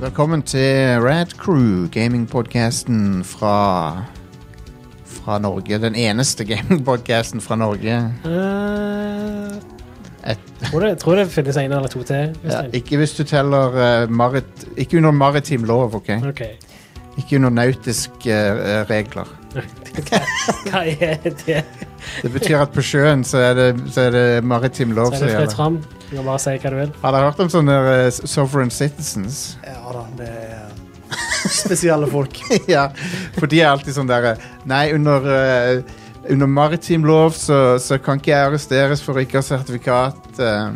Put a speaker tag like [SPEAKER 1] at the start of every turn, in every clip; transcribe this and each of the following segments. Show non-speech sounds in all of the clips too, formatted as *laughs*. [SPEAKER 1] Velkommen til Rad Crew, gamingpodcasten fra fra Norge. Den eneste gamingpodcasten fra Norge.
[SPEAKER 2] Eh,
[SPEAKER 1] Et,
[SPEAKER 2] tror, det, tror det finnes en eller to til.
[SPEAKER 1] ja,
[SPEAKER 2] Øystein.
[SPEAKER 1] ikke hvis du teller eh, marit, Ikke under maritim lov, OK?
[SPEAKER 2] Ok. *laughs*
[SPEAKER 1] Ikke under nautiske eh, regler.
[SPEAKER 2] Hva er det?
[SPEAKER 1] Det betyr at på sjøen så er det, så er det maritim lov
[SPEAKER 2] Så er
[SPEAKER 1] som
[SPEAKER 2] det fritt
[SPEAKER 1] gjelder.
[SPEAKER 2] fram. Du kan bare si hva du vil.
[SPEAKER 1] Har dere hørt om sånne eh, sovereign citizens?
[SPEAKER 3] Ja da, det er spesielle folk.
[SPEAKER 1] *laughs* ja, for de er alltid sånn derre Nei, under, eh, under maritim lov så, så kan ikke jeg arresteres for ikke å ha sertifikat. eh,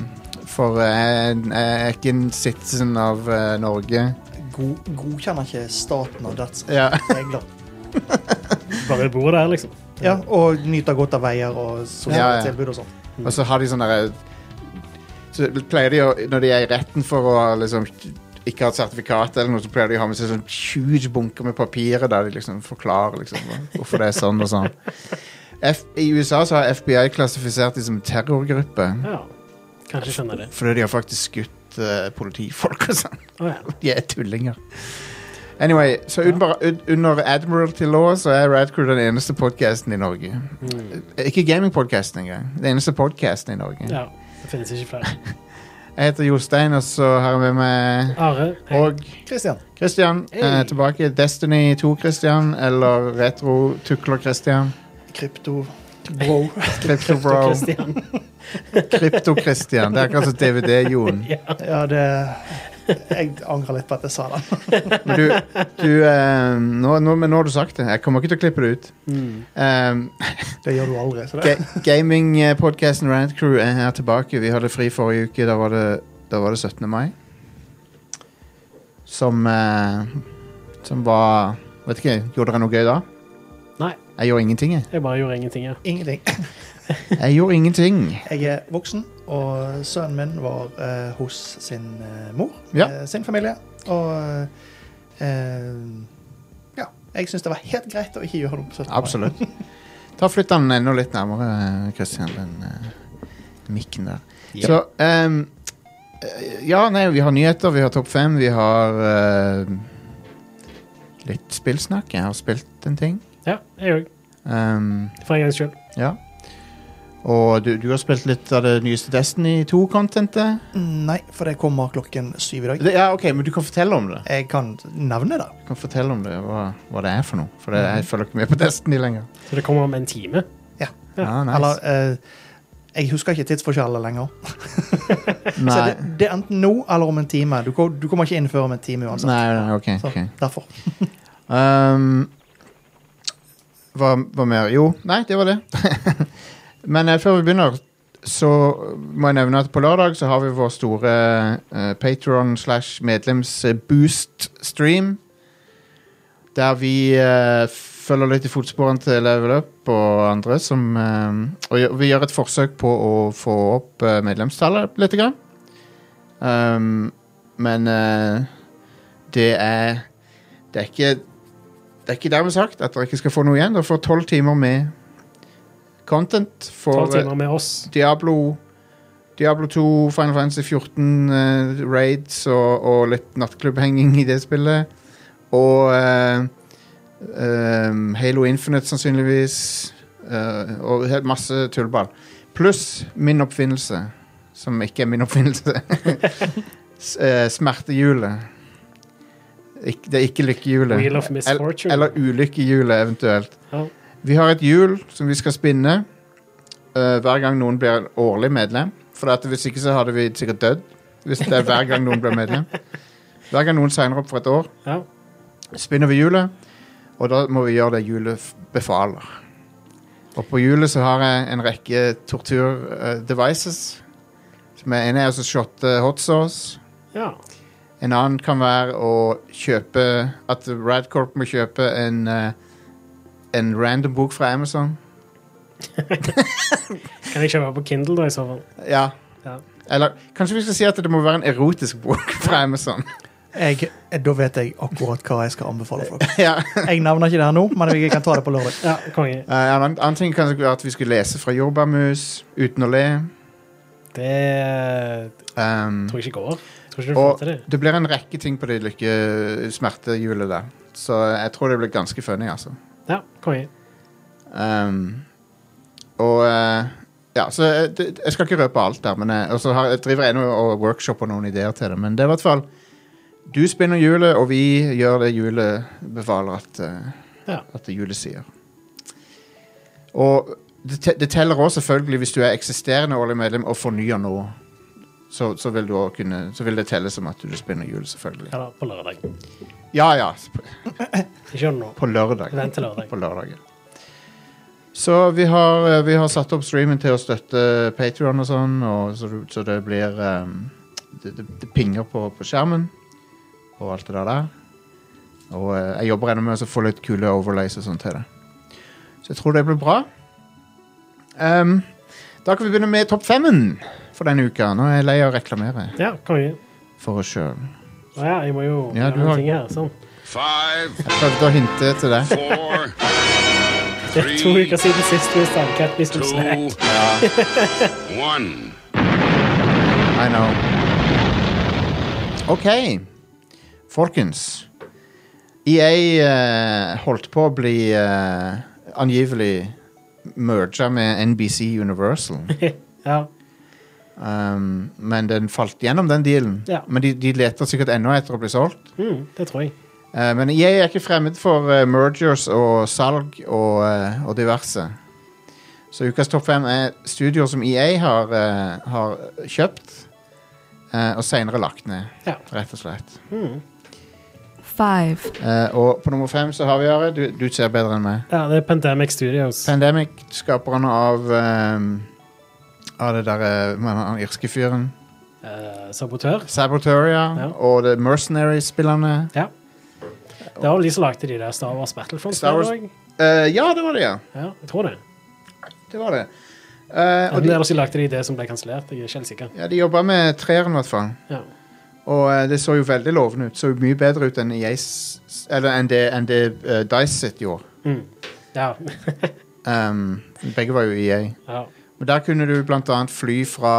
[SPEAKER 1] for jeg, jeg er ikke en citizen av eh, Norge.
[SPEAKER 3] God, godkjenner ikke staten og dets
[SPEAKER 1] Ja.
[SPEAKER 3] regler.
[SPEAKER 2] Bare du bor der, liksom.
[SPEAKER 3] *laughs* Ja, og nyter godt av veier og
[SPEAKER 1] Ja, ja.
[SPEAKER 3] sosiale tilbud og sånn.
[SPEAKER 1] Og så har de sånn derre Så pleier de å, når de er i retten for å liksom ikke ha et sertifikat eller noe, så pleier de å ha med seg sånn huge bunker med papirer der de liksom forklarer liksom hva- hvorfor det er sånn og sånn. F I USA så har FBI klassifisert de som terrorgruppe.
[SPEAKER 2] Ja. Kanskje skjønner det.
[SPEAKER 1] Fordi de har faktisk skutt eh, politifolk og sånn.
[SPEAKER 2] Å ja.
[SPEAKER 1] De er tullinger. Anyway, så un bare un under Admiralty Law så er Radcrew den eneste podkasten i Norge.
[SPEAKER 2] Mm.
[SPEAKER 1] Eh, Ikke gamingpodkasten engang. Den eneste podkasten i Norge.
[SPEAKER 2] ja. Det finnes ikke flere.
[SPEAKER 1] Jeg heter Jostein, og så har jeg med meg
[SPEAKER 2] Are. hei.
[SPEAKER 1] Og
[SPEAKER 3] Kristian,
[SPEAKER 1] Christian.
[SPEAKER 2] Hey.
[SPEAKER 1] Eh, tilbake. Destiny 2-Christian, eller Retro-Tukler-Christian.
[SPEAKER 3] krypto, bro.
[SPEAKER 1] Crypto-Bro.
[SPEAKER 2] Christian.
[SPEAKER 1] Krypto-Christian. Det er akkurat som DVD-Jon.
[SPEAKER 2] Ja.
[SPEAKER 3] *laughs* Ja, det Jeg angrer litt på at jeg sa det.
[SPEAKER 1] Men du, du eh, nå, nå, men nå har du sagt det. Jeg kommer ikke til å klippe det ut.
[SPEAKER 2] Mm.
[SPEAKER 1] Um,
[SPEAKER 3] *laughs* Det gjør du aldri. Så det.
[SPEAKER 1] Ga Gamingpodkasten Rant Crew er her tilbake. Vi hadde fri forrige uke. Da var det, da var det 17. mai. Som eh, Som var Vet ikke, gjorde dere noe gøy da?
[SPEAKER 2] Nei.
[SPEAKER 1] Jeg gjorde ingenting, jeg.
[SPEAKER 2] Jeg bare gjorde ingenting, ja.
[SPEAKER 3] Ingenting.
[SPEAKER 1] Jeg gjorde ingenting.
[SPEAKER 3] Jeg er voksen, og sønnen min var eh, hos sin eh, mor,
[SPEAKER 1] Ja.
[SPEAKER 3] eh, sin familie, og eh, Ja. Jeg syns det var helt greit å ikke gjøre noe på 17. mai.
[SPEAKER 1] Absolutt. Da flytter han enda litt nærmere, Christian, den eh, mikken der.
[SPEAKER 3] Ja.
[SPEAKER 1] Så ehm, eh, Ja, nei, vi har nyheter, vi har Topp fem, vi har eh, litt spillsnakk. Jeg har spilt en ting.
[SPEAKER 2] Ja, jeg òg.
[SPEAKER 1] Ehm,
[SPEAKER 2] For en gangs skyld.
[SPEAKER 1] ja. Og du, du har spilt litt av det nyeste Destiny 2-contentet?
[SPEAKER 3] Nei, for det kommer klokken syv i dag.
[SPEAKER 1] Ja, OK, men du kan fortelle om det.
[SPEAKER 3] Jeg kan nevne det.
[SPEAKER 1] Du kan fortelle om det, Hva, hva det er for noe. For det,
[SPEAKER 3] Mhm.
[SPEAKER 1] jeg følger ikke med på Destiny lenger.
[SPEAKER 2] Så det kommer om en time. Ja.
[SPEAKER 1] Ah, nice.
[SPEAKER 3] Eller eh, jeg husker ikke tidsforskjellene lenger. Så
[SPEAKER 1] nei.
[SPEAKER 3] det, det er enten nå eller om en time. Du, kom- du kommer ikke inn før om en time uansett.
[SPEAKER 1] nei, nei, OK.
[SPEAKER 3] Så,
[SPEAKER 1] ok.
[SPEAKER 3] Derfor.
[SPEAKER 1] Ehm, hva, hva mer? Jo, nei, det var det. *laughs* Men eh, før vi begynner, så må jeg nevne at på lørdag så har vi vår store uh, Patron slash medlems eh, boost stream. Der vi eh, følger litt i fotsporene til Level Up og andre som eh, Og gjør- vi gjør et forsøk på å få opp eh, medlemstallet litt. Grann. Ehm, men eh, det er Det er ikke det er ikke dermed sagt at dere ikke skal få noe igjen. Dere får tolv timer med content. For,
[SPEAKER 2] Tolv timer med oss.
[SPEAKER 1] Diablo Diablo 2, Final Fantasy 14 eh, raids og, og litt nattklubbhenging i det spillet. Og eh, ehm, Halo Infinite sannsynligvis. eh, og helt masse tullball. Pluss min oppfinnelse, som ikke er min
[SPEAKER 2] *laughs*
[SPEAKER 1] oppfinnelse. S- eh, Smertehjulet. Ik det er ikke lykkehjulet.
[SPEAKER 2] Wheel of
[SPEAKER 1] El-
[SPEAKER 2] Misfortune.
[SPEAKER 1] Eller ulykkehjulet, eventuelt.
[SPEAKER 2] Ja.
[SPEAKER 1] Vi har et hjul som vi skal spinne eh, hver gang noen blir årlig medlem. For at hvis ikke så hadde vi sikkert dødd. Hvis det er hver gang noen blir medlem. Hver gang noen signer opp for et år,
[SPEAKER 2] ja.
[SPEAKER 1] spinner vi hjulet. Og da må vi gjøre det hjulet f- befaler. Og på hjulet så har jeg en rekke tortur-devices. Som er, en er å shotte hot sauce.
[SPEAKER 2] ja.
[SPEAKER 1] En annen kan være å kjøpe At Radcorp må kjøpe en eh, En random bok fra Amazon.
[SPEAKER 2] Kan jeg kjøpe på Kindle, da, i så fall?
[SPEAKER 1] Ja.
[SPEAKER 2] Ja.
[SPEAKER 1] Eller kanskje vi skal si at det må være en erotisk bok fra Amazon. *laughs*
[SPEAKER 3] Jeg, eh, da vet jeg akkurat hva jeg skal anbefale folk.
[SPEAKER 1] ja.
[SPEAKER 3] Jeg nevner ikke det her nå, men jeg kan ta det på lørdag.
[SPEAKER 2] Ja, konge.
[SPEAKER 1] Eh, en annen, annen ting kan være at vi skulle lese fra jordbærmus uten å le.
[SPEAKER 2] Det
[SPEAKER 1] Um,
[SPEAKER 2] tror jeg ikke går. Tror ikke du
[SPEAKER 1] Og
[SPEAKER 2] får til det.
[SPEAKER 1] det blir en rekke ting på det lykke smertehjulet der. Så jeg tror det blir ganske funny, altså.
[SPEAKER 2] Ja, konge.
[SPEAKER 1] Um, og eh, Ja, så jeg, det- jeg skal ikke røpe alt der, men jeg, og så har, jeg driver ennå og workshoper noen ideer til det. Men det er i hvert fall Du spinner hjulet, og vi gjør det hjulet befaler at, eh,
[SPEAKER 2] Ja.
[SPEAKER 1] at det hjulet sier. Og det, te- det teller òg selvfølgelig hvis du er eksisterende årlig medlem og fornyer nå. Så, så, vil du også kunne, så vil det telle som at du spinner hjulet, selvfølgelig.
[SPEAKER 2] Ja da, på lørdag.
[SPEAKER 1] Ja ja, sp-
[SPEAKER 2] Ikke gjør det nå.
[SPEAKER 1] på lørdag.
[SPEAKER 2] Vent til lørdag.
[SPEAKER 1] på lørdagen. Så vi har, eh, vi har satt opp streamen til å støtte Patreon og sånn, og så, du- så det blir ehm, det, det, det pinger på, på skjermen og alt det der der. Og eh, jeg jobber ennå med å få litt kule overlays og sånt til det. Så jeg tror det blir bra. Ehm, da kan vi begynne med topp femmen for denne uka. Nå er jeg lei av å reklamere
[SPEAKER 2] Ja, konge.
[SPEAKER 1] for oss sjøl.
[SPEAKER 2] Å ja, jeg må jo
[SPEAKER 1] Ja,
[SPEAKER 2] gjøre
[SPEAKER 1] du har-
[SPEAKER 2] noen ting her. Sånn.
[SPEAKER 4] Five,
[SPEAKER 1] Jeg prøvde å hinte til det.
[SPEAKER 4] four,
[SPEAKER 2] Det er to uker siden sist vi stavkatt hvis du
[SPEAKER 4] two,
[SPEAKER 2] slår.
[SPEAKER 4] one.
[SPEAKER 1] I know. OK. Folkens. EA eh, holdt på å bli eh, angivelig merga med NBC Universal.
[SPEAKER 2] Ja.
[SPEAKER 1] Um, men den falt gjennom, den dealen.
[SPEAKER 2] Ja.
[SPEAKER 1] Men de, de leter sikkert ennå etter å bli solgt.
[SPEAKER 2] Mm, det tror jeg.
[SPEAKER 1] Eh, men jeg er ikke fremmed for eh, mergers og salg og, eh, og diverse. Så ukas topp fem er studioer som EA har, eh, har kjøpt eh, og seinere lagt ned,
[SPEAKER 2] Ja.
[SPEAKER 1] rett og slett.
[SPEAKER 2] Mm.
[SPEAKER 5] five,
[SPEAKER 1] Eh, og på nummer fem så har vi Are. Du, du ser bedre enn meg.
[SPEAKER 2] Ja, det er Pandemic Studios.
[SPEAKER 1] Pandemic, skaperne av eh, Av det derre Han irske fyren.
[SPEAKER 2] Eh, sabotør.
[SPEAKER 1] Sabotoria
[SPEAKER 2] Ja.
[SPEAKER 1] og The Mercenary-spillerne.
[SPEAKER 2] Ja. Det var vel de som lagde de der Star Wars Battlefront.
[SPEAKER 1] Star Wars-
[SPEAKER 2] også.
[SPEAKER 1] Eh, ja, det var det, ja.
[SPEAKER 2] Ja, jeg tror det.
[SPEAKER 1] Det var det. Eh, og
[SPEAKER 2] Enten
[SPEAKER 1] de,
[SPEAKER 2] eller så lagde de det som ble kansellert. Jeg er ikke helt sikker.
[SPEAKER 1] ja, de jobba med treeren, i hvert fall.
[SPEAKER 2] Ja.
[SPEAKER 1] Og eh, det så jo veldig lovende ut. Så jo mye bedre ut enn EA s- s- Eller enn det, enn det eh, Dice sitt gjorde.
[SPEAKER 2] Mm. ja.
[SPEAKER 1] Um, begge var jo EA.
[SPEAKER 2] ja.
[SPEAKER 1] Men der kunne du blant annet fly fra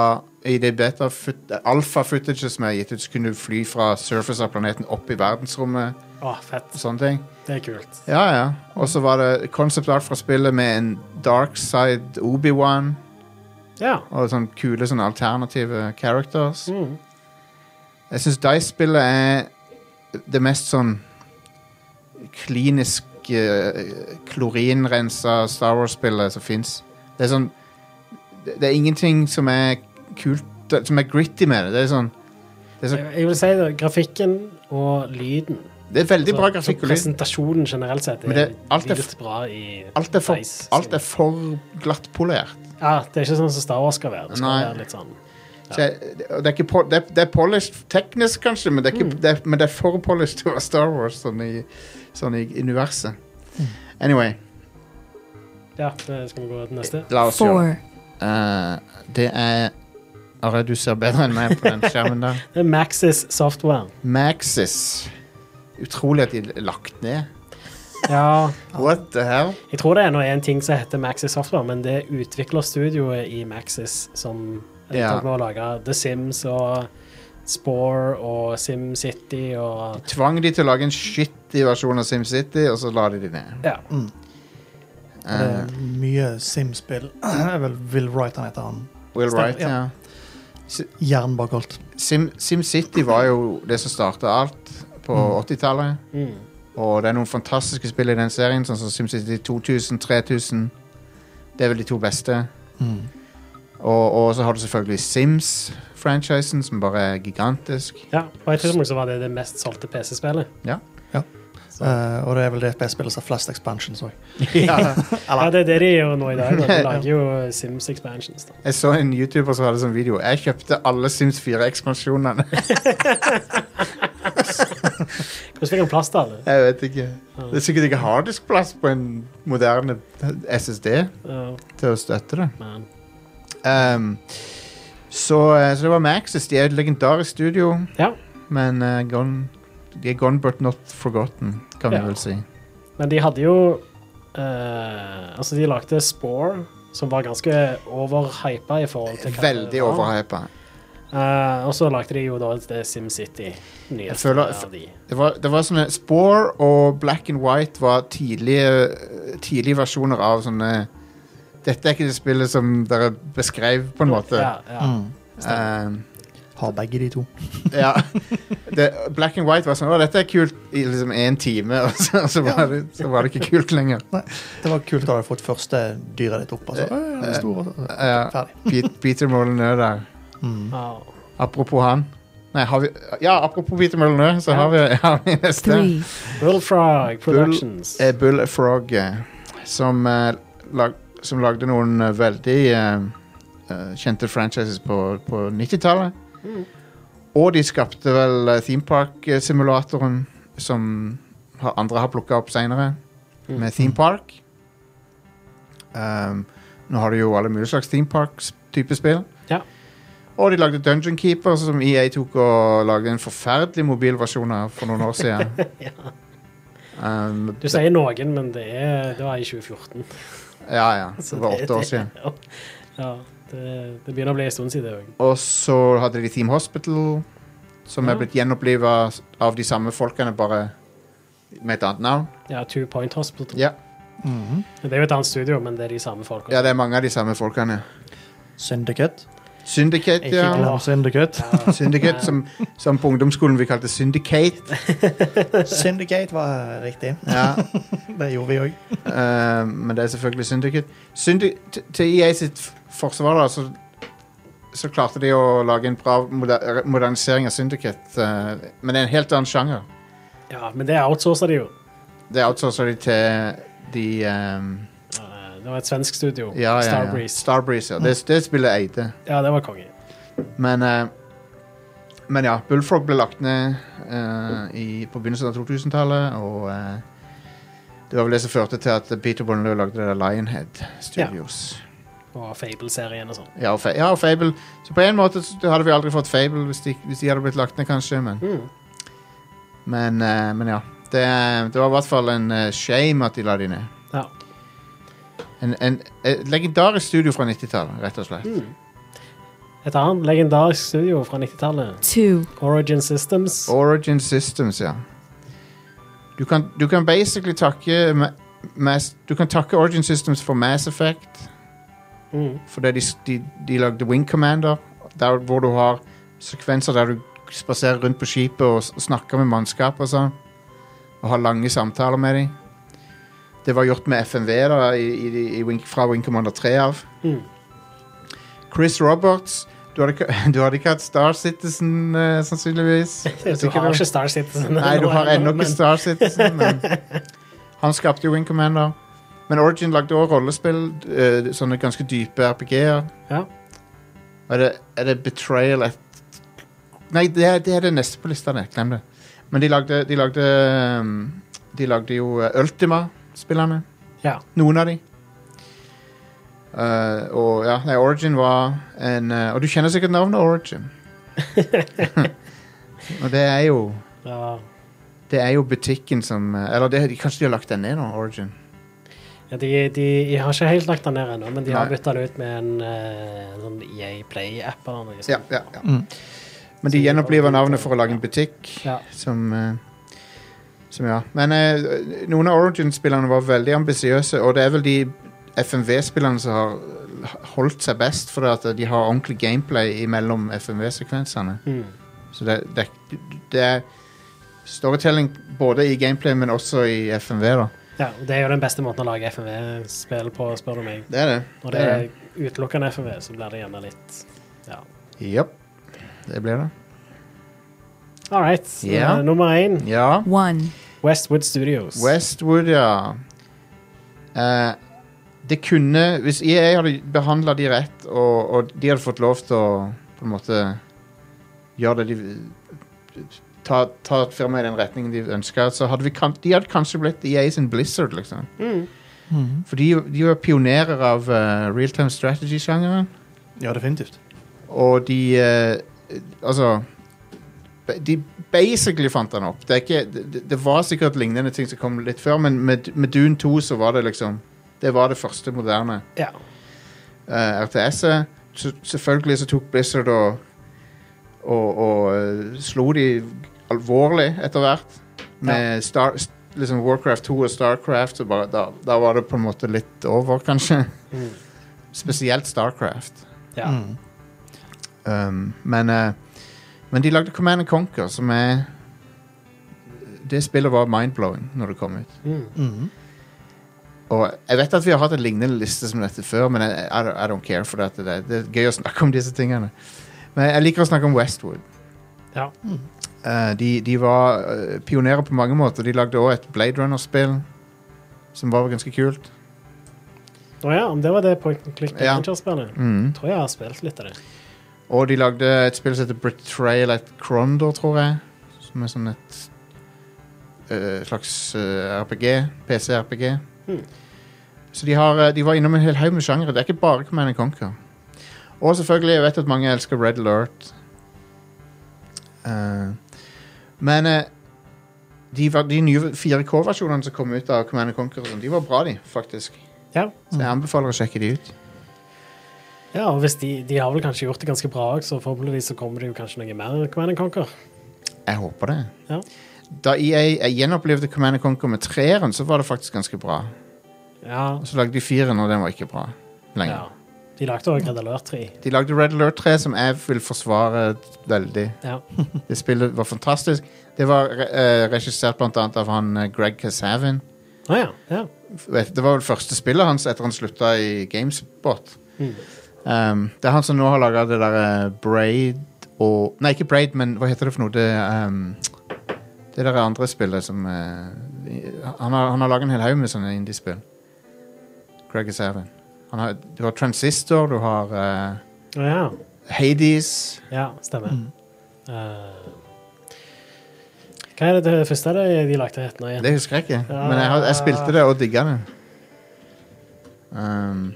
[SPEAKER 1] I det beta fut- alfa-footaget som er gitt ut, så kunne du fly fra surface av planeten opp i verdensrommet
[SPEAKER 2] Å, fett.
[SPEAKER 1] og sånne ting.
[SPEAKER 2] Det er kult.
[SPEAKER 1] Ja, ja. Og så var det concept art fra spillet med en dark side Obi-Wan
[SPEAKER 2] Ja.
[SPEAKER 1] og sånn kule sånne alternative characters.
[SPEAKER 2] Mm.
[SPEAKER 1] Jeg syns Dice-spillet er det mest sånn klinisk eh, klorinrensa Star Wars-spillet som fins. Det er sånn Det det er ingenting som er kult Som er gritty med det. Det er sånn Det er,
[SPEAKER 2] Jeg,
[SPEAKER 1] sånn,
[SPEAKER 2] jeg vil si det, grafikken og lyden
[SPEAKER 1] det er veldig bra
[SPEAKER 2] Altså,
[SPEAKER 1] grafikk
[SPEAKER 2] så
[SPEAKER 1] og lyd.
[SPEAKER 2] Presentasjonen generelt sett
[SPEAKER 1] Men
[SPEAKER 2] er
[SPEAKER 1] det- alt er f-
[SPEAKER 2] litt bra i
[SPEAKER 1] Alt er for,
[SPEAKER 2] Dice.
[SPEAKER 1] alt er for glattpolert.
[SPEAKER 2] Ja, det er ikke sånn som Star Wars skal være. Det skal
[SPEAKER 1] Nei.
[SPEAKER 2] være litt sånn
[SPEAKER 1] Så jeg- Det og det er ikke po- det er- det er polished teknisk, kanskje, men det er, ikke,
[SPEAKER 2] Mm.
[SPEAKER 1] det er, men det er for polished *laughs* til å være Star Wars sånn i, sånn i universet.
[SPEAKER 2] Mm.
[SPEAKER 1] Anyway,
[SPEAKER 2] Ja, det skal vi gå til neste.
[SPEAKER 1] la oss gjøre det.
[SPEAKER 5] four,
[SPEAKER 1] Eh, det er Are, du ser bedre enn meg på den skjermen der.
[SPEAKER 2] Det er Maxis Software.
[SPEAKER 1] Maxis. Utrolig at de er lagt ned.
[SPEAKER 2] Ja,
[SPEAKER 1] What the hell?
[SPEAKER 2] jeg tror det er nå en ting som heter Maxis Software, men det er utviklerstudioet i Maxis som er
[SPEAKER 1] Ja.
[SPEAKER 2] tatt med å lage The Sims og Spore og SimCity og
[SPEAKER 1] Tvang de til å lage en shitty versjon av SimCity, og så la de de ned.
[SPEAKER 2] Ja.
[SPEAKER 3] Mm. Det
[SPEAKER 1] Eh,
[SPEAKER 3] er mye Sims-spill. Jeg Vel, Will Wright han heter han.
[SPEAKER 1] Will
[SPEAKER 3] Stemmer,
[SPEAKER 1] Wright,
[SPEAKER 3] ja.
[SPEAKER 1] ja.
[SPEAKER 3] Hjernen bak alt.
[SPEAKER 1] Sim- SimCity var jo det som starta alt på 80-tallet.
[SPEAKER 2] Mm.
[SPEAKER 1] Og det er noen fantastiske spill i den serien, sånn som SimCity 2000, 3000. Det er vel de to beste.
[SPEAKER 3] Mm.
[SPEAKER 1] Og, og så har du selvfølgelig Sims-franchisen, som bare er gigantisk.
[SPEAKER 3] *laughs*
[SPEAKER 2] ja. På et tidspunkt så var det det mest solgte PC-spillet.
[SPEAKER 1] Ja.
[SPEAKER 3] Ja.
[SPEAKER 2] Så-
[SPEAKER 3] Eh, og det er vel det spillet som har flest expansions òg.
[SPEAKER 1] ja.
[SPEAKER 2] Ja, det er det de gjør nå i dag.
[SPEAKER 1] *laughs*
[SPEAKER 2] Da. De lager jo Sims Expansions. Da.
[SPEAKER 1] Jeg så en YouTuber som hadde sånn video. Jeg kjøpte alle Sims 4-ekspansjonene.
[SPEAKER 2] Hvordan fikk han plass til alle?
[SPEAKER 1] *laughs* Jeg vet ikke. Det er sikkert ikke harddiskplass på en moderne SSD
[SPEAKER 2] Ja,
[SPEAKER 1] til å støtte det.
[SPEAKER 2] man.
[SPEAKER 1] Ehm, så, eh, så det var Maxis. De er et legendarisk studio,
[SPEAKER 2] ja.
[SPEAKER 1] men eh, gone, de er gone but not forgotten, kan vi
[SPEAKER 2] Ja.
[SPEAKER 1] vel si.
[SPEAKER 2] Men de hadde jo eh, Altså, de lagde Spore, som var ganske overhypa i forhold til hva det
[SPEAKER 1] Veldig
[SPEAKER 2] var.
[SPEAKER 1] overhypa.
[SPEAKER 2] Eh, og så lagde de jo da det SimCity.
[SPEAKER 1] Jeg
[SPEAKER 2] Nyeste
[SPEAKER 1] føler-
[SPEAKER 2] av de.
[SPEAKER 1] Det var, det var sånne Spore og Black and White var tidlige, tidlige versjoner av sånne Dette er ikke det spillet som dere beskrev, på en måte.
[SPEAKER 2] Ja, ja.
[SPEAKER 1] Ehm,
[SPEAKER 3] Mm. Har begge de to.
[SPEAKER 1] ja. Det, Black and White var sånn Å, dette er kult i liksom én time, *laughs* og så, så, var det, så var det ikke kult lenger.
[SPEAKER 3] Det var kult da du hadde fått første dyret ditt opp. Altså.
[SPEAKER 1] Eh,
[SPEAKER 3] Øh, den er stor, og så-
[SPEAKER 1] Ja,
[SPEAKER 3] Ferdig.
[SPEAKER 1] Pete- Peter Molyneux der.
[SPEAKER 3] Mm.
[SPEAKER 2] Ja.
[SPEAKER 1] Apropos han. Nei, har vi Ja, apropos Peter Molyneux, så
[SPEAKER 2] Ja.
[SPEAKER 1] har vi, har vi neste.
[SPEAKER 5] three,
[SPEAKER 2] Bullfrog Productions.
[SPEAKER 1] eh, Bullfrog eh, som, eh, lag, som lagde noen eh, veldig eh, eh, kjente franchises på, på 90-tallet.
[SPEAKER 2] Mm.
[SPEAKER 1] Og de skapte vel eh, Theme Park-simulatoren som har, andre har plukka opp seinere,
[SPEAKER 2] Mm.
[SPEAKER 1] med Theme Park. Um, nå har du jo alle mulige slags Theme Park-type spill.
[SPEAKER 2] Ja.
[SPEAKER 1] Og de lagde Dungeon Keeper, som EA tok og lagde en forferdelig mobilversjon av for noen år siden.
[SPEAKER 2] *laughs*
[SPEAKER 1] um,
[SPEAKER 2] Du sier noen, men det, er, det var i 2014.
[SPEAKER 1] Ja, ja.
[SPEAKER 2] *laughs* så
[SPEAKER 1] Det var åtte år siden.
[SPEAKER 2] *laughs* Ja, det, det begynner å bli en stund siden òg.
[SPEAKER 1] Og så hadde de Team Hospital, som
[SPEAKER 2] Ja.
[SPEAKER 1] er blitt gjenoppliva av de samme folkene, bare med et annet navn.
[SPEAKER 2] Ja, Two Point Hospital.
[SPEAKER 1] Ja, eh.
[SPEAKER 3] Mhm.
[SPEAKER 2] Det er jo et annet studio, men det er de samme folka.
[SPEAKER 1] ja det er mange av de samme folkene.
[SPEAKER 3] Syndicate.
[SPEAKER 1] Syndicate,
[SPEAKER 3] Ikke
[SPEAKER 1] ja.
[SPEAKER 3] glem Syndicate.
[SPEAKER 2] Ja.
[SPEAKER 1] Syndicate, som, som på ungdomsskolen vi kalte Syndicate.
[SPEAKER 3] Syndicate var riktig.
[SPEAKER 1] Ja.
[SPEAKER 3] Det gjorde vi òg.
[SPEAKER 1] Eh, men det er selvfølgelig Syndicate. Syndi til- til EA sitt f- forsvar da, så, så klarte de å lage en bra moder modernisering av Syndicate, eh, men det er en helt annen sjanger.
[SPEAKER 2] ja, men det outsourcer de jo.
[SPEAKER 1] Det outsourcer de til de ehm,
[SPEAKER 2] Eh, Det var et svensk studio.
[SPEAKER 1] Ja, ja, ja.
[SPEAKER 2] Starbreeze.
[SPEAKER 1] Starbreeze, ja. Det, det spillet eide.
[SPEAKER 2] Ja, det var konge.
[SPEAKER 1] Men, eh, men ja, Bullfrog ble lagt ned eh, i, på begynnelsen av 2000-tallet, og eh, det var vel det som førte til at Peter Bonnelau lagde det der Lionhead Studios.
[SPEAKER 2] Og Fable-serien og sånn.
[SPEAKER 1] Ja. og Fa ja, og Fable. Så på en måte så hadde vi aldri fått Fable hvis de, hvis de hadde blitt lagt ned, kanskje, men,
[SPEAKER 2] Mm.
[SPEAKER 1] men, eh, men ja. Det, det var i hvert fall en eh, shame at de la de ned.
[SPEAKER 2] Ja.
[SPEAKER 1] En, en, et legendarisk studio fra 90-tallet, rett og slett.
[SPEAKER 2] Mm. Et annet legendarisk studio fra 90-tallet,
[SPEAKER 5] two,
[SPEAKER 2] Origin Systems.
[SPEAKER 1] Origin Systems, ja. Du kan, du kan basically takke Ma- Mass, Du kan takke Origin Systems for Mass Effect,
[SPEAKER 2] Mm.
[SPEAKER 1] fordi de, s- de, de lagde Wing Commander, der hvor du har sekvenser der du spaserer rundt på skipet og s- snakker med mannskap og sånn, og har lange samtaler med dem. Det var gjort med FMV da, i, i, i Wing, fra Wing Commander 3 av.
[SPEAKER 2] Mm.
[SPEAKER 1] Chris Roberts Du hadde, ikke- *laughs* du hadde ikke hatt Star Citizen, eh,
[SPEAKER 2] *laughs*
[SPEAKER 1] sannsynligvis.
[SPEAKER 2] Du har ikke Star Citizen.
[SPEAKER 1] Nei, du har ennå ikke
[SPEAKER 2] men-
[SPEAKER 1] Star Citizen, men *laughs* han skapte jo Wing Commander. Men Origin lagde også rollespill, eh, sånne ganske dype RPG-er.
[SPEAKER 2] Ja.
[SPEAKER 1] Er, det- er det Betrayal et Nei, det er, det er det neste på lista, det. Glem det. Men de lagde De lagde, um, de lagde jo eh, Ultima-spillene.
[SPEAKER 2] Ja.
[SPEAKER 1] Noen av de. Eh, og ja, nei, Origin var en eh, Og du kjenner sikkert navnet *laughs* Origin. og det er jo
[SPEAKER 2] Ja.
[SPEAKER 1] det er jo butikken som eh, Eller det, kanskje de har lagt den ned nå, Origin.
[SPEAKER 2] Ja, de, de, de har ikke helt lagt den ned ennå, men de har
[SPEAKER 1] Nei.
[SPEAKER 2] bytta den ut med en eh, sånn EA Play-app eller noe.
[SPEAKER 1] Ja,
[SPEAKER 2] sånt.
[SPEAKER 1] ja, ja.
[SPEAKER 3] Mm.
[SPEAKER 1] Men de gjenoppliver navnet for å lage en butikk
[SPEAKER 2] Ja.
[SPEAKER 1] som eh, Som, ja. Men eh, noen av Origin-spillerne var veldig ambisiøse, og det er vel de FMV-spillerne som har holdt seg best, fordi at de har ordentlig gameplay imellom FMV-sekvensene.
[SPEAKER 2] Mm.
[SPEAKER 1] Så det, det, det er storytelling både i gameplay, men også i FMV, da.
[SPEAKER 2] ja, og Det er jo den beste måten å lage FMV-spill på, spør du meg.
[SPEAKER 1] Det er det.
[SPEAKER 2] Når det er utelukkende FMV, så blir det gjerne litt Ja.
[SPEAKER 1] Jepp. Det blir det.
[SPEAKER 2] All right.
[SPEAKER 1] Ja.
[SPEAKER 2] eh, nummer én,
[SPEAKER 1] Ja.
[SPEAKER 5] one,
[SPEAKER 2] Westwood Studios.
[SPEAKER 1] Westwood, ja. Eh, det kunne Hvis EA hadde behandla de rett, og, og de hadde fått lov til å på en måte gjøre det de Ta, ta firmaet i den retningen de ønska, så hadde vi kan, de hadde kanskje blitt EA sin Blizzard, liksom.
[SPEAKER 2] Mm.
[SPEAKER 3] Mhm.
[SPEAKER 1] For de, de var pionerer av eh, realtime strategy-sjangeren.
[SPEAKER 3] Ja, definitivt.
[SPEAKER 1] Og de eh, Altså De basically fant den opp. Det, er ikke, det, det var sikkert lignende ting som kom litt før, men med, med Dune 2 så var det liksom Det var det første moderne
[SPEAKER 2] Ja.
[SPEAKER 1] eh, RTS-et. Så, selvfølgelig så tok Blizzard og og, og eh, slo de alvorlig etter hvert. Med Star, s- liksom Warcraft 2 og Starcraft, så bare, da, da var det på en måte litt over, kanskje. *laughs*
[SPEAKER 2] Mm.
[SPEAKER 1] Spesielt Starcraft.
[SPEAKER 2] Ja.
[SPEAKER 3] Mm.
[SPEAKER 1] Um, men, eh, men de lagde Command and Conquer, som er Det spillet var mind-blowing når det kom ut.
[SPEAKER 2] Mm.
[SPEAKER 3] Mm.
[SPEAKER 1] Og jeg vet at vi har hatt en lignende liste som dette før, men jeg, I, don't- I don't care, for dette, det, det er gøy å snakke om disse tingene. Men jeg liker å snakke om Westwood.
[SPEAKER 2] Ja.
[SPEAKER 3] Mm.
[SPEAKER 1] Eh, de, de var eh, pionerer på mange måter. De lagde òg et Blade Runner-spill som var ganske kult.
[SPEAKER 2] Å ja, om det var det point and click
[SPEAKER 1] Ja.
[SPEAKER 2] adventure-spillet?
[SPEAKER 1] Mm.
[SPEAKER 2] Tror jeg har spilt litt av det.
[SPEAKER 1] Og de lagde et spill som heter Betrayal at Crondor, tror jeg. Som er sånn et eh, slags eh, RPG. PC-RPG.
[SPEAKER 2] Hmm.
[SPEAKER 1] Så de, har, eh, de var innom en hel haug med sjangere. Det er ikke bare Command Conquer. Og selvfølgelig, jeg vet at mange elsker Red Alert. Eh, men eh, de, var, de nye 4K-versjonene som kom ut av Command Conquer, og sånn, de var bra, de, faktisk.
[SPEAKER 2] Ja.
[SPEAKER 1] Så jeg anbefaler å sjekke de ut.
[SPEAKER 2] ja, og hvis de, de har vel kanskje gjort det ganske bra òg, så forhåpentligvis så kommer det jo kanskje noe mer Command Conquer.
[SPEAKER 1] Jeg håper det.
[SPEAKER 2] Ja.
[SPEAKER 1] Da EA gjenopplevde Command Conquer med treeren, så var det faktisk ganske bra.
[SPEAKER 2] Ja.
[SPEAKER 1] Og så lagde de firen, og den var ikke bra lenger.
[SPEAKER 2] ja. De lagde òg Red Alert 3.
[SPEAKER 1] De lagde Red Alert 3, som jeg vil forsvare veldig.
[SPEAKER 2] Ja.
[SPEAKER 1] Det spillet var fantastisk. Det var eh, regissert blant annet av han eh, Greg Casavin.
[SPEAKER 2] Å ja. ja.
[SPEAKER 1] Vet- Det var vel første spillet hans etter han slutta i Gamespot.
[SPEAKER 2] Mm.
[SPEAKER 1] Um, det er han som nå har laga det derre Braid og Nei, ikke Braid, men hva heter det for noe? Det, um, det der andre spillet som eh, Han har, han har laga en hel haug med sånne indiespill. Greg Savin. Han har, du har Transistor, du har eh,
[SPEAKER 2] Å ja.
[SPEAKER 1] Hades
[SPEAKER 2] ja, stemmer. Eh, hva er det, det første de, de lagde het nå igjen?
[SPEAKER 1] Det husker jeg ikke, men jeg, har- jeg spilte det og digga det. Um,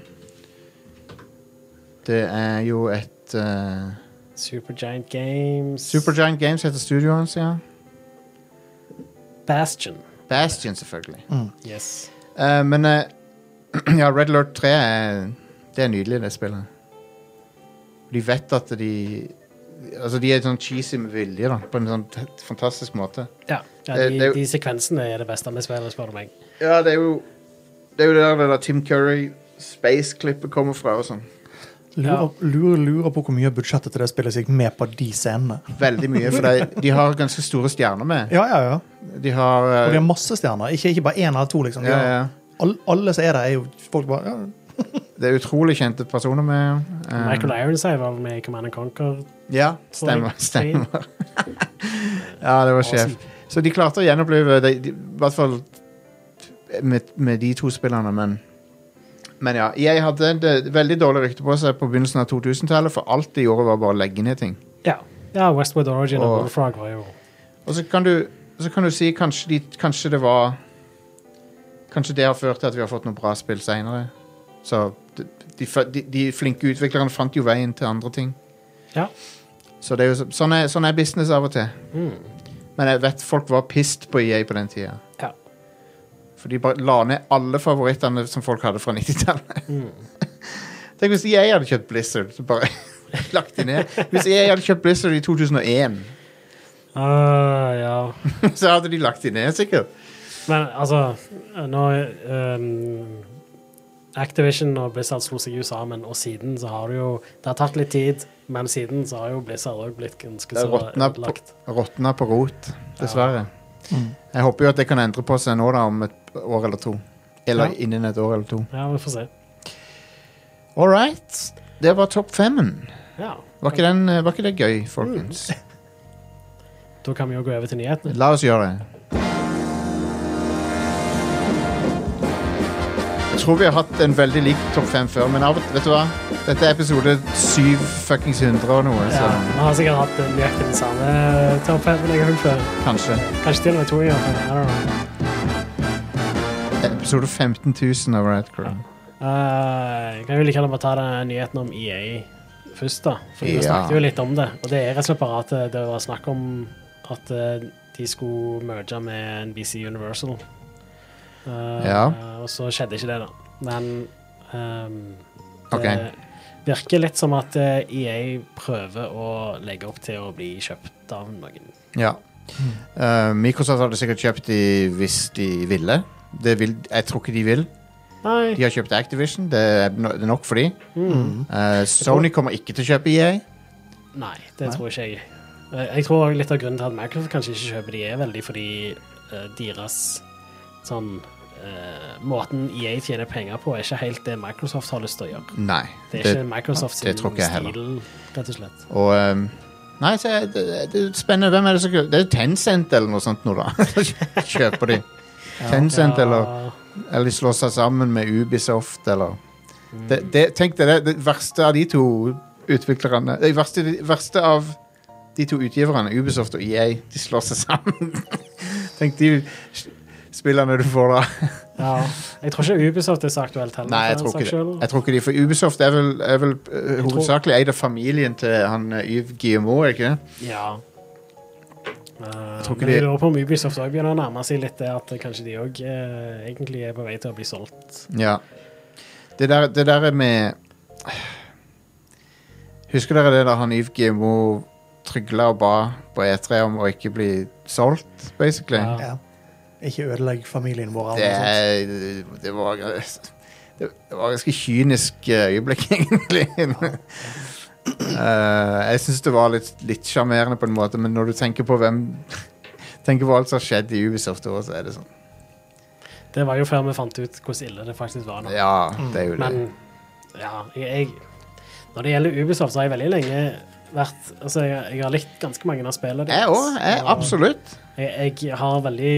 [SPEAKER 1] det er jo et eh,
[SPEAKER 2] Supergiant Games.
[SPEAKER 1] Supergiant Games heter studioet hans, ja.
[SPEAKER 2] Bastion.
[SPEAKER 1] Bastion, selvfølgelig.
[SPEAKER 2] Yes.
[SPEAKER 1] Eh, men eh, *clears throat* ja, Red Alert 3 er, det er nydelig, det spillet. De vet at de Altså, de er sånn cheesy med vilje, da, på en sånn t- fantastisk måte.
[SPEAKER 2] Ja, ja
[SPEAKER 1] Eh, Det-
[SPEAKER 2] de,
[SPEAKER 1] det er jo-
[SPEAKER 2] de sekvensene er det beste med spillet, spør du meg.
[SPEAKER 1] Ja, det er jo Det er jo der det der Tim Curry-space-klippet kommer fra og sånn.
[SPEAKER 2] Ja.
[SPEAKER 3] Lurer, lurer, lurer på hvor mye av budsjettet til det spillet som gikk med på de scenene.
[SPEAKER 1] Veldig mye, for de, de har ganske store stjerner med.
[SPEAKER 3] Ja, ja, ja.
[SPEAKER 1] De har eh,
[SPEAKER 3] Og de har masse stjerner. Ikke, ikke bare én eller to. liksom. De
[SPEAKER 1] ja,
[SPEAKER 3] har-
[SPEAKER 1] ja.
[SPEAKER 3] All, alle som er der, er jo folk bare ja.
[SPEAKER 1] Det er utrolig kjente personer med. eh,
[SPEAKER 2] Michael Ironside var vel med i Command Conquer.
[SPEAKER 1] Ja, stemmer. stemmer. *laughs* ja, det var sjef. Så de klarte å gjenopplive de, de, I hvert fall med, med de to spillerne, men Men ja. Jeg hadde et eh, veldig dårlig rykte på seg på begynnelsen av 2000-tallet, for alt de gjorde, var bare å legge ned ting.
[SPEAKER 2] Ja. ja, Westwood Origin og
[SPEAKER 1] Og-
[SPEAKER 2] Wolfrog var jo
[SPEAKER 1] Og så kan du, så kan du si kanskje, de, kanskje det var Kanskje det har ført til at vi har fått noen bra spill seinere. Så de, de, fa- de, de flinke utviklerne fant jo veien til andre ting.
[SPEAKER 2] Ja.
[SPEAKER 1] Så det er jo så- sånn er, sånn er business av og til.
[SPEAKER 2] mm.
[SPEAKER 1] Men jeg vet folk var pissed på EA på den tida.
[SPEAKER 2] Ja.
[SPEAKER 1] For de bare la ned alle favorittene som folk hadde fra 90-tallet.
[SPEAKER 2] Mm.
[SPEAKER 1] *laughs* Tenk hvis EA hadde kjøpt Blizzard. Så bare *laughs* lagt de ned. Hvis EA hadde kjøpt Blizzard i 2001,
[SPEAKER 2] Ah, ja.
[SPEAKER 1] *laughs* så hadde de lagt de ned, sikkert.
[SPEAKER 2] Men altså Nå ehm, Activision og Blizzard slo seg jo sammen, og siden så har det jo Det har tatt litt tid, men siden så har jo Blizzard òg blitt ganske
[SPEAKER 1] Det
[SPEAKER 2] så
[SPEAKER 1] er råtna på-
[SPEAKER 2] ødelagt.
[SPEAKER 1] Råtna på rot, dessverre.
[SPEAKER 3] Mm.
[SPEAKER 1] Jeg håper jo at det kan endre på seg nå da om et år eller to. Eller
[SPEAKER 2] Ja.
[SPEAKER 1] innen et år eller to.
[SPEAKER 2] Ja, vi får se.
[SPEAKER 1] All right. Det var topp femmen.
[SPEAKER 2] Ja.
[SPEAKER 1] Var ikke, den, eh, var ikke det gøy, folkens?
[SPEAKER 2] Da kan vi jo gå over til nyhetene.
[SPEAKER 1] La oss gjøre det. Jeg tror vi har hatt en veldig lik topp fem før, men av, og- vet du hva? Dette er episode syv fuckings hundre og noe,
[SPEAKER 2] Ja,
[SPEAKER 1] så
[SPEAKER 2] vi har sikkert hatt eh, nøyaktig den samme topp fem en gang før.
[SPEAKER 1] kanskje.
[SPEAKER 2] Kanskje til og med to ganger. I don't know.
[SPEAKER 1] Episode 15 000 av Red Crew.
[SPEAKER 2] Eh, kan jo like gjerne bare ta den nyheten om EA først, da. For
[SPEAKER 1] Ja.
[SPEAKER 2] vi snakket jo litt om det. Og det er rett og slett bare at eh, det var snakk om at eh, de skulle merge med NBC Universal. Eh,
[SPEAKER 1] Ja.
[SPEAKER 2] Og så skjedde ikke det, da. Men ehm, det,
[SPEAKER 1] Ok.
[SPEAKER 2] virker litt som at eh, EA prøver å legge opp til å bli kjøpt av noen.
[SPEAKER 1] Ja.
[SPEAKER 2] Mm.
[SPEAKER 1] Eh, Microsoft hadde sikkert kjøpt de hvis de ville. Det vil, jeg tror ikke de vil.
[SPEAKER 2] Nei.
[SPEAKER 1] De har kjøpt Activision, det er, no, det er nok for de.
[SPEAKER 2] Mm.
[SPEAKER 1] Eh, Sony kommer ikke til å kjøpe E EA.
[SPEAKER 2] Nei, det
[SPEAKER 3] Nei.
[SPEAKER 2] tror ikke jeg. Eh, Jeg tror også litt av grunnen til at Microsoft kanskje ikke kjøper de, er veldig fordi eh, deres sånn eh, Måten EA tjener penger på, er ikke helt det Microsoft har lyst til å gjøre.
[SPEAKER 1] Nei.
[SPEAKER 2] Det er
[SPEAKER 1] det-
[SPEAKER 2] ikke Microsoft sin
[SPEAKER 1] det tror ikke jeg heller.
[SPEAKER 2] stil, rett og slett.
[SPEAKER 1] Og ehm, Nei, så er det, det er spennende. Hvem er det som kjøper Det er Tencent eller noe sånt nå, da. *laughs* kjøper de. Tencent eller Eller de slår seg sammen med Ubisoft eller det, det, Tenk deg det. Det verste av de to utviklerne Det verste, det verste av de to utgiverne, Ubisoft og EA, de slår seg sammen. *laughs* tenk de spillerne du får da.
[SPEAKER 2] Ja, jeg tror ikke Ubisoft er så aktuelt heller.
[SPEAKER 1] Nei, jeg
[SPEAKER 2] for
[SPEAKER 1] tror ikke
[SPEAKER 2] den
[SPEAKER 1] det.
[SPEAKER 2] saks
[SPEAKER 1] Jeg tror ikke de, for Ubisoft er vel, er vel eh,
[SPEAKER 2] tror-
[SPEAKER 1] hovedsakelig eid av familien til han eh, Yves Guillemot, er ikke det?
[SPEAKER 2] skyld. Ja. Eh,
[SPEAKER 1] tror ikke
[SPEAKER 2] men
[SPEAKER 1] de-
[SPEAKER 2] jeg lurer på om Ubisoft også begynner å nærme seg litt det at kanskje de òg eh, egentlig er på vei til å bli solgt.
[SPEAKER 1] Ja. Det der, det der med Husker dere det da han Yves Gimo trygla og ba på E3 om å ikke bli solgt, basically?
[SPEAKER 2] Ja.
[SPEAKER 3] Ja. Ikke ødelegg familien vår.
[SPEAKER 1] Det,
[SPEAKER 3] eller noe sånt.
[SPEAKER 1] er- det var Det var ganske kynisk eh, øyeblikk, *laughs* egentlig. Eh, jeg syns det var litt litt sjarmerende på en måte, men når du tenker på hvem Tenker på alt som har skjedd i Ubisoft også, så er det sånn.
[SPEAKER 2] Det var jo før vi fant ut hvor ille det faktisk var nå.
[SPEAKER 1] Ja, det er jo det.
[SPEAKER 2] Men ja, jeg, jeg Når det gjelder Ubisoft, så har jeg veldig lenge vært Altså, jeg, jeg har likt ganske mange av spillene
[SPEAKER 1] Jeg òg. Absolutt.
[SPEAKER 2] Jeg, jeg har veldig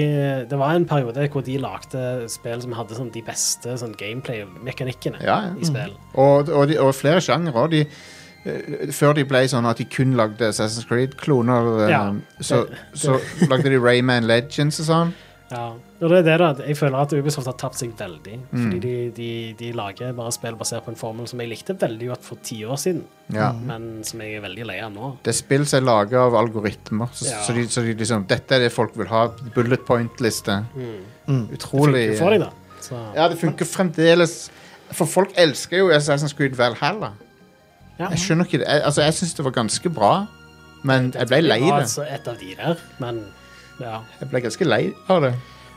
[SPEAKER 2] Det var en periode hvor de lagde spill som hadde sånn de beste sånn gameplay-mekanikkene
[SPEAKER 1] Ja, ja.
[SPEAKER 2] i spill.
[SPEAKER 1] Og, og, de, og flere sjangere. De, eh, før de ble sånn at de kun lagde Assassin's Creed-kloner, eh,
[SPEAKER 2] Ja,
[SPEAKER 1] så, så lagde de Rayman Legends og sånn.
[SPEAKER 2] Ja. Og det er det, da. Jeg føler at Ubisoft har tapt seg veldig.
[SPEAKER 1] Mm.
[SPEAKER 2] Fordi de, de, de lager bare spill basert på en formel som jeg likte veldig godt for ti år siden,
[SPEAKER 1] Ja.
[SPEAKER 2] men som jeg er veldig lei av nå.
[SPEAKER 1] Det er spill som er laga av algoritmer. Så,
[SPEAKER 2] Ja.
[SPEAKER 1] så, de, så de liksom Dette er det folk vil ha. Bullet point-liste.
[SPEAKER 2] Mm.
[SPEAKER 3] Mm.
[SPEAKER 1] Utrolig eh,
[SPEAKER 2] Funker for deg, da. Så,
[SPEAKER 1] Ja, det funker fremdeles. For folk elsker jo Assassin's Creed Valhalla.
[SPEAKER 2] ja.
[SPEAKER 1] Jeg skjønner ikke det. Jeg, altså, jeg syns det var ganske bra, men jeg ble lei
[SPEAKER 2] Det var
[SPEAKER 1] det.
[SPEAKER 2] altså et av de der, men ja.
[SPEAKER 1] Jeg ble ganske lei av det.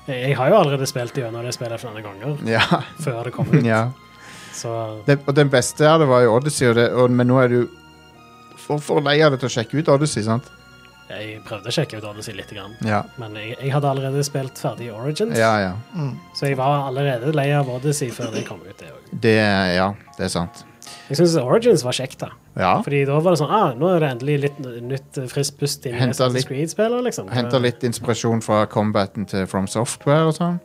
[SPEAKER 2] Jeg, jeg har jo allerede spilt gjennom det spillet flere ganger
[SPEAKER 1] Ja.
[SPEAKER 2] før det
[SPEAKER 1] *laughs*
[SPEAKER 2] kom ut,
[SPEAKER 1] ja.
[SPEAKER 2] så
[SPEAKER 1] det, og den beste av det var jo Odyssey, og det, og, men nå er du for, for lei av det til å sjekke ut Odyssey, sant?
[SPEAKER 2] jeg prøvde å sjekke ut Odyssey litt, grann.
[SPEAKER 1] Ja.
[SPEAKER 2] men jeg, jeg hadde allerede spilt ferdig Origins,
[SPEAKER 1] Ja, ja.
[SPEAKER 3] Mm.
[SPEAKER 2] så jeg var allerede lei av Odyssey før det kom ut. det også.
[SPEAKER 1] Det, ja, det er sant.
[SPEAKER 2] Jeg syns Origins var kjekt, da.
[SPEAKER 1] Ja.
[SPEAKER 2] Fordi da var det sånn ah, Nå er det endelig litt n- nytt eh, friskt pust inn i
[SPEAKER 1] Hentet
[SPEAKER 2] Assassin's
[SPEAKER 1] litt-
[SPEAKER 2] Creed-spillet, liksom.
[SPEAKER 1] Henta litt inspirasjon fra combaten til From Software og sånn.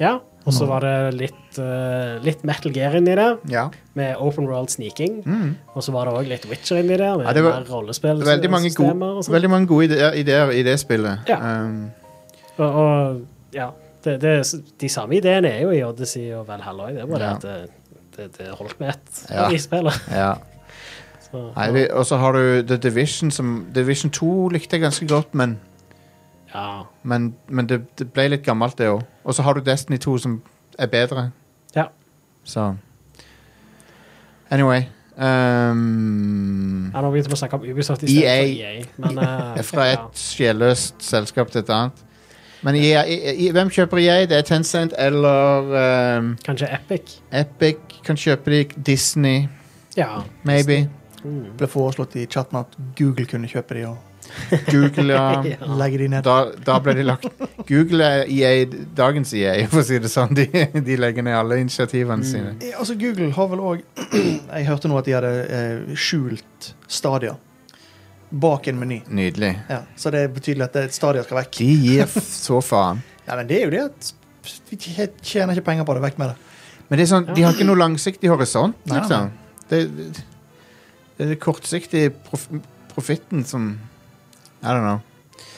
[SPEAKER 2] Ja, og så var det litt, eh, litt Metal Gear inni der,
[SPEAKER 1] Ja.
[SPEAKER 2] med open world sneaking.
[SPEAKER 1] Mm.
[SPEAKER 2] Og så var det òg litt Witcher inni der, med
[SPEAKER 1] Ja, det var-
[SPEAKER 2] mer rollespill.
[SPEAKER 1] Veldig mange gode,
[SPEAKER 2] systemer og sånt.
[SPEAKER 1] veldig mange gode ideer, ideer i det spillet.
[SPEAKER 2] Ja.
[SPEAKER 1] Um,
[SPEAKER 2] Og, og ja, det, det, er s- de samme ideene er jo i Odyssey og Valhalla òg. Det er bare
[SPEAKER 1] Ja.
[SPEAKER 2] det at det, det, det holdt med ett
[SPEAKER 1] Ja.
[SPEAKER 2] av de spillene. *laughs*
[SPEAKER 1] ja.
[SPEAKER 2] Så,
[SPEAKER 1] Nei, vi- Og så har du The Division, som Division 2 likte jeg ganske godt, men,
[SPEAKER 2] ja.
[SPEAKER 1] men, men det, det ble litt gammelt, det òg. Og så har du Destiny 2, som er bedre.
[SPEAKER 2] ja.
[SPEAKER 1] Så Anyway ehm,
[SPEAKER 2] ja. Nå begynte vi å snakke om Ubisoft
[SPEAKER 1] E
[SPEAKER 2] i stedet for
[SPEAKER 1] EA.
[SPEAKER 2] EA.
[SPEAKER 1] *laughs*
[SPEAKER 2] Men, eh,
[SPEAKER 1] Fra
[SPEAKER 2] ja.
[SPEAKER 1] et sjelløst selskap til et annet. Men EA, i- i- hvem kjøper jeg? Det er Tencent eller ehm,
[SPEAKER 2] Kanskje Epic.
[SPEAKER 1] Epic. Kan kjøpe de Disney,
[SPEAKER 2] Ja.
[SPEAKER 1] maybe.
[SPEAKER 2] Mm.
[SPEAKER 3] ble foreslått i chatten at Google kunne kjøpe de og
[SPEAKER 1] Google, ja.
[SPEAKER 2] *laughs* Ja.
[SPEAKER 3] legge de ned.
[SPEAKER 1] Da, da ble de lagt Google er EA, dagens EA, for å si det sånn. De, de legger ned alle initiativene
[SPEAKER 2] Mm.
[SPEAKER 1] sine.
[SPEAKER 3] Ja, Altså, Google har vel òg *clears throat* Jeg hørte nå at de hadde eh, skjult stadier bak en meny.
[SPEAKER 1] Nydelig.
[SPEAKER 3] Ja, så det er betydelig at det- stadier skal vekk.
[SPEAKER 1] De gir f- så faen.
[SPEAKER 3] Ja, men det er jo det at vi tjener ikke penger på det. Vekk med det.
[SPEAKER 1] Men det er sånn, de har ikke noe langsiktig horisont,
[SPEAKER 3] Nei,
[SPEAKER 1] liksom. Det, det, det er det kortsiktige prof, profitten som I don't know.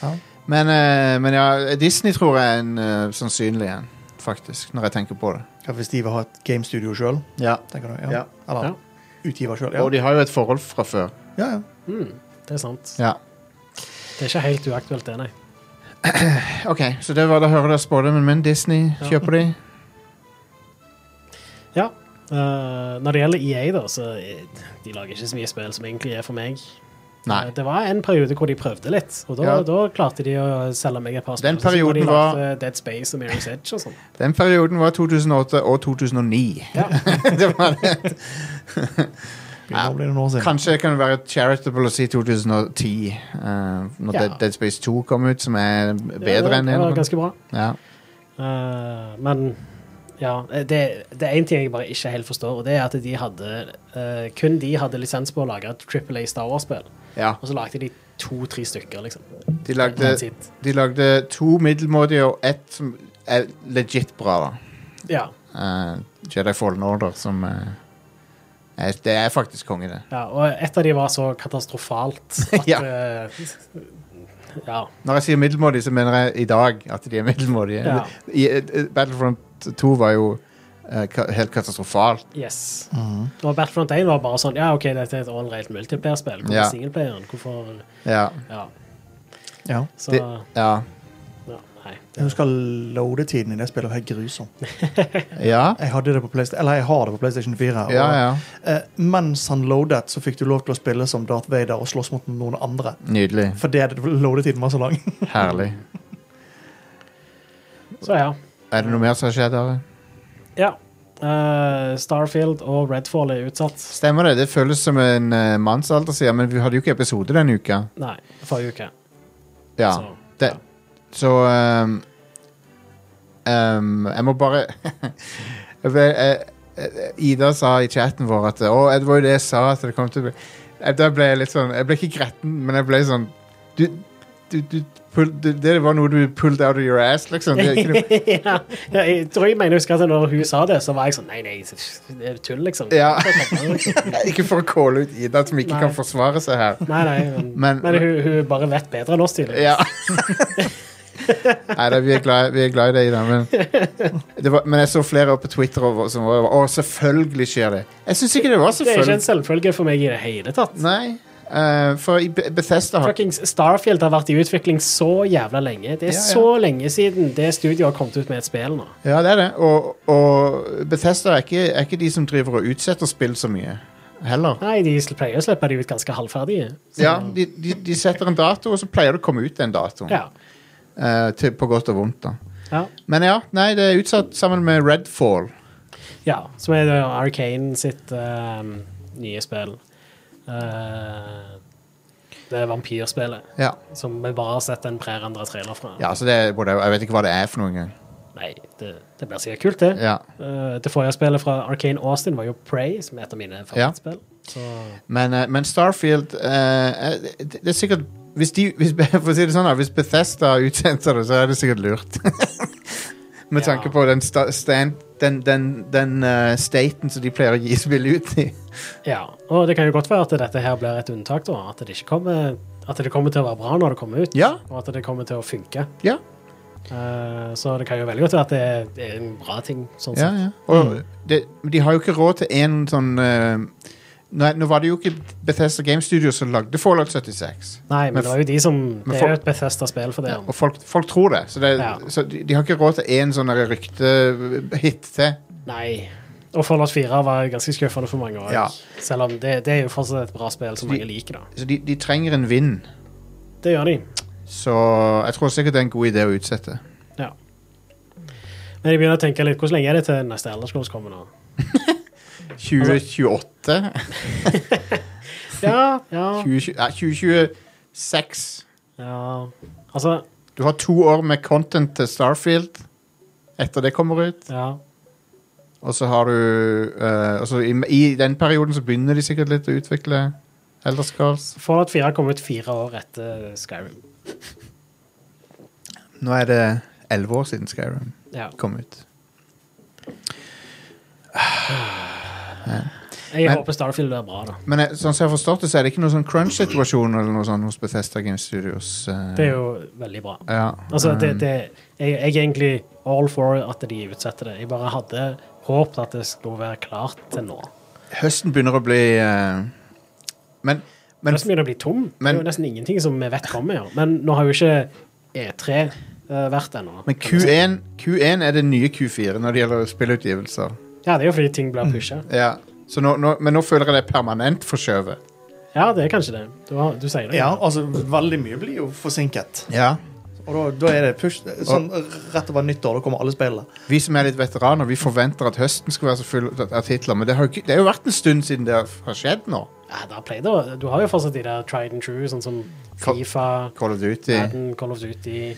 [SPEAKER 3] Ja.
[SPEAKER 1] Men, eh, men ja, Disney tror jeg er en eh, sannsynlig en, faktisk, når jeg tenker på det.
[SPEAKER 3] Ja, hvis de vil ha et gamestudio sjøl,
[SPEAKER 1] Ja.
[SPEAKER 3] tenker du?
[SPEAKER 1] Ja.
[SPEAKER 3] Ja. Eller
[SPEAKER 2] Ja.
[SPEAKER 3] utgiver sjøl.
[SPEAKER 1] Og
[SPEAKER 3] Ja.
[SPEAKER 1] de har jo et forhold fra før.
[SPEAKER 3] ja, ja.
[SPEAKER 2] Mm. Det er sant.
[SPEAKER 1] Ja.
[SPEAKER 2] Det er ikke helt uaktuelt, det, nei.
[SPEAKER 1] OK, så det var da hører dere spådommen min. Disney
[SPEAKER 2] Ja.
[SPEAKER 1] kjøper de.
[SPEAKER 2] Ja. Eh, når det gjelder EA, da, så eh, de lager ikke så mye spill som egentlig er for meg.
[SPEAKER 1] Nei.
[SPEAKER 2] Eh, Det var en periode hvor de prøvde litt, og da,
[SPEAKER 1] Ja.
[SPEAKER 2] da klarte de å selge meg et par
[SPEAKER 1] Den
[SPEAKER 2] spill. Så når de
[SPEAKER 1] perioden
[SPEAKER 2] lagde
[SPEAKER 1] var-
[SPEAKER 2] Dead Space og Mirror's Edge og sånn.
[SPEAKER 1] Den perioden var 2008 og 2009.
[SPEAKER 2] Ja.
[SPEAKER 1] *laughs* det var det.
[SPEAKER 3] Begynner å bli noen år siden.
[SPEAKER 1] Kanskje det kan være charitable å si 2010, eh, når
[SPEAKER 2] Ja.
[SPEAKER 1] Dead, Dead Space 2 kom ut, som er bedre enn
[SPEAKER 2] Det var
[SPEAKER 1] eneren.
[SPEAKER 2] ganske bra.
[SPEAKER 1] Ja.
[SPEAKER 2] Eh, men ja, det, det er én ting jeg bare ikke helt forstår, og det er at de hadde eh, kun de hadde lisens på å lage et Triple A Star Wars-spill,
[SPEAKER 1] ja.
[SPEAKER 2] og så lagde de to-tre stykker, liksom.
[SPEAKER 1] De
[SPEAKER 2] That's
[SPEAKER 1] lagde,
[SPEAKER 2] it.
[SPEAKER 1] de lagde to middelmådige og ett som er legit bra, da.
[SPEAKER 2] Ja,
[SPEAKER 1] Eh, Jedi Fallen Order, som eh, er, Det er faktisk konge, det.
[SPEAKER 2] ja, og et av de var så katastrofalt at
[SPEAKER 1] *laughs* Ja.
[SPEAKER 2] eh, ja.
[SPEAKER 1] Når jeg sier middelmådige, så mener jeg i dag at de er middelmådige.
[SPEAKER 2] Ja.
[SPEAKER 1] I, eh, Battlefront 2 var jo eh, ka helt katastrofalt.
[SPEAKER 2] Yes.
[SPEAKER 3] Mhm.
[SPEAKER 2] Og Battlefront 1 var bare sånn Ja, OK, dette er et all-right multiplayer-spill. Hvorfor
[SPEAKER 1] Ja.
[SPEAKER 2] singleplayeren? Hvorfor
[SPEAKER 1] Ja.
[SPEAKER 2] Ja.
[SPEAKER 3] Ja.
[SPEAKER 2] Så
[SPEAKER 1] Det- Ja.
[SPEAKER 2] ja, Nei.
[SPEAKER 3] Jeg husker loadetiden i det spillet var helt grusom.
[SPEAKER 1] Ja,
[SPEAKER 3] Jeg hadde det på Playsta- eller jeg har det på PlayStation 4. og,
[SPEAKER 1] ja. ja.
[SPEAKER 3] eh, mens han loadet, så fikk du lov til å spille som Darth Vader og slåss mot noen andre.
[SPEAKER 1] Nydelig.
[SPEAKER 3] Fordi at loadetiden var så
[SPEAKER 1] *laughs*
[SPEAKER 3] lang.
[SPEAKER 1] Herlig.
[SPEAKER 2] Så ja.
[SPEAKER 1] Er det noe mer som har skjedd? Are?
[SPEAKER 2] ja. Eh, Starfield og Redfall er utsatt.
[SPEAKER 1] Stemmer det. Det føles som en eh, mannsalder siden, men vi hadde jo ikke episode denne uka.
[SPEAKER 2] Nei, forrige uke.
[SPEAKER 1] Ja.
[SPEAKER 2] Så,
[SPEAKER 1] Det, så ehm, ehm, Jeg må bare *laughs* jeg, vet- jeg, jeg- Ida sa i chatten vår at Å, det var jo det jeg sa at det kom til å bli Eh, Da ble jeg litt sånn Jeg ble ikke gretten, men jeg ble sånn Du, du, du, pull, du Det var noe du pulled out of your ass, liksom. Det, er ikke noe,
[SPEAKER 2] *laughs* ja, ja, jeg tror jeg mener jeg husker at når hun sa det, så var jeg sånn Nei, nei, det er tull,
[SPEAKER 1] *laughs*
[SPEAKER 2] liksom.
[SPEAKER 1] Ja. ikke for å calle ut Ida, som ikke
[SPEAKER 2] Nei.
[SPEAKER 1] kan forsvare seg her.
[SPEAKER 2] Nei, nei, men,
[SPEAKER 1] Men-
[SPEAKER 2] men, hun, hun bare vet bedre enn oss, tydelig.
[SPEAKER 1] Ja. Nei, da, vi, er glad, vi er glad i deg, Ida. Men, det var, men jeg så flere opp på Twitter over, som var Å, selvfølgelig skjer det. Jeg syns ikke det var
[SPEAKER 2] Det er ikke en
[SPEAKER 1] selvfølgelig.
[SPEAKER 2] selvfølge for meg i det hele tatt.
[SPEAKER 1] Nei. eh, for i Be- Bethesda har
[SPEAKER 2] Fuckings Starfield har vært i utvikling så jævla lenge. Det er
[SPEAKER 1] Ja, ja.
[SPEAKER 2] så lenge siden det studioet har kommet ut med et spill nå.
[SPEAKER 1] Ja, det er det. Og, og Bethesda er ikke, er ikke de som driver og utsetter spill så mye. Heller.
[SPEAKER 2] Nei, de sl- pleier å slippe de ut ganske halvferdige.
[SPEAKER 1] Ja, de, de, de setter en dato, og så pleier det å komme ut den datoen.
[SPEAKER 2] Ja.
[SPEAKER 1] Eh, til, på godt og vondt, da.
[SPEAKER 2] ja.
[SPEAKER 1] Men ja, nei, det er utsatt sammen med Redfall.
[SPEAKER 2] ja. Som er det Arcane sitt ehm, nye spill. Eh, det er vampyrspillet.
[SPEAKER 1] Ja.
[SPEAKER 2] Som vi bare har sett en prerendra trailer fra.
[SPEAKER 1] ja, så det er whatever. Jeg vet ikke hva det er for noe engang.
[SPEAKER 2] Nei, det, det blir sikkert kult, det.
[SPEAKER 1] Ja.
[SPEAKER 2] Eh, det forrige spillet fra Arcane Austin var jo Prey, som er et av mine favorittspill. Så
[SPEAKER 1] Men, eh, men Starfield eh, eh, det, det er sikkert hvis, de, hvis, *laughs* for å si det sånn, da, hvis Bethesda utsendte det, så er det sikkert lurt. *laughs* Med
[SPEAKER 2] Ja.
[SPEAKER 1] tanke på den, sta, stand, den, den, den eh, staten som de pleier å gi spill ut i.
[SPEAKER 2] Ja, og det kan jo godt være at dette her blir et unntak, da. At det, ikke kommer, at det kommer til å være bra når det kommer ut,
[SPEAKER 1] Ja.
[SPEAKER 2] og at det kommer til å funke.
[SPEAKER 1] Ja,
[SPEAKER 2] Eh, så det kan jo veldig godt være at det er, det er en bra ting. sånn
[SPEAKER 1] ja,
[SPEAKER 2] sett.
[SPEAKER 1] ja. Og det, de har jo ikke råd til én sånn eh, Nei, nå var det jo ikke Bethesda Game Studio som lagde Fallout 76.
[SPEAKER 2] Nei, men,
[SPEAKER 1] Men
[SPEAKER 2] det var jo de som
[SPEAKER 1] men
[SPEAKER 2] Det
[SPEAKER 1] for-
[SPEAKER 2] er jo et Bethesda-spill for det.
[SPEAKER 1] Og folk, folk tror det. Så, det,
[SPEAKER 2] Ja.
[SPEAKER 1] så de, de har ikke råd til én sånn der ryktehit til.
[SPEAKER 2] Nei. Og Fallout 4 var ganske skuffende for mange òg.
[SPEAKER 1] Ja.
[SPEAKER 2] Selv om det, det er jo fortsatt et bra spill som
[SPEAKER 1] De-
[SPEAKER 2] mange liker, da.
[SPEAKER 1] Så de, de trenger en vind.
[SPEAKER 2] Det gjør de.
[SPEAKER 1] Så jeg tror sikkert det er en god idé å utsette.
[SPEAKER 2] Ja. Men jeg begynner å tenke litt Hvor lenge er det til neste Elder Scrolls kommer nå?
[SPEAKER 1] 2028?
[SPEAKER 2] Ja, ja,
[SPEAKER 1] 2020, *laughs* ja, 2026.
[SPEAKER 2] ja. Altså,
[SPEAKER 1] Du har to år med content til Starfield etter det kommer ut.
[SPEAKER 2] ja.
[SPEAKER 1] Og så har du eh, og så i, I den perioden så begynner de sikkert litt å utvikle Elder Scrolls.
[SPEAKER 2] Fallout 4 kom ut fire år etter Skyrim.
[SPEAKER 1] Nå er det elleve år siden Skyrim
[SPEAKER 2] Ja.
[SPEAKER 1] kom ut.
[SPEAKER 2] Jeg
[SPEAKER 1] Men-
[SPEAKER 2] håper Starfield blir bra, da.
[SPEAKER 1] Men eh, sånn som jeg har forstått det, så er det ikke noen sånn crunch-situasjon eller noe sånt hos Bethesda Game Studios. eh.
[SPEAKER 2] Det er jo veldig bra.
[SPEAKER 1] ja,
[SPEAKER 2] Altså, det,
[SPEAKER 1] um,
[SPEAKER 2] det, jeg, jeg er egentlig all for at de utsetter det. Jeg bare hadde håpet at det skulle være klart til nå.
[SPEAKER 1] Høsten begynner å bli eh, Men,
[SPEAKER 2] Men,
[SPEAKER 1] men
[SPEAKER 2] Nesten begynner å bli tom.
[SPEAKER 1] men-
[SPEAKER 2] det er jo nesten ingenting som vi vet kommer. Ja. Men nå har jo ikke E3 eh, vært ennå.
[SPEAKER 1] Altså, Men Q1, Q1 er det nye Q4 når det gjelder spillutgivelser.
[SPEAKER 2] Ja, det er jo fordi ting
[SPEAKER 1] Mm.
[SPEAKER 2] blir pusha.
[SPEAKER 1] Ja. Så nå, nå, men nå føler jeg det er permanent forskjøvet.
[SPEAKER 2] Ja, det er kanskje det. Du, har, du sier det.
[SPEAKER 3] Ja, altså, veldig mye blir jo forsinket.
[SPEAKER 1] Ja.
[SPEAKER 3] Og da, da er det push sånn rett over nyttår. Da kommer alle spillene.
[SPEAKER 1] Vi som er litt veteraner, vi forventer at høsten skal være så full av titler, men det har, jo ikke, det har jo vært en stund siden det har skjedd nå.
[SPEAKER 2] Ja, da pleier det å- Du har jo fortsatt de der tried and true, sånn som
[SPEAKER 1] Ka-
[SPEAKER 2] Fifa,
[SPEAKER 1] Call of Duty.
[SPEAKER 2] Madden, Call of Duty.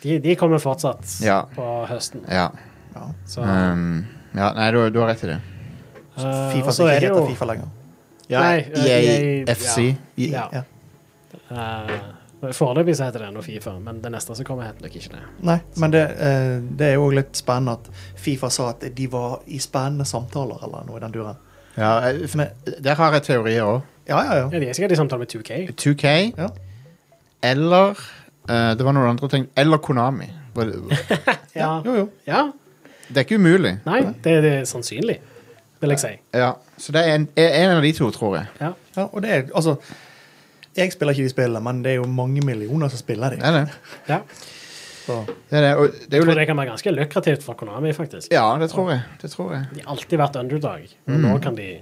[SPEAKER 2] De, de kommer fortsatt
[SPEAKER 1] Ja.
[SPEAKER 2] på høsten.
[SPEAKER 1] Ja.
[SPEAKER 3] Ja.
[SPEAKER 2] Så,
[SPEAKER 1] Um, ja. Nei, du, har- du har rett i det.
[SPEAKER 2] eh,
[SPEAKER 3] Fifa
[SPEAKER 2] og så
[SPEAKER 3] som
[SPEAKER 2] er
[SPEAKER 3] ikke
[SPEAKER 2] det
[SPEAKER 3] heter
[SPEAKER 2] jo-
[SPEAKER 3] Fifa lenger.
[SPEAKER 2] Nei,
[SPEAKER 1] E
[SPEAKER 2] eh, EA,
[SPEAKER 1] FC.
[SPEAKER 2] Ja.
[SPEAKER 3] Ja.
[SPEAKER 2] Eh, Foreløpig så heter det ennå Fifa, men det neste som kommer, heter nok ikke det.
[SPEAKER 3] Nei, men det, eh, det er jo også litt spennende at Fifa sa at de var i spennende samtaler eller noe i den duren.
[SPEAKER 1] Ja, jeg-
[SPEAKER 3] Men,
[SPEAKER 1] der har jeg teorier òg.
[SPEAKER 3] ja, ja, ja.
[SPEAKER 2] Ja, de er sikkert i samtale med 2K.
[SPEAKER 1] 2K
[SPEAKER 3] Ja.
[SPEAKER 1] eller eh, Det var noen andre ting. Eller
[SPEAKER 2] *laughs*
[SPEAKER 1] Konami. Var Det
[SPEAKER 2] Ja,
[SPEAKER 3] Jo, jo.
[SPEAKER 2] ja.
[SPEAKER 1] det er ikke umulig.
[SPEAKER 2] Nei, det, det er sannsynlig, vil jeg si.
[SPEAKER 1] Ja, så det er en, er en av de to, tror jeg.
[SPEAKER 2] Ja.
[SPEAKER 3] Ja, og det er, altså, jeg spiller ikke de spillene, men det er jo mange millioner som spiller
[SPEAKER 1] Det
[SPEAKER 3] de.
[SPEAKER 1] er det.
[SPEAKER 2] ja.
[SPEAKER 3] Så,
[SPEAKER 1] det, er det. Og det er
[SPEAKER 2] Jeg
[SPEAKER 1] jo
[SPEAKER 2] tror
[SPEAKER 1] litt
[SPEAKER 2] det kan være ganske lukrativt for Konami, faktisk.
[SPEAKER 1] Ja, det tror jeg. Det tror jeg.
[SPEAKER 2] De har alltid vært underdog, og nå kan de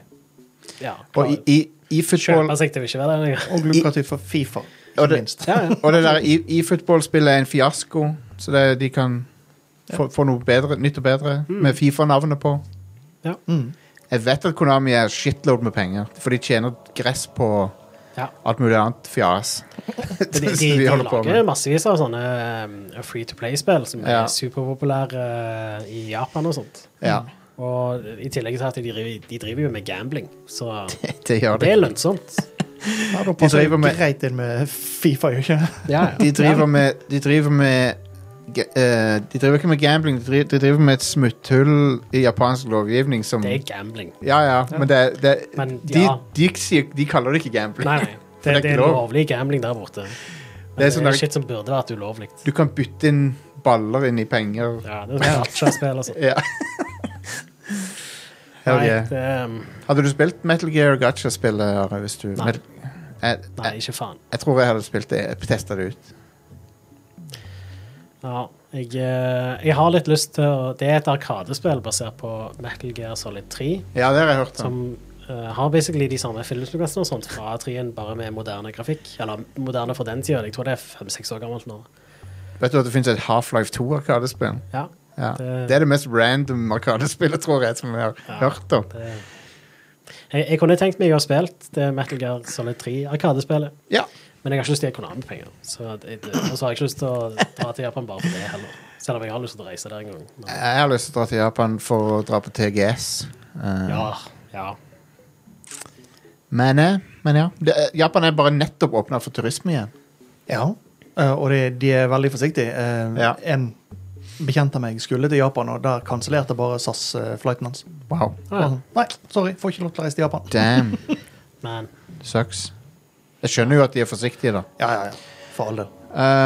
[SPEAKER 2] ja,
[SPEAKER 1] Og i,
[SPEAKER 2] klare-
[SPEAKER 1] i, i football
[SPEAKER 2] kjøpe seg til å ikke være der
[SPEAKER 1] *laughs*
[SPEAKER 2] lenger.
[SPEAKER 3] og lukrativt for Fifa,
[SPEAKER 1] Og
[SPEAKER 3] ikke
[SPEAKER 1] det-
[SPEAKER 3] minst.
[SPEAKER 2] Ja, ja.
[SPEAKER 1] Og det der i, i football-spillet er en fiasko, så det, de kan få, få noe bedre, nytt og bedre med Fifa-navnet på.
[SPEAKER 2] Ja.
[SPEAKER 3] Mm.
[SPEAKER 1] Jeg vet at Konami er shitload med penger, for de tjener gress på
[SPEAKER 2] Ja.
[SPEAKER 1] alt mulig annet
[SPEAKER 2] *laughs*
[SPEAKER 1] fjas. *laughs*
[SPEAKER 2] De, de,
[SPEAKER 1] Som
[SPEAKER 2] de
[SPEAKER 1] vi holder på
[SPEAKER 2] lager
[SPEAKER 1] med.
[SPEAKER 2] massevis av sånne um, free to play-spill som
[SPEAKER 1] Ja.
[SPEAKER 2] er superpopulære uh, i Japan og sånt.
[SPEAKER 1] Ja, *laughs*
[SPEAKER 2] Og i tillegg til at de driver, de driver jo med gambling, så
[SPEAKER 1] det gjør
[SPEAKER 2] det
[SPEAKER 1] de.
[SPEAKER 2] er lønnsomt.
[SPEAKER 3] Ja, da passer
[SPEAKER 1] driver
[SPEAKER 3] det
[SPEAKER 1] med-
[SPEAKER 3] greit inn med Fifa, jo ikke?
[SPEAKER 2] Ja, ja.
[SPEAKER 1] De driver med De driver med ga- eh, de driver ikke med gambling, de driver, de driver med et smutthull i japansk lovgivning som
[SPEAKER 2] Det er gambling.
[SPEAKER 1] Ja, ja, men det, det
[SPEAKER 2] Men
[SPEAKER 1] de,
[SPEAKER 2] ja.
[SPEAKER 1] de, sier- de kaller det ikke gambling.
[SPEAKER 2] Nei, nei.
[SPEAKER 1] For
[SPEAKER 2] Det,
[SPEAKER 1] det er
[SPEAKER 2] det er
[SPEAKER 1] ikke lov.
[SPEAKER 2] lovlig gambling der borte. Men
[SPEAKER 1] Det
[SPEAKER 2] det
[SPEAKER 1] er
[SPEAKER 2] er,
[SPEAKER 1] sånn der-
[SPEAKER 2] shit som burde vært ulovlig.
[SPEAKER 1] Du kan bytte inn baller inn i penger.
[SPEAKER 2] Ja, det er sånn aksjespill og
[SPEAKER 1] *laughs*
[SPEAKER 2] sånn.
[SPEAKER 1] Ja. Hell
[SPEAKER 2] Nei,
[SPEAKER 1] yeah.
[SPEAKER 2] det, um,
[SPEAKER 1] Hadde du spilt Metal Gear Gacha-spillet, Are, hvis du
[SPEAKER 2] Nei.
[SPEAKER 1] Met- jeg,
[SPEAKER 2] nei,
[SPEAKER 1] jeg,
[SPEAKER 2] ikke faen.
[SPEAKER 1] jeg tror jeg hadde spilt det, testa det ut.
[SPEAKER 2] Ja, jeg, eh, jeg har litt lyst til å Det er et arkadespill basert på Metal Gear Solid 3,
[SPEAKER 1] Ja, det har jeg hørt om.
[SPEAKER 2] som eh, har basically de samme filmslukassene og sånt fra 3-en, bare med moderne grafikk. Eller moderne for den tida. Jeg tror det er fem-seks år gammelt nå.
[SPEAKER 1] Vet du at det finnes et Half-Life 2-arkadespill?
[SPEAKER 2] Ja,
[SPEAKER 1] Ja.
[SPEAKER 2] Det-
[SPEAKER 1] Det er det mest random arkadespillet, tror jeg, som jeg har
[SPEAKER 2] Ja.
[SPEAKER 1] hørt om.
[SPEAKER 2] det Eh. jeg, jeg kunne tenkt meg å ha spilt det Metal Gear Solid 3-arkadespillet.
[SPEAKER 1] Ja.
[SPEAKER 2] Men jeg har ikke lyst til å gi Konami-penger. Så det- det- Og så har jeg ikke lyst til å dra til Japan bare for det heller. Selv om jeg har lyst til å reise der en gang. Men,
[SPEAKER 1] Jeg har lyst til å dra til Japan for å dra på TGS. Eh,
[SPEAKER 2] ja, ja.
[SPEAKER 1] men, eh, men ja. Det, eh, Japan er bare nettopp åpna for turisme igjen.
[SPEAKER 3] Ja, eh, og de, de er veldig forsiktige. Eh,
[SPEAKER 1] Ja.
[SPEAKER 3] En bekjent av meg skulle til Japan, og der kansellerte bare SAS-flighten hans.
[SPEAKER 1] Wow.
[SPEAKER 2] Ah, ja.
[SPEAKER 3] Bare sånn, Nei, sorry, får ikke lov til å reise til Japan.
[SPEAKER 1] Damn. *laughs*
[SPEAKER 2] Men
[SPEAKER 1] Sucks. Jeg skjønner jo at de er forsiktige, da.
[SPEAKER 3] Ja, ja, ja. For all del.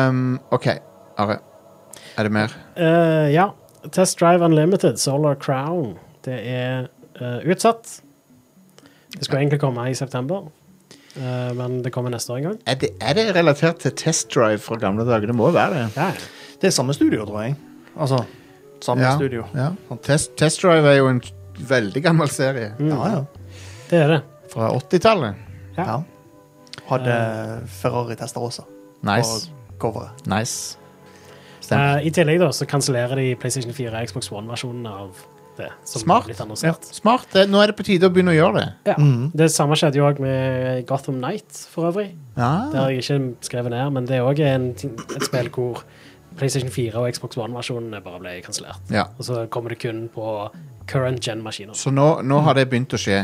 [SPEAKER 1] Um, OK, Are. Er det mer?
[SPEAKER 2] eh, ja. Test Drive Unlimited, Solar Crown. Det er eh, utsatt. Det skulle egentlig komme i september, eh, men det kommer neste år en gang.
[SPEAKER 1] Er det, er det relatert til Test Drive fra gamle dager? Det må være det.
[SPEAKER 2] Ja, ja.
[SPEAKER 3] Det er samme studio, tror jeg. Altså, samme
[SPEAKER 1] Ja,
[SPEAKER 3] studio.
[SPEAKER 1] ja. Test, test Drive er jo en veldig gammel serie
[SPEAKER 2] Mm.
[SPEAKER 3] Ja, ja.
[SPEAKER 2] det er det.
[SPEAKER 1] fra 80-tallet.
[SPEAKER 2] Ja.
[SPEAKER 3] Mm. ja. Hadde Ferrari Testarossa
[SPEAKER 1] Nice.
[SPEAKER 3] på coveret.
[SPEAKER 1] nice. Stemmer.
[SPEAKER 2] Eh, I tillegg da, så kansellerer de PlayStation 4 og Xbox One-versjonen av det. Som
[SPEAKER 1] Smart.
[SPEAKER 2] har blitt
[SPEAKER 1] Ja,
[SPEAKER 2] annonsert.
[SPEAKER 1] smart. Det, nå er det på tide å begynne å gjøre det.
[SPEAKER 2] Ja.
[SPEAKER 3] Mhm.
[SPEAKER 2] Det samme skjedde jo òg med Gotham Night, for øvrig. Det
[SPEAKER 1] Ja.
[SPEAKER 2] har jeg ikke skrevet ned, men det er òg et spill hvor PlayStation 4 og Xbox One-versjonene bare ble kansellert.
[SPEAKER 1] Ja.
[SPEAKER 2] Og så kommer det kun på current gen-maskiner.
[SPEAKER 1] Så nå, nå har det begynt å skje.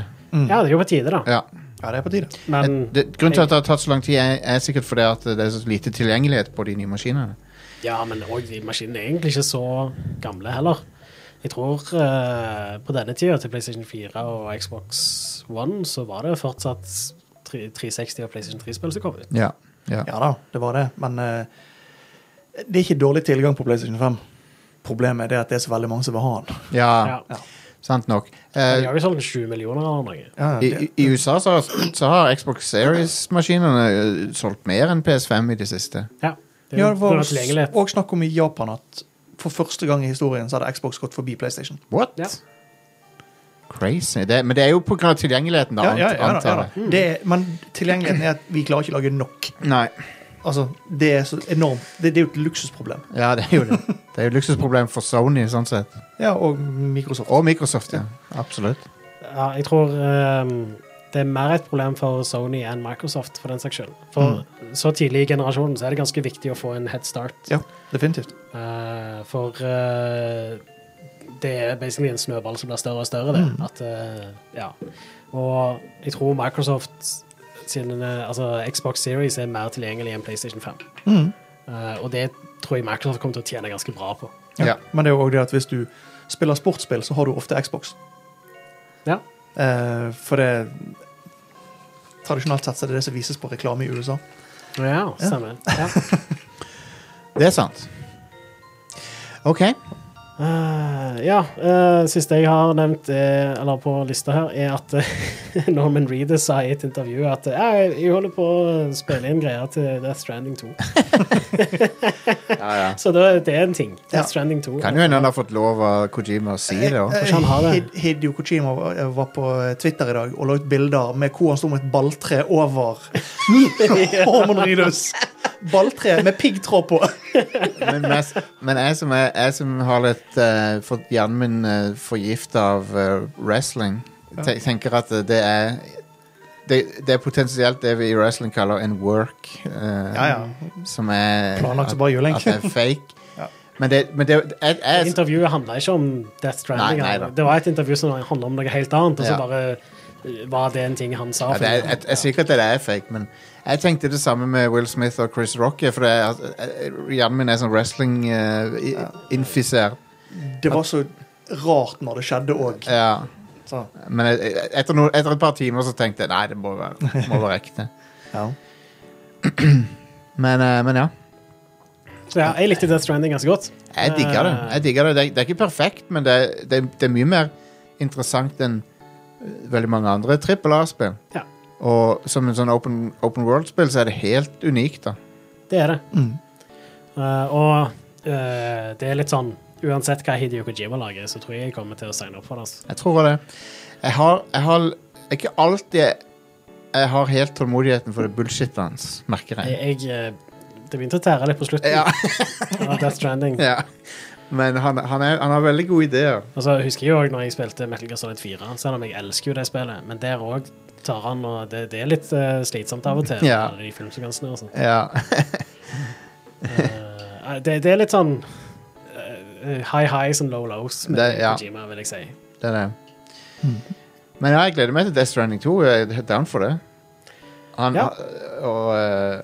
[SPEAKER 2] Ja, det er jo på tide, da.
[SPEAKER 1] Ja.
[SPEAKER 3] Ja, det er på tide.
[SPEAKER 2] Men
[SPEAKER 1] Det, grunnen til at det har tatt så lang tid, er, er sikkert fordi at det er så lite tilgjengelighet på de nye maskinene.
[SPEAKER 2] ja, men òg de maskinene er egentlig ikke så gamle heller. Jeg tror eh, på denne tida til PlayStation 4 og Xbox One så var det fortsatt 3- 360 og PlayStation 3-spill som kom ut.
[SPEAKER 1] Ja. ja.
[SPEAKER 3] Ja da, det var det. Men eh, det er ikke dårlig tilgang på PlayStation 5. Problemet er det at det er så veldig mange som vil ha den.
[SPEAKER 1] ja.
[SPEAKER 2] Ja.
[SPEAKER 1] Sant nok.
[SPEAKER 2] De
[SPEAKER 1] Eh,
[SPEAKER 2] har jo solgt 7 millioner eller noe.
[SPEAKER 3] Ja,
[SPEAKER 1] I,
[SPEAKER 3] det,
[SPEAKER 1] i- I USA så har, så har Xbox Series-maskinene eh, solgt mer enn PS5 i det siste.
[SPEAKER 2] Ja, det er
[SPEAKER 3] Ja,
[SPEAKER 2] jo
[SPEAKER 3] det
[SPEAKER 2] på grunn
[SPEAKER 3] var
[SPEAKER 2] av tilgjengelighet.
[SPEAKER 3] også snakk om i Japan at for første gang i historien så hadde Xbox gått forbi PlayStation.
[SPEAKER 1] What?
[SPEAKER 2] Ja.
[SPEAKER 1] Crazy. Det, men det er jo på grunn av tilgjengeligheten, da.
[SPEAKER 3] Ja, ja, ja, da,
[SPEAKER 1] antar
[SPEAKER 3] ja,
[SPEAKER 1] jeg.
[SPEAKER 3] da. Det, men tilgjengeligheten er at vi klarer ikke å lage nok.
[SPEAKER 1] Nei.
[SPEAKER 3] Altså, det er så enormt. Det, det er jo et luksusproblem.
[SPEAKER 1] Ja, det er jo det. Det er jo et luksusproblem for Sony, sånn sett.
[SPEAKER 3] Ja, og Microsoft.
[SPEAKER 1] Og Microsoft, ja. Absolutt.
[SPEAKER 2] Ja, jeg tror ehm, det er mer et problem for Sony enn Microsoft, for den saks skyld. For
[SPEAKER 3] Mm.
[SPEAKER 2] så tidlig i generasjonen så er det ganske viktig å få en head start.
[SPEAKER 3] Ja, definitivt.
[SPEAKER 2] Eh, for eh, det er basically en snøball som blir større og større, det. At, eh, ja. Og jeg tror Microsoft sine Altså Xbox Series er mer tilgjengelig enn PlayStation 5.
[SPEAKER 1] Mm.
[SPEAKER 3] Mhm.
[SPEAKER 2] Eh, og det tror jeg Microsoft kommer til å tjene ganske bra på.
[SPEAKER 3] Ja.
[SPEAKER 1] Ja.
[SPEAKER 3] Men det er jo også det at hvis du spiller sportsspill, så har du ofte Xbox.
[SPEAKER 2] Ja.
[SPEAKER 3] Eh, for det Tradisjonelt sett så er det det som vises på reklame i USA.
[SPEAKER 2] Ja, stemmer. Ja.
[SPEAKER 1] Det er sant. OK.
[SPEAKER 2] Eh, ja. eh, siste jeg har nevnt, er, eller på lista her, er at eh, *laughs* Norman Reeder sa i et intervju at eh, «Ja, jeg holder på å spille inn greier til Death Stranding 2.
[SPEAKER 1] *laughs* Ja, ja.
[SPEAKER 2] Så det, det er en ting. Death
[SPEAKER 3] Ja.
[SPEAKER 2] Stranding 2.
[SPEAKER 1] Kan jo hende han har fått lov av Kojima å si det. Også.
[SPEAKER 2] Kanskje han sånn har det.
[SPEAKER 3] Hid- Hideo Kojima var- var på Twitter i dag og la ut bilder med hvor han sto med et balltre
[SPEAKER 2] *laughs*
[SPEAKER 3] over Hormon Ridus. Balltre med piggtråd på.
[SPEAKER 1] eh, Men, mest, men jeg, som er, jeg som har litt eh, fått hjernen min uh, forgifta av eh, wrestling, te tenker at eh, det er det, det er potensielt det vi i wrestling kaller en work. eh,
[SPEAKER 3] Ja, ja.
[SPEAKER 1] Som er
[SPEAKER 3] Planlagt som
[SPEAKER 1] at-
[SPEAKER 3] bare juling.
[SPEAKER 1] At det er *laughs* fake.
[SPEAKER 3] Ja.
[SPEAKER 1] Men det, men det jeg, jeg,
[SPEAKER 2] Intervjuet handla ikke om Death Stranding.
[SPEAKER 1] Nei, nei da.
[SPEAKER 2] det var et intervju som handla om noe helt annet, og så
[SPEAKER 1] Ja.
[SPEAKER 2] bare eh, var det en ting han sa.
[SPEAKER 1] Ja, det er, jeg, jeg er sikker at det er fake, men jeg tenkte det samme med Will Smith og Chris Rock. For det er, at- eh, hjernen min er sånn wrestling-infisert.
[SPEAKER 3] Det var så rart når det skjedde òg.
[SPEAKER 1] ja.
[SPEAKER 3] Så,
[SPEAKER 1] Men jeg- jeg- etter, noen- etter et par timer så tenkte jeg nei, det må være, må være ekte.
[SPEAKER 3] ja.
[SPEAKER 1] Men, eh, men ja.
[SPEAKER 2] Så ja, jeg likte Death Stranding ganske godt. Eh,
[SPEAKER 1] Jeg digger det. Jeg digger det. det. er- Det er ikke perfekt, men det, det, det er mye mer interessant enn eh, veldig mange andre trippel A-spill.
[SPEAKER 2] Ja.
[SPEAKER 1] Og som en sånn open, open world-spill så er det helt unikt, da.
[SPEAKER 2] Det er det.
[SPEAKER 3] Mm.
[SPEAKER 2] Eh, og eh, det er litt sånn Uansett hva Hidio Kojima lager, så tror jeg jeg kommer til å signe opp for det. altså.
[SPEAKER 1] Jeg tror det. Jeg har, jeg har ikke alltid Jeg har helt tålmodigheten for det bullshit hans, merker jeg.
[SPEAKER 2] Jeg, jeg, eh, det begynte å tære litt på slutten
[SPEAKER 1] Ja,
[SPEAKER 2] av Death Stranding.
[SPEAKER 1] *laughs* ja. Men han, han, er, han har veldig gode ideer.
[SPEAKER 2] Og så husker jeg jo også når jeg spilte Metal Gear Solid 4, selv om jeg elsker jo det spillet, men der òg tar han og det, det er litt eh, slitsomt av og til.
[SPEAKER 1] Ja.
[SPEAKER 2] alle de filmsekvensene og sånt.
[SPEAKER 1] Ja.
[SPEAKER 2] altså. Eh, det, det er litt sånn eh, high highs and low lows med
[SPEAKER 1] Det- ja.
[SPEAKER 2] Kojima, vil jeg si.
[SPEAKER 1] Det er det. Men ja, jeg gleder meg til Death Stranding 2. Jeg er helt down for det. Han
[SPEAKER 2] Ja.
[SPEAKER 1] Og eh,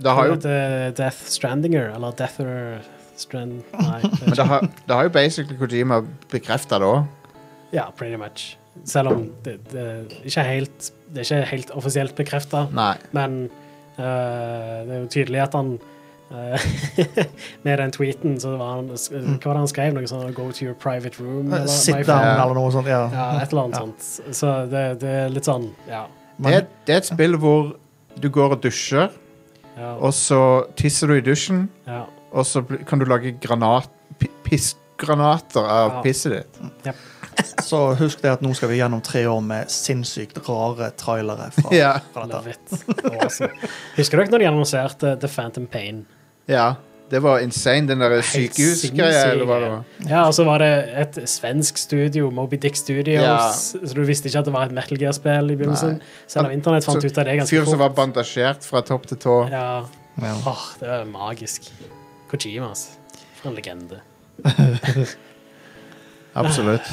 [SPEAKER 1] det har jo
[SPEAKER 2] Det heter Death Strandinger, eller Deather
[SPEAKER 1] *laughs*
[SPEAKER 2] Strand... Nei. det-
[SPEAKER 1] Men det har, det har jo basically Kojima bekrefta det òg.
[SPEAKER 2] Ja, pretty much. Selv om det, det, ikke er helt, det er ikke helt offisielt bekrefta,
[SPEAKER 1] Nei.
[SPEAKER 2] men øh, det er jo tydelig at han øh, *laughs* Med den tweeten, så var han Hva var det han skrev? Noe sånn 'Go to your private room'? eller my
[SPEAKER 3] Mm. Eh, Sit
[SPEAKER 2] friend.
[SPEAKER 3] down eller noe sånt. Ja.
[SPEAKER 2] Ja, et eller annet sånt. Så det, det er litt sånn, ja.
[SPEAKER 1] Det,
[SPEAKER 3] Men,
[SPEAKER 1] er- det er et spill hvor du går og dusjer,
[SPEAKER 2] ja,
[SPEAKER 1] og så tisser du i dusjen.
[SPEAKER 2] ja.
[SPEAKER 1] Og så bl- kan du lage granat, pi- pissgranater av
[SPEAKER 2] Ja.
[SPEAKER 1] pisset ditt.
[SPEAKER 3] så husk det at nå skal vi gjennom tre år med sinnssykt rare trailere
[SPEAKER 2] *laughs*
[SPEAKER 3] fra,
[SPEAKER 1] Ja.
[SPEAKER 3] fra dette.
[SPEAKER 2] Love it. Awesome. Husker dere når de annonserte The Phantom Pain?
[SPEAKER 1] Ja, det var insane, den der sykehusgreia. eller hva det var.
[SPEAKER 2] Ja, og så var det et svensk studio, Moby Dick Studios,
[SPEAKER 1] Ja.
[SPEAKER 2] så du visste ikke at det var et Metal Gear-spill i begynnelsen.
[SPEAKER 1] Nei.
[SPEAKER 2] Selv om internett fant
[SPEAKER 1] Så-
[SPEAKER 2] ut av det ganske
[SPEAKER 1] Fyr som var bandasjert fra topp til tå.
[SPEAKER 2] Ja.
[SPEAKER 3] Ja.
[SPEAKER 2] Åh, det var magisk. Kojima, altså. For en legende.
[SPEAKER 1] Absolutt.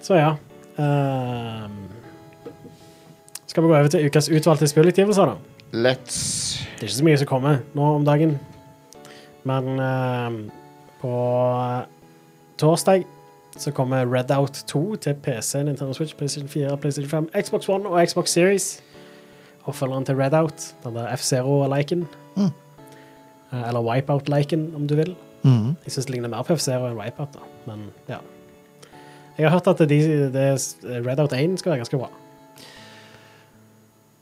[SPEAKER 2] Så ja. Ehm, skal vi gå over til ukas utvalgte spillutgivelser, da?
[SPEAKER 1] Let's
[SPEAKER 2] Det er ikke så mye som kommer nå om dagen. Men ehm, på eh, torsdag så kommer Redout 2 til PC, Nintendo Switch, PlayStation 4, PlayStation 5, Xbox One og Xbox Series. Oppfølgeren til Redout, den der F-Zero-liken.
[SPEAKER 3] Mm.
[SPEAKER 2] Eh, Eller Wipeout-liken, om du vil.
[SPEAKER 3] Mhm.
[SPEAKER 2] Jeg syns det ligner mer på F-Zero enn Wipeout, da. Men ja. Jeg har hørt at de, det, Redout 1 skal være ganske bra.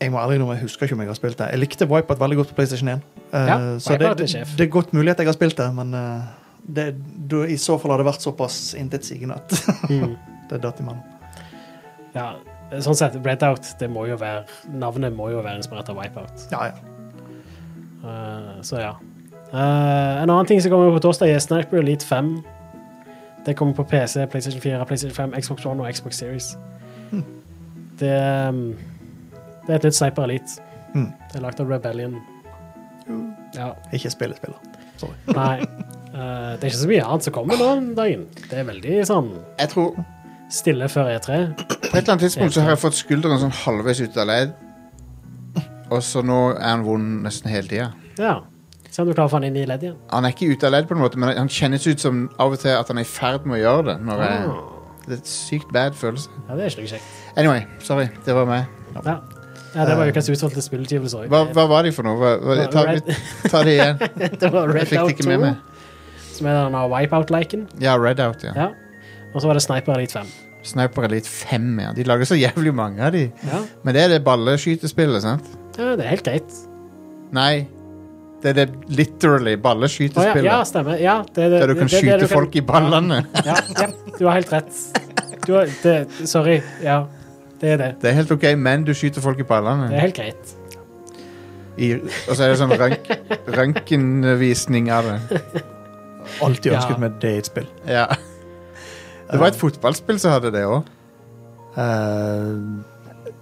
[SPEAKER 3] Jeg må ærlig innrømme, jeg husker ikke om jeg har spilt det. Jeg likte Wipeout veldig godt på PlayStation 1. Eh,
[SPEAKER 2] Ja,
[SPEAKER 3] så det,
[SPEAKER 2] Wipeout er
[SPEAKER 3] det,
[SPEAKER 2] sjef.
[SPEAKER 3] det er godt mulig at jeg har spilt det, men eh, *laughs* det, da, i så fall har det vært såpass intetsigende at det datt imellom.
[SPEAKER 2] Ja, sånn sett, Redout det må jo være, Navnet må jo være inspirert av Wipeout.
[SPEAKER 3] Ja, ja.
[SPEAKER 2] Eh, så ja. Eh, en annen ting som kommer på torsdag, er Sniper Elite 5. Det kommer på PC, PlayStation 4, PlayStation 5, Xbox One og Xbox Series. Det, mm, det er et nytt Sniper Elite.
[SPEAKER 3] Mm.
[SPEAKER 2] Det er lagd av Rebellion. Ja,
[SPEAKER 3] Ikke spillespiller. Sorry.
[SPEAKER 2] nei. Eh, det er ikke så mye annet som kommer nå om dagen. Det er veldig sånn
[SPEAKER 1] Jeg tror
[SPEAKER 2] stille før E E3.
[SPEAKER 1] På et eller annet tidspunkt så har jeg fått skulderen sånn halvveis ut av ledd. Og så nå er han vond nesten hele tida.
[SPEAKER 2] Ja. Se om du klarer å få den inn i ledd igjen.
[SPEAKER 1] Han er ikke ute av ledd, på en måte, men han kjennes ut som av og til at han er i ferd med å gjøre det. Når jeg,
[SPEAKER 2] Ah.
[SPEAKER 1] det er et sykt bad følelse.
[SPEAKER 2] Ja, det er ikke noe kjekt.
[SPEAKER 1] Anyway, sorry. Det var meg.
[SPEAKER 2] Ja. ja, det var ukas utvalgte spillutgivelse òg.
[SPEAKER 1] Eh, Hva, hva var de for noe? Hva, hva, ta, ta det igjen.
[SPEAKER 2] Det var
[SPEAKER 1] Jeg
[SPEAKER 2] *laughs* Red
[SPEAKER 1] fikk det
[SPEAKER 2] Out
[SPEAKER 1] ikke med
[SPEAKER 2] 2,
[SPEAKER 1] meg.
[SPEAKER 2] som er den wipeout-liken.
[SPEAKER 1] Ja, Red Out, ja.
[SPEAKER 2] Ja. Og så var det Sniper Elite 5.
[SPEAKER 1] Sniper Elite 5, ja. De lager så jævlig mange av de.
[SPEAKER 2] Ja,
[SPEAKER 1] Men det er det balleskytespillet, sant?
[SPEAKER 2] ja det er helt greit.
[SPEAKER 1] Nei. Det er det literally
[SPEAKER 2] Å, ja,
[SPEAKER 1] balleskytespillet.
[SPEAKER 2] ja, stemmer. Ja, det, er det,
[SPEAKER 1] Der du kan
[SPEAKER 2] det er det
[SPEAKER 1] skyte
[SPEAKER 2] du kan-
[SPEAKER 1] folk i ballene.
[SPEAKER 2] Ja, ja, du har helt rett. Du har, det, sorry. Ja, det er det.
[SPEAKER 1] Det er helt ok, men du skyter folk i ballene.
[SPEAKER 2] Det er helt greit.
[SPEAKER 1] I, og så er det sånn rank, røntgenvisning av det.
[SPEAKER 3] Alltid
[SPEAKER 2] Ja.
[SPEAKER 3] ønsket meg det i et spill.
[SPEAKER 1] Ja. Det var et fotballspill som hadde det òg.
[SPEAKER 3] Eh,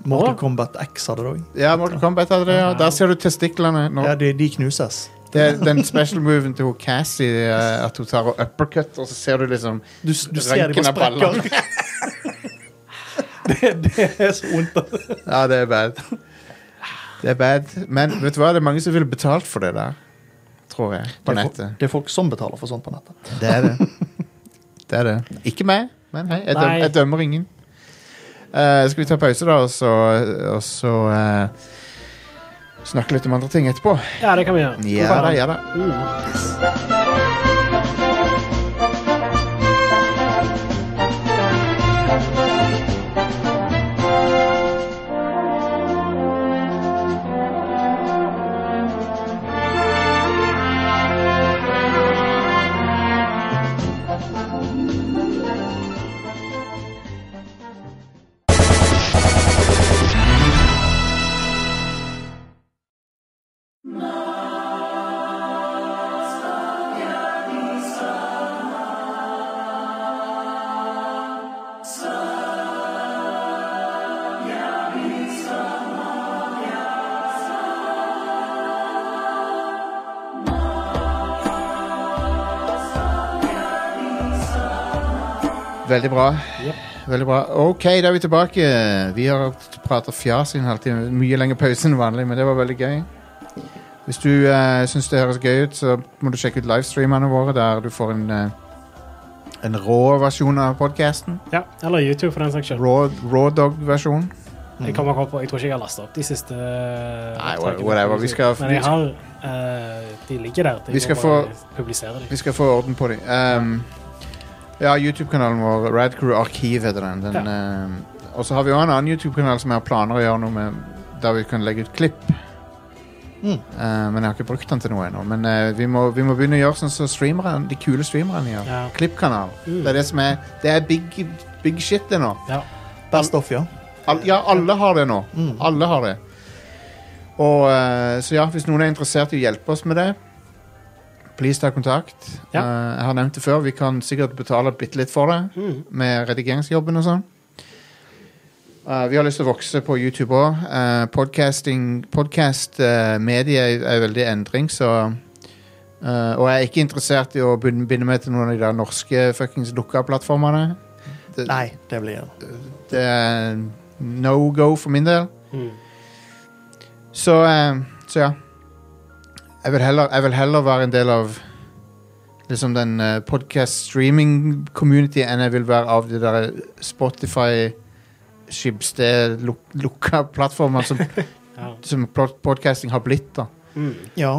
[SPEAKER 3] Mortal
[SPEAKER 2] Å.
[SPEAKER 3] Kombat X hadde det òg.
[SPEAKER 1] Ja, Mortal Kombat hadde det. Ja. Der ser du testiklene. Nå.
[SPEAKER 3] Ja, de, de knuses.
[SPEAKER 1] Det er den special moven til hun Cassie, eh, at hun tar og uppercut, og så ser du liksom
[SPEAKER 3] Du, du ser de
[SPEAKER 1] Røntgen
[SPEAKER 3] bare
[SPEAKER 1] av ballene.
[SPEAKER 3] sprekker. *laughs* det, det er så vondt.
[SPEAKER 1] Ja, det er bad. Det er bad. Men vet du hva, det er mange som ville betalt for det der. Tror jeg. På
[SPEAKER 3] Det er,
[SPEAKER 1] nettet.
[SPEAKER 3] folk, det er folk som betaler for sånt på nettet.
[SPEAKER 1] Det er det. *laughs* det er det. Ikke meg, men hei, jeg, døm,
[SPEAKER 2] Nei.
[SPEAKER 1] jeg dømmer ingen. Eh, skal vi ta pause, da, og så, og så eh, snakke litt om andre ting etterpå?
[SPEAKER 2] Ja, det kan vi gjøre.
[SPEAKER 1] Ja Oh. da, ja da.
[SPEAKER 2] Mm.
[SPEAKER 1] Veldig bra.
[SPEAKER 2] Yep.
[SPEAKER 1] Veldig bra. OK, da er vi tilbake. Vi har prata fjas i en halvtime. Mye lengre pause enn vanlig, men det var veldig gøy. Hvis du uh, syns det høres gøy ut, så må du sjekke ut livestreamene våre, der du får en, eh, en rå versjon av podkasten.
[SPEAKER 2] Ja, eller YouTube, for den saks skyld.
[SPEAKER 1] Raw, raw dog-versjon.
[SPEAKER 2] Jeg kommer ikke opp på, jeg tror ikke jeg har lasta opp de siste
[SPEAKER 1] Mm.
[SPEAKER 2] eh,
[SPEAKER 1] Nei,
[SPEAKER 2] Nei,
[SPEAKER 1] whatever, vi skal-
[SPEAKER 2] Men jeg har eh, De ligger der.
[SPEAKER 1] Vi
[SPEAKER 2] Jeg
[SPEAKER 1] skal
[SPEAKER 2] må
[SPEAKER 1] få-
[SPEAKER 2] bare publisere
[SPEAKER 1] Vi
[SPEAKER 2] dem.
[SPEAKER 1] skal få orden på dem. Um, ja, YouTube-kanalen vår, Radcrew Arkiv heter den. den um, og så har vi jo en annen YouTube-kanal som jeg har planer å gjøre noe med, der vi kan legge ut klipp.
[SPEAKER 3] Mm.
[SPEAKER 1] Uh, men jeg har ikke brukt den til noe ennå. Men uh, vi, må, vi må begynne å gjøre sånn som streamerne, de kule streamerne gjør.
[SPEAKER 2] Ja.
[SPEAKER 1] Klippkanal.
[SPEAKER 2] Mm.
[SPEAKER 1] Det er det som er Det er big, big shit, det nå.
[SPEAKER 2] Ja.
[SPEAKER 3] Best off, ja.
[SPEAKER 1] Al ja, alle har det nå.
[SPEAKER 3] Mm.
[SPEAKER 1] Alle har det. Og, eh, så ja, hvis noen er interessert i å hjelpe oss med det, please ta kontakt.
[SPEAKER 2] Ja.
[SPEAKER 1] Eh, jeg har nevnt det før, vi kan sikkert betale bitte litt for det,
[SPEAKER 2] Mm.
[SPEAKER 1] med redigeringsjobben og sånn. Eh, vi har lyst til å vokse på YouTube òg. podcasting, podcast, eh, medie er, er veldig i endring, så eh, Og jeg er ikke interessert i å binde binde meg til noen av de der norske fuckings lukka plattformene. Det-
[SPEAKER 3] Nei, det blir
[SPEAKER 1] det er eh, no go for min del.
[SPEAKER 2] Mm.
[SPEAKER 1] Så, eh, så ja. Jeg vil, heller, jeg vil heller være en del av liksom den eh, podcast streaming community enn jeg vil være av de der Spotify skibsted luk lukka plattformer som,
[SPEAKER 2] Ja.
[SPEAKER 1] som pod- podcasting har blitt da.
[SPEAKER 2] Mm.
[SPEAKER 3] Ja.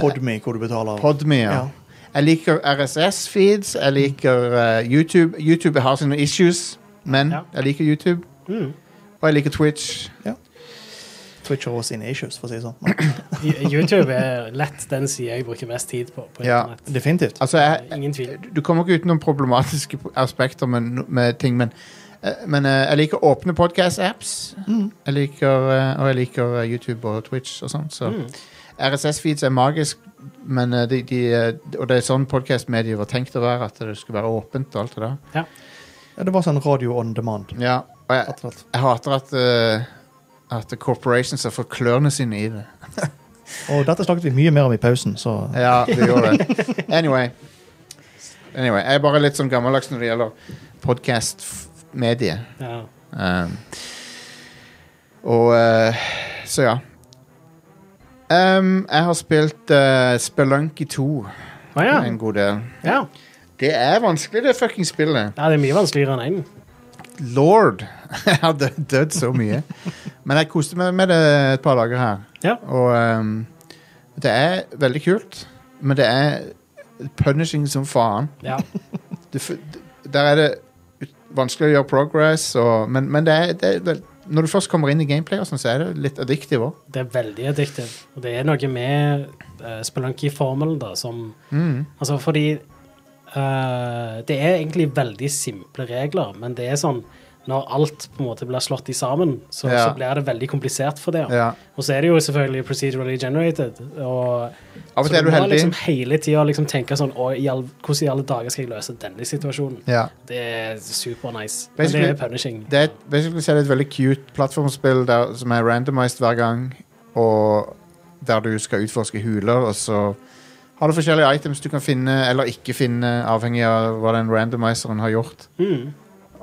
[SPEAKER 3] Podme, hvor du betaler.
[SPEAKER 1] Podme, ja.
[SPEAKER 3] Ja.
[SPEAKER 1] Jeg liker RSS feeds, jeg liker eh, YouTube. YouTube har sine issues, men
[SPEAKER 2] Ja.
[SPEAKER 1] jeg liker YouTube.
[SPEAKER 2] Mm.
[SPEAKER 1] Og jeg liker Twitch.
[SPEAKER 3] Twitch har også sine issues, for å si det sånn.
[SPEAKER 2] Y- YouTube er lett den sida jeg bruker mest tid på. på
[SPEAKER 1] Ja.
[SPEAKER 2] internett.
[SPEAKER 3] Definitivt.
[SPEAKER 1] Altså, jeg,
[SPEAKER 2] Ingen tvil.
[SPEAKER 1] Du kommer ikke utenom problematiske aspekter med, med ting, men Eh, Men eh, jeg liker åpne podcast-apps.
[SPEAKER 3] Mm.
[SPEAKER 1] Jeg liker, eh, Og jeg liker eh, YouTube og Twitch og sånt. Så
[SPEAKER 2] Mm.
[SPEAKER 1] RSS-feeds er magisk, men eh, de, de, eh, og det er sånn podcast-mediet var tenkt å være, at det skulle være åpent og alt det der.
[SPEAKER 3] Ja, det var sånn radio on demand.
[SPEAKER 1] Ja, og jeg,
[SPEAKER 3] rett og slett.
[SPEAKER 1] jeg hater at, eh, at corporations har fått klørne sine i det.
[SPEAKER 3] Og dette snakket vi mye mer om i pausen, så
[SPEAKER 1] Ja, det gjorde det. Anyway. anyway. Jeg er bare litt sånn gammeldags når det gjelder podkast-medie.
[SPEAKER 2] Ja.
[SPEAKER 1] Um, og eh, Så ja. Um, jeg har spilt uh, Spelunky 2
[SPEAKER 2] Å ja.
[SPEAKER 1] en god del.
[SPEAKER 2] ja.
[SPEAKER 1] Det er vanskelig, det fucking spillet.
[SPEAKER 2] Ja, det er mye vanskeligere enn én.
[SPEAKER 1] Lord! *laughs* jeg har dø- dødd så mye. Men jeg koste meg med det et par dager her.
[SPEAKER 2] Ja.
[SPEAKER 1] Og um, det er veldig kult, men det er punishing som faen.
[SPEAKER 2] Ja.
[SPEAKER 1] du, f- d- Der er det ut- vanskelig å gjøre progress, og, men, men det er, det er vel, når du først kommer inn i gameplay, og sånn, så er det litt addictive òg.
[SPEAKER 2] Det er veldig addictive. Og det er noe med uh, Spelunky-formelen da, som
[SPEAKER 1] Mm.
[SPEAKER 2] Altså fordi eh, Det er egentlig veldig simple regler, men det er sånn når alt på en måte blir slått i sammen, så,
[SPEAKER 1] Ja.
[SPEAKER 2] så blir det veldig komplisert for det.
[SPEAKER 1] Ja.
[SPEAKER 2] Og så er det jo selvfølgelig procedurally generated. Og
[SPEAKER 1] Av og
[SPEAKER 2] så
[SPEAKER 1] til er du
[SPEAKER 2] må
[SPEAKER 1] heldig.
[SPEAKER 2] liksom hele tida liksom tenke sånn «Å, i all, Hvordan i alle dager skal jeg løse denne situasjonen?
[SPEAKER 1] Ja.
[SPEAKER 2] Det er super nice. Men det
[SPEAKER 1] Basically,
[SPEAKER 2] er punishing.
[SPEAKER 1] Det er et, basically så er det et veldig cute plattformspill der, som er randomized hver gang, og der du skal utforske huler, og så har du forskjellige items du kan finne eller ikke finne, avhengig av hva den randomizeren har gjort.
[SPEAKER 2] Mm.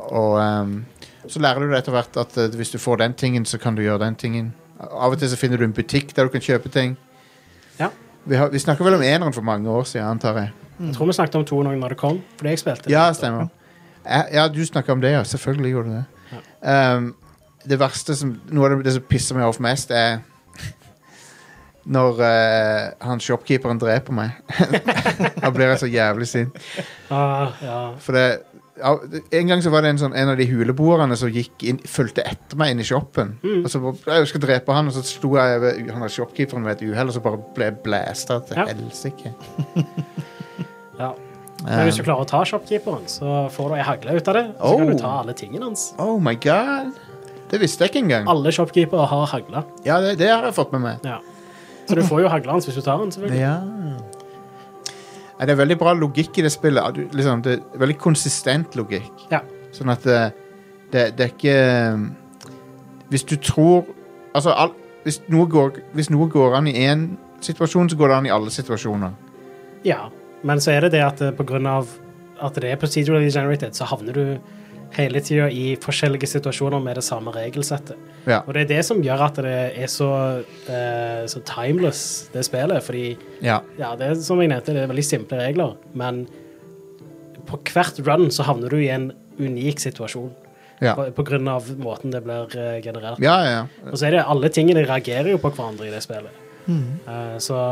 [SPEAKER 1] Og ehm, så lærer du det etter hvert at eh, hvis du får den tingen, så kan du gjøre den tingen. Av og til så finner du en butikk der du kan kjøpe ting.
[SPEAKER 2] Ja.
[SPEAKER 1] Vi, har, vi snakker vel om eneren for mange år siden, antar jeg.
[SPEAKER 2] Jeg tror vi snakket om to noen når det kom, fordi jeg spilte.
[SPEAKER 1] Ja, stemmer. Eh, Ja, du snakker om det, ja. Selvfølgelig gjorde du det. Ehm, det verste som Noe av det som pisser meg off mest, er når eh, han shopkeeperen dreper meg. *laughs* da blir jeg så jævlig sint.
[SPEAKER 2] Ah, ja.
[SPEAKER 1] For det, ja, en gang så var det en, sånn, en av de huleboerne som gikk inn, fulgte etter meg inn i shoppen.
[SPEAKER 2] Mm.
[SPEAKER 1] Og så bare, jeg skal drepe han, og så sto jeg ved han der shopkeeperen ved et uhell, og så bare ble jeg blæsta til
[SPEAKER 2] Ja.
[SPEAKER 1] helsike.
[SPEAKER 2] *laughs* ja. Men hvis du
[SPEAKER 1] Um,
[SPEAKER 2] klarer å ta shopkeeperen, så får du ei hagle ut av det. Så kan
[SPEAKER 1] Oh.
[SPEAKER 2] du ta alle tingene hans.
[SPEAKER 1] oh my god! Det visste jeg ikke engang.
[SPEAKER 2] Alle shopkeepere har hagle.
[SPEAKER 1] Ja, det, det har jeg fått med meg.
[SPEAKER 2] Ja. Så du får jo hagla hans hvis du tar den, selvfølgelig.
[SPEAKER 1] Ja. Ja, Det er veldig bra logikk i det spillet. Ja, du- Liksom, det er veldig konsistent logikk.
[SPEAKER 2] Ja.
[SPEAKER 1] Sånn at eh, det, det er ikke eh, Hvis du tror Altså, all, hvis, noe går, hvis noe går an i én situasjon, så går det an i alle situasjoner.
[SPEAKER 2] ja. Men så er det det at eh, på grunn av at det er procedurally generated, så havner du hele tida i forskjellige situasjoner med det samme regelsettet.
[SPEAKER 1] Ja.
[SPEAKER 2] Og det er det som gjør at det er så, eh, så timeless, det spillet. Fordi
[SPEAKER 1] ja.
[SPEAKER 2] ja, det er som jeg nevnte, det er veldig simple regler, men på hvert run så havner du i en unik situasjon.
[SPEAKER 1] Ja.
[SPEAKER 2] På, på grunn av måten det blir eh, generert.
[SPEAKER 1] Ja, ja, ja.
[SPEAKER 2] Og så er det alle tingene reagerer jo på hverandre i det spillet.
[SPEAKER 3] Mm.
[SPEAKER 2] Eh, så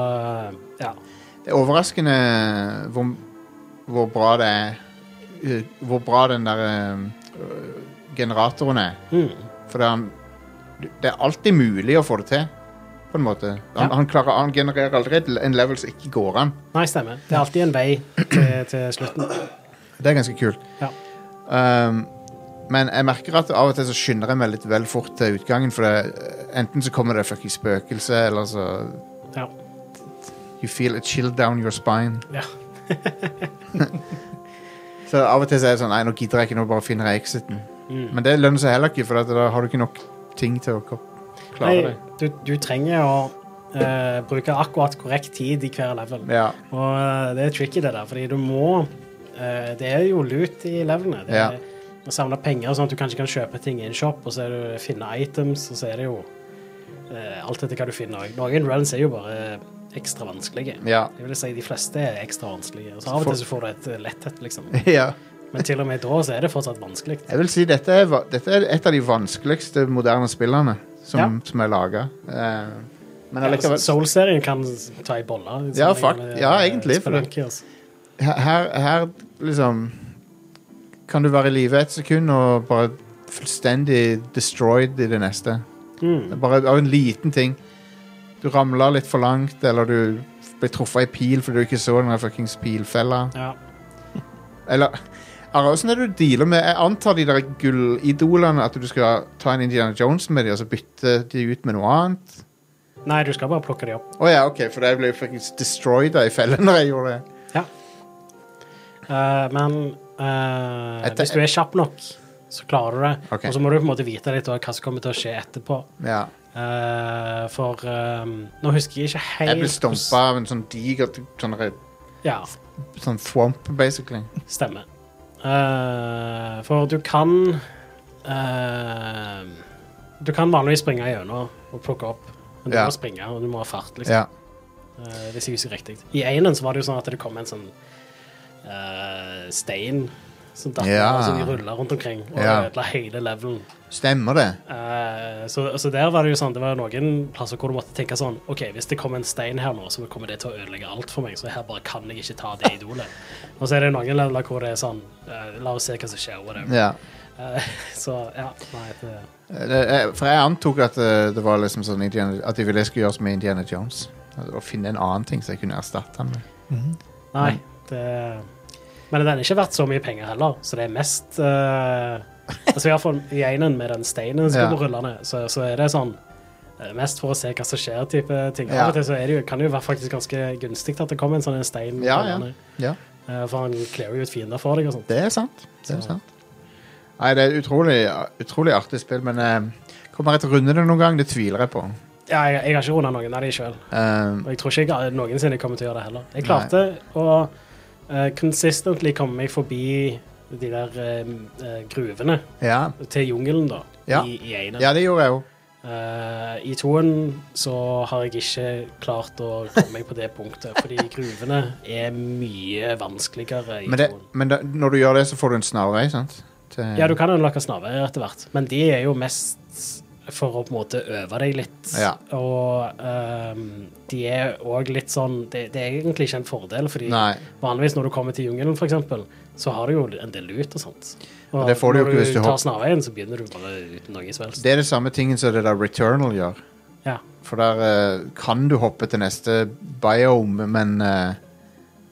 [SPEAKER 2] ja.
[SPEAKER 1] Det er overraskende eh, hvor, hvor bra det er eh, Hvor bra den der eh, generatoren er.
[SPEAKER 2] Mm.
[SPEAKER 1] For det er, han, det er alltid mulig å få det til, på en måte. Han,
[SPEAKER 2] Ja.
[SPEAKER 1] han, klarer, han genererer aldri et- en level som ikke går an.
[SPEAKER 2] Nei, stemmer. Det er alltid en vei til, til slutten.
[SPEAKER 1] Det er ganske kult.
[SPEAKER 2] Ja.
[SPEAKER 1] Um, men jeg merker at av og til så skynder jeg meg litt vel fort til utgangen, for det, enten så kommer det fucking spøkelse, eller så
[SPEAKER 2] Ja.
[SPEAKER 1] You feel a chill down your spine.
[SPEAKER 2] ja.
[SPEAKER 1] Så av og til så er det sånn Nei, nå gidder jeg ikke, nå bare finner jeg exiten.
[SPEAKER 2] Mm.
[SPEAKER 1] Men det lønner seg heller ikke, for at da har du ikke nok ting til å ko- klare
[SPEAKER 2] Nei,
[SPEAKER 1] det.
[SPEAKER 2] du, du trenger å eh, bruke akkurat korrekt tid i hver level.
[SPEAKER 1] Ja.
[SPEAKER 2] Og eh, det er tricky, det der, fordi du må eh, Det er jo loot i levelene. Det
[SPEAKER 1] Ja.
[SPEAKER 2] er Å samle penger, sånn at du kanskje kan kjøpe ting i en shop, og så er det, finne items, og så er det jo eh, alt etter hva du finner. Noen runs er jo bare eh, ekstra vanskelige.
[SPEAKER 1] Ja. *laughs*
[SPEAKER 2] Jeg vil si De fleste er ekstra vanskelige. Og så Av og
[SPEAKER 1] For-
[SPEAKER 2] til så får du et eh, letthet, liksom.
[SPEAKER 1] ja.
[SPEAKER 2] Men til og med da så er det fortsatt vanskelig.
[SPEAKER 1] Jeg vil si dette er, va- dette er et av de vanskeligste moderne spillene som,
[SPEAKER 2] Ja.
[SPEAKER 1] som er laga. Uh, men
[SPEAKER 2] Ja, altså,
[SPEAKER 1] allikevel
[SPEAKER 2] Soul-serien kan ta i boller.
[SPEAKER 1] Ja,
[SPEAKER 2] sammenlignet
[SPEAKER 1] fakt-
[SPEAKER 2] med,
[SPEAKER 1] ja,
[SPEAKER 2] eh,
[SPEAKER 1] egentlig, for det-
[SPEAKER 2] Spelunky, altså.
[SPEAKER 1] her, her liksom Kan du være i live et sekund og bare fullstendig destroyed i det neste.
[SPEAKER 2] Mm.
[SPEAKER 1] Bare av en liten ting. Du ramla litt for langt, eller du ble truffet i pil fordi du ikke så den der fuckings pilfella.
[SPEAKER 2] Ja.
[SPEAKER 1] Eller Ara, hvordan er det du dealer med Jeg antar de der gullidolene at du skal ta en Indiana Jones med de, og så bytte de ut med noe annet?
[SPEAKER 2] Nei, du skal bare plukke de opp.
[SPEAKER 1] Å ja, OK, for jeg ble jo fuckings destroyed da i fellen *laughs* når jeg gjorde det.
[SPEAKER 2] Eh, men eh,
[SPEAKER 1] Jeg te-
[SPEAKER 2] hvis du er kjapp nok, så klarer du det.
[SPEAKER 1] Ok.
[SPEAKER 2] Og så må du på en måte vite litt også hva som kommer til å skje etterpå.
[SPEAKER 1] Ja.
[SPEAKER 2] Eh, for eh, nå husker jeg ikke helt
[SPEAKER 1] Jeg ble stumpa av en sånn diger sånn,
[SPEAKER 2] hvordan- Ja,
[SPEAKER 1] sånn thwomp, basically.
[SPEAKER 2] stemmer. Eh, for du kan eh, Du kan vanligvis springe gjennom og plukke opp, men du
[SPEAKER 1] Ja.
[SPEAKER 2] må springe, og du må ha fart. liksom.
[SPEAKER 1] Ja.
[SPEAKER 2] Eh, hvis jeg husker riktig. I enen så var det jo sånn at det kom en sånn eh, stein som datt
[SPEAKER 1] Ja.
[SPEAKER 2] ned, og så de rulla rundt omkring og
[SPEAKER 1] Ja.
[SPEAKER 2] ødela hele levelen.
[SPEAKER 1] Stemmer det?
[SPEAKER 2] Eh, så, så der var det jo sånn Det var noen plasser hvor du måtte tenke sånn OK, hvis det kommer en stein her nå, så kommer det til å ødelegge alt for meg, så her bare kan jeg ikke ta det
[SPEAKER 1] *laughs*
[SPEAKER 2] idolet. og så er det noen leveler hvor det er sånn eh, La oss se hva som skjer, whatever.
[SPEAKER 1] Ja.
[SPEAKER 2] Eh, så ja, nei, det,
[SPEAKER 1] Det, jeg, for jeg antok at eh, det var liksom sånn Indiana, At de ville jeg skulle gjøre som med Indiana Jones. Å finne en annen ting som jeg kunne erstatte han med.
[SPEAKER 3] Mm.
[SPEAKER 2] nei det Men den er ikke verdt så mye penger heller, så det er mest eh, Altså i hvert fall i enen med den steinen som
[SPEAKER 1] Ja.
[SPEAKER 2] kommer rullende, så, så er det sånn eh, Mest for å se hva som skjer, type ting.
[SPEAKER 1] Ja.
[SPEAKER 2] Av og til så er det jo, kan det jo være faktisk ganske gunstig at det kommer en sånn en stein.
[SPEAKER 1] Ja, ja.
[SPEAKER 2] rullende.
[SPEAKER 1] Ja,
[SPEAKER 2] Eh, For han kler jo ut fiender for deg og sånt.
[SPEAKER 1] det er sant. Det er
[SPEAKER 2] Så-
[SPEAKER 1] sant. Nei, det er et utrolig, utrolig artig spill, men eh, kommer jeg til å runde det noen gang? Det tviler jeg på.
[SPEAKER 2] Ja, jeg, jeg har ikke runda noen av de sjøl,
[SPEAKER 1] Um,
[SPEAKER 2] og jeg tror ikke jeg noensinne kommer til å gjøre det heller. Jeg klarte å eh, consistently komme meg forbi de der eh, eh, gruvene
[SPEAKER 1] ja.
[SPEAKER 2] til jungelen, da,
[SPEAKER 1] Ja.
[SPEAKER 2] i, i enen.
[SPEAKER 1] ja, det gjorde jeg jo.
[SPEAKER 2] Eh, I toen så har jeg ikke klart å komme meg på det punktet, fordi gruvene er mye vanskeligere i
[SPEAKER 1] Men, det,
[SPEAKER 2] toen.
[SPEAKER 1] men da, når du gjør det, så får du en snarvei, sant? Til-
[SPEAKER 2] Ja, du kan unlocke snarveier etter hvert, men de er jo mest for å på en måte øve deg litt.
[SPEAKER 1] Ja.
[SPEAKER 2] Og ehm, de er òg litt sånn det, det er egentlig ikke en fordel, fordi
[SPEAKER 1] Nei.
[SPEAKER 2] vanligvis når du kommer til jungelen, for eksempel, så har du jo en del lut og sånt. Og
[SPEAKER 1] det får du jo ikke
[SPEAKER 2] når
[SPEAKER 1] hvis du hopper.
[SPEAKER 2] tar snarveien, så begynner du bare uten noe som helst.
[SPEAKER 1] Det er det samme tingen som det der Returnal gjør.
[SPEAKER 2] Ja.
[SPEAKER 1] For der eh, kan du hoppe til neste biome, men, eh,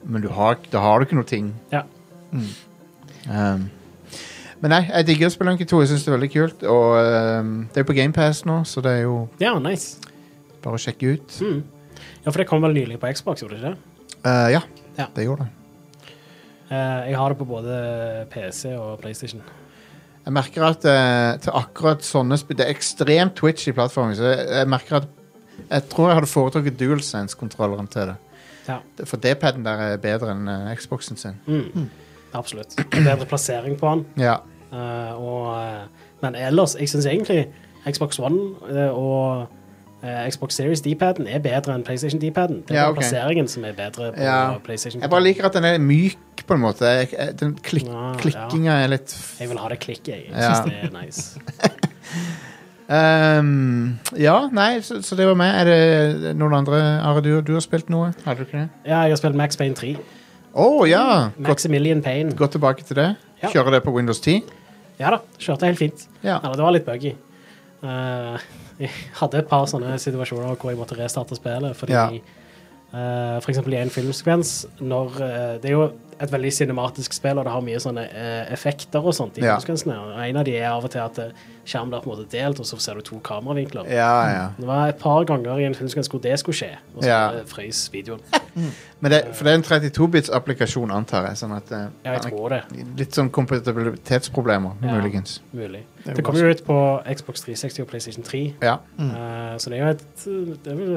[SPEAKER 1] men du har, da har du ikke noe ting.
[SPEAKER 2] ja.
[SPEAKER 1] Um, men nei, jeg digger Spelunky 2. Jeg syns det er veldig kult. Og um, det er på GamePass nå, så det er jo
[SPEAKER 2] Ja, nice.
[SPEAKER 1] bare å sjekke ut.
[SPEAKER 2] Mm. Ja, for det kom vel nylig på Xbox, gjorde det ikke det?
[SPEAKER 1] Eh, ja,
[SPEAKER 2] Ja.
[SPEAKER 1] det gjorde det.
[SPEAKER 2] Eh, jeg har det på både PC og PlayStation.
[SPEAKER 1] Jeg merker at eh, til akkurat sånne spill Det er ekstremt twitchy plattforming, så jeg, jeg merker at jeg tror jeg hadde foretrukket DualSense-kontrolleren til det.
[SPEAKER 2] Ja.
[SPEAKER 1] For D-paden der er bedre enn eh, Xboxen sin.
[SPEAKER 2] Mm. Absolutt. Bedre plassering på den.
[SPEAKER 1] Ja.
[SPEAKER 2] Eh, og, eh, men ellers, jeg syns egentlig Xbox One eh, og eh, Xbox Series D-paden er bedre enn PlayStation D-paden. Det er
[SPEAKER 1] Ja,
[SPEAKER 2] bare
[SPEAKER 1] ok.
[SPEAKER 2] plasseringen som er bedre på
[SPEAKER 1] Ja.
[SPEAKER 2] PlayStation.
[SPEAKER 1] Jeg bare liker at den er myk, på en måte. Jeg, jeg, den klik,
[SPEAKER 2] Ah, Ja, ja.
[SPEAKER 1] klikkinga er litt f-
[SPEAKER 2] Jeg vil ha det klikket, jeg. Jeg
[SPEAKER 1] Ja.
[SPEAKER 2] syns det er nice.
[SPEAKER 1] Ehm, ja, nei, så, så det var meg. Er det noen andre Are, du, du har spilt noe? Har du ikke det?
[SPEAKER 2] Ja, jeg har spilt Max Payne 3.
[SPEAKER 1] Å ja! Gå,
[SPEAKER 2] Maximilian Payne.
[SPEAKER 1] gå tilbake til det.
[SPEAKER 2] Mm, Ja.
[SPEAKER 1] Kjøre det på Windows 10.
[SPEAKER 2] Ja da, kjørte helt fint.
[SPEAKER 1] Ja.
[SPEAKER 2] Eller, det var litt buggy. Eh, jeg hadde et par sånne situasjoner hvor jeg måtte restarte spillet. Fordi
[SPEAKER 1] Ja.
[SPEAKER 2] eh, for eksempel i en filmsekvens når, eh, Det er jo et veldig cinematisk spill, og det har mye sånne eh, effekter og sånt i
[SPEAKER 1] Ja.
[SPEAKER 2] filmsekvensene. Og en av de er av og til at eh, skjermen blir på en måte delt, og så ser du to kameravinkler.
[SPEAKER 1] Ja, ja.
[SPEAKER 2] Det var et par ganger i en filmsekvens hvor det skulle skje, og så
[SPEAKER 1] Ja.
[SPEAKER 2] eh, frøys videoen.
[SPEAKER 1] Men det, for det er en 32-bits-applikasjon, antar jeg. Sånn at eh,
[SPEAKER 2] Ja, jeg tror det.
[SPEAKER 1] Litt sånn kompatibilitetsproblemer,
[SPEAKER 2] Ja.
[SPEAKER 1] muligens.
[SPEAKER 2] Mulig.
[SPEAKER 3] er jo
[SPEAKER 2] Det kom jo ut på Xbox 360 og PlayStation 3.
[SPEAKER 1] Ja.
[SPEAKER 2] Eh, så det er jo et det er vel,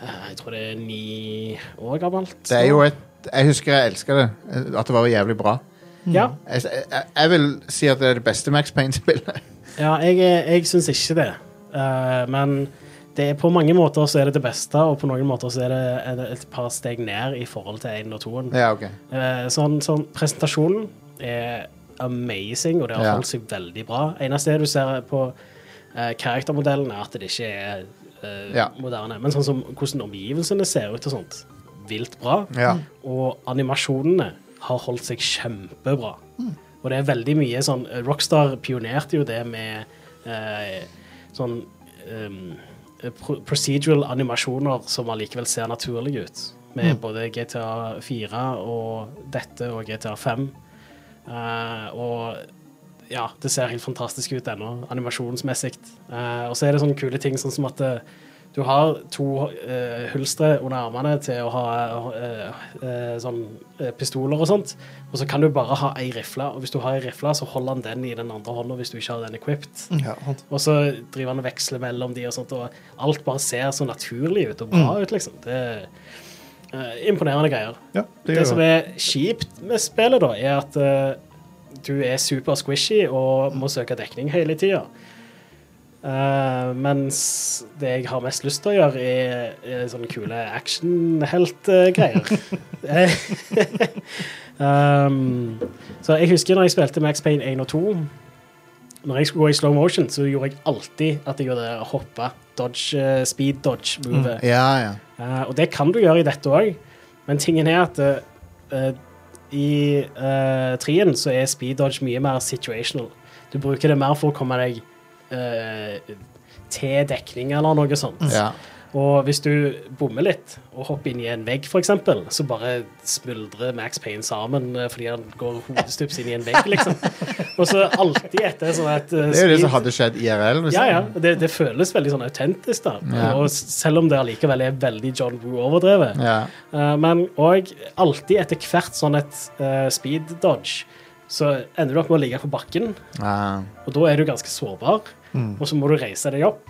[SPEAKER 2] eh, Jeg tror det er ni år gammelt.
[SPEAKER 1] Det er jo et Jeg husker jeg elska det. eh, At det var jævlig bra.
[SPEAKER 2] Ja,
[SPEAKER 1] Jeg, jeg, jeg vil si at det er det beste Max Payne-spillet.
[SPEAKER 2] ja jeg, er- jeg syns ikke det. Eh, men det er, på mange måter så er det det beste, og på noen måter så er det et, et par steg ned i forhold til 1 og 2.
[SPEAKER 1] ja, ok.
[SPEAKER 2] Eh, sånn, sånn, presentasjonen er amazing, og det har
[SPEAKER 1] Ja.
[SPEAKER 2] holdt seg veldig bra. Eneste du ser på eh, karaktermodellen, er at det ikke er eh,
[SPEAKER 1] Ja.
[SPEAKER 2] moderne. Men sånn som hvordan omgivelsene ser ut og sånt, vilt bra.
[SPEAKER 1] Ja.
[SPEAKER 2] Og animasjonene har holdt seg kjempebra. Og det er veldig mye sånn Rockstar pionerte jo det med eh, sånn ehm, pro procedural animasjoner som allikevel ser naturlige ut. Med både GTA 4 og dette og GTA 5. Eh, og ja, det ser helt fantastisk ut ennå, animasjonsmessig. Eh, og så er det sånne kule ting sånn som at eh, du har to eh, hulstre under armene til å ha eh, eh, sånn eh, pistoler og sånt, og så kan du bare ha ei rifle, og hvis du har ei rifle, så holder han den i den andre hånda hvis du ikke har den equipped.
[SPEAKER 3] Mm. Ja, sant.
[SPEAKER 2] Og så driver han og veksler mellom de og sånt, og alt bare ser så naturlig ut og bra ut, liksom. Det er eh, imponerende greier.
[SPEAKER 1] Ja, det
[SPEAKER 2] Det,
[SPEAKER 1] gjør
[SPEAKER 2] som
[SPEAKER 1] det.
[SPEAKER 2] er kjipt med spillet, da, er at eh, du er super squishy og må søke dekning hele tida. Eh, mens det jeg har mest lyst til å gjøre, er, er sånne kule
[SPEAKER 1] *laughs*
[SPEAKER 2] actionheltgreier. Eh, um, så jeg husker når jeg spilte Max Payne 1 og 2 Når jeg skulle gå i slow motion, så gjorde jeg alltid at jeg gjorde det hoppe. Dodge, eh, speed dodge-movet.
[SPEAKER 1] Ja, ja.
[SPEAKER 2] Eh, og det kan du gjøre i dette òg, men tingen er at eh, i uh, trien så er speed dodge mye mer situational. Du bruker det mer for å komme deg eh, til dekning eller noe sånt.
[SPEAKER 1] Mm. ja.
[SPEAKER 2] Og hvis du bommer litt og hopper inn i en vegg, f.eks., så bare smuldrer Max Payne sammen eh, fordi han går hodestups inn i en vegg,
[SPEAKER 1] *laughs*
[SPEAKER 2] liksom. Og så alltid etter sånn at eh,
[SPEAKER 1] Det er jo det som
[SPEAKER 2] speed-
[SPEAKER 1] hadde skjedd IRL. Hvis
[SPEAKER 2] ja, ja. Det, det føles veldig sånn autentisk, da.
[SPEAKER 1] Ja.
[SPEAKER 2] Og s- selv om det allikevel er veldig John Woo-overdrevet.
[SPEAKER 1] ja.
[SPEAKER 2] Eh, men òg alltid etter hvert sånn et eh, speed dodge, så ender du opp med å ligge på bakken,
[SPEAKER 1] Ah.
[SPEAKER 2] og da er du ganske sårbar.
[SPEAKER 3] Mm.
[SPEAKER 2] Og så må du reise deg opp,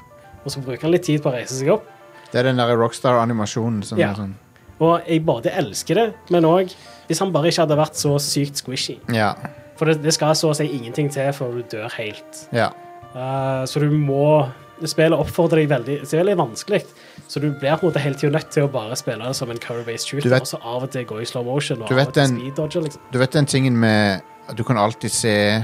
[SPEAKER 2] og så bruker han litt tid på å reise seg opp.
[SPEAKER 1] Det er den der Rockstar-animasjonen som
[SPEAKER 2] Ja.
[SPEAKER 1] er sånn
[SPEAKER 2] Og jeg både elsker det, men òg hvis han bare ikke hadde vært så sykt squishy.
[SPEAKER 1] Ja.
[SPEAKER 2] For det, det skal så å si ingenting til før du dør helt.
[SPEAKER 1] ja.
[SPEAKER 2] Eh, så du må Spillet oppfordrer deg veldig Det er veldig vanskelig, så du blir på en måte hele tiden nødt til å bare spille det som en curry-based
[SPEAKER 1] Du
[SPEAKER 2] shooter,
[SPEAKER 1] vet-
[SPEAKER 2] og så av og til gå i slow motion og
[SPEAKER 1] Du
[SPEAKER 2] av
[SPEAKER 1] vet
[SPEAKER 2] og til
[SPEAKER 1] den-
[SPEAKER 2] speed dodge. Liksom.
[SPEAKER 1] Du vet den tingen med at Du kan alltid se eh,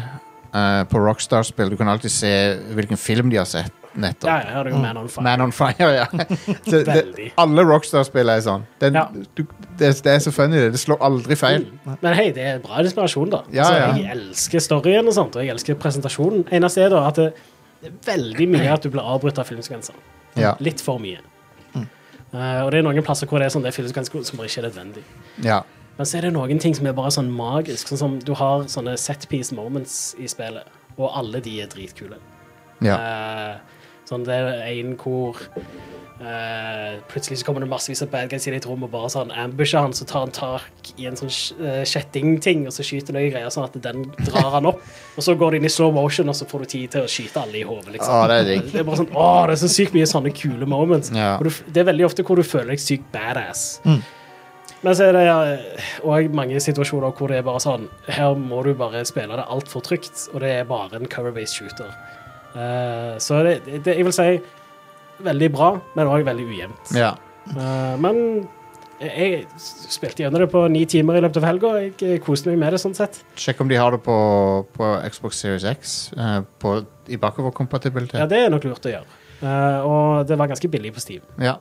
[SPEAKER 1] På Rockstar-spill Du kan alltid se hvilken film de har sett nettopp.
[SPEAKER 2] Ja, ja, ja, det
[SPEAKER 1] Mm.
[SPEAKER 2] er jo man on fire.
[SPEAKER 1] Man on fire,
[SPEAKER 2] *laughs*
[SPEAKER 1] ja. Så det,
[SPEAKER 2] Veldig.
[SPEAKER 1] alle Rockstar-spill er sånn. Den,
[SPEAKER 2] Ja.
[SPEAKER 1] du, det, det er så funny, det. Det slår aldri feil.
[SPEAKER 2] Men hei, det er bra inspirasjon, da.
[SPEAKER 1] Ja,
[SPEAKER 2] så
[SPEAKER 1] ja.
[SPEAKER 2] Jeg elsker storyen og sånt, og jeg elsker presentasjonen. Eneste er da at det det er veldig mye at du blir avbrutt av filmsekvenser.
[SPEAKER 1] Ja. Mm.
[SPEAKER 2] Litt for mye. Eh, og det er noen plasser hvor det er sånn det er filmsekvenser som bare ikke er nødvendig.
[SPEAKER 1] ja.
[SPEAKER 2] Men så er det noen ting som er bare sånn magisk. Sånn som du har sånne setpiece moments i spillet, og alle de er dritkule.
[SPEAKER 1] ja.
[SPEAKER 2] Eh, sånn det er en hvor eh, plutselig så kommer det massevis av bad guys inn i et rom og bare sånn ambusher han, så tar han tak i en sånn sk- eh, kjettingting, og så skyter han noen greier sånn at den drar han opp. Og så går det inn i slow motion, og så får du tid til å skyte alle i hodet, liksom.
[SPEAKER 1] Å, det er digg.
[SPEAKER 2] Det er bare sånn, åh, det er så sykt mye sånne kule moments.
[SPEAKER 1] Ja.
[SPEAKER 2] Og du, f- det er veldig ofte hvor du føler deg sykt badass. Men så er det òg mange situasjoner hvor det er bare sånn Her må du bare spille det altfor trygt, og det er bare en cover-based shooter. Eh, så det, det, jeg vil si veldig bra, men òg veldig ujevnt.
[SPEAKER 1] ja.
[SPEAKER 2] Eh, men jeg jeg spilte gjennom det på ni timer i løpet av helga. Jeg koste meg med det, sånn sett.
[SPEAKER 1] Sjekk om de har det på, på Xbox Series X. eh, på, I
[SPEAKER 2] Ja,
[SPEAKER 1] bakoverkompatibilitet.
[SPEAKER 2] Det er nok lurt å gjøre. Eh, og det var ganske billig på Steam.
[SPEAKER 1] Ja.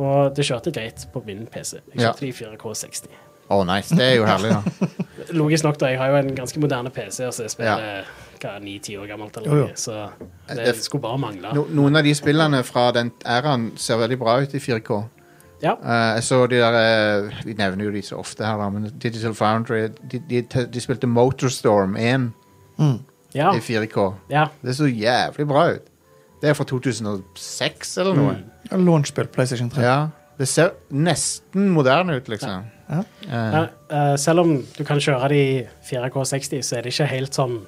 [SPEAKER 2] Og det kjørte greit på min PC. Jeg
[SPEAKER 1] Ja.
[SPEAKER 2] kjørte det i 4K60.
[SPEAKER 1] Å, nice. Det er jo herlig, da.
[SPEAKER 2] Logisk nok, da. Jeg har jo en ganske moderne PC, og så er spillet hva, 9-10 år gammelt. Eller
[SPEAKER 3] Jo, jo.
[SPEAKER 2] noe, så
[SPEAKER 1] Det er
[SPEAKER 2] det
[SPEAKER 1] f-
[SPEAKER 2] skulle bare mangle.
[SPEAKER 1] No, noen av de spillene fra den æraen ser veldig bra ut i 4K.
[SPEAKER 2] Ja.
[SPEAKER 1] Eh, jeg så de der eh, Vi nevner jo de så ofte her, da, men Digital Foundry De, de, de spilte Motorstorm 1
[SPEAKER 2] Ja.
[SPEAKER 1] i 4K.
[SPEAKER 2] ja.
[SPEAKER 1] Det så jævlig bra ut. Det er fra 2006 eller noe.
[SPEAKER 3] Ja, Launchspill PlayStation 3.
[SPEAKER 1] Ja. Det ser nesten moderne ut, liksom.
[SPEAKER 3] Ja.
[SPEAKER 1] Eh,
[SPEAKER 2] Men, eh, selv om du kan kjøre det i 4K60, så er det ikke helt sånn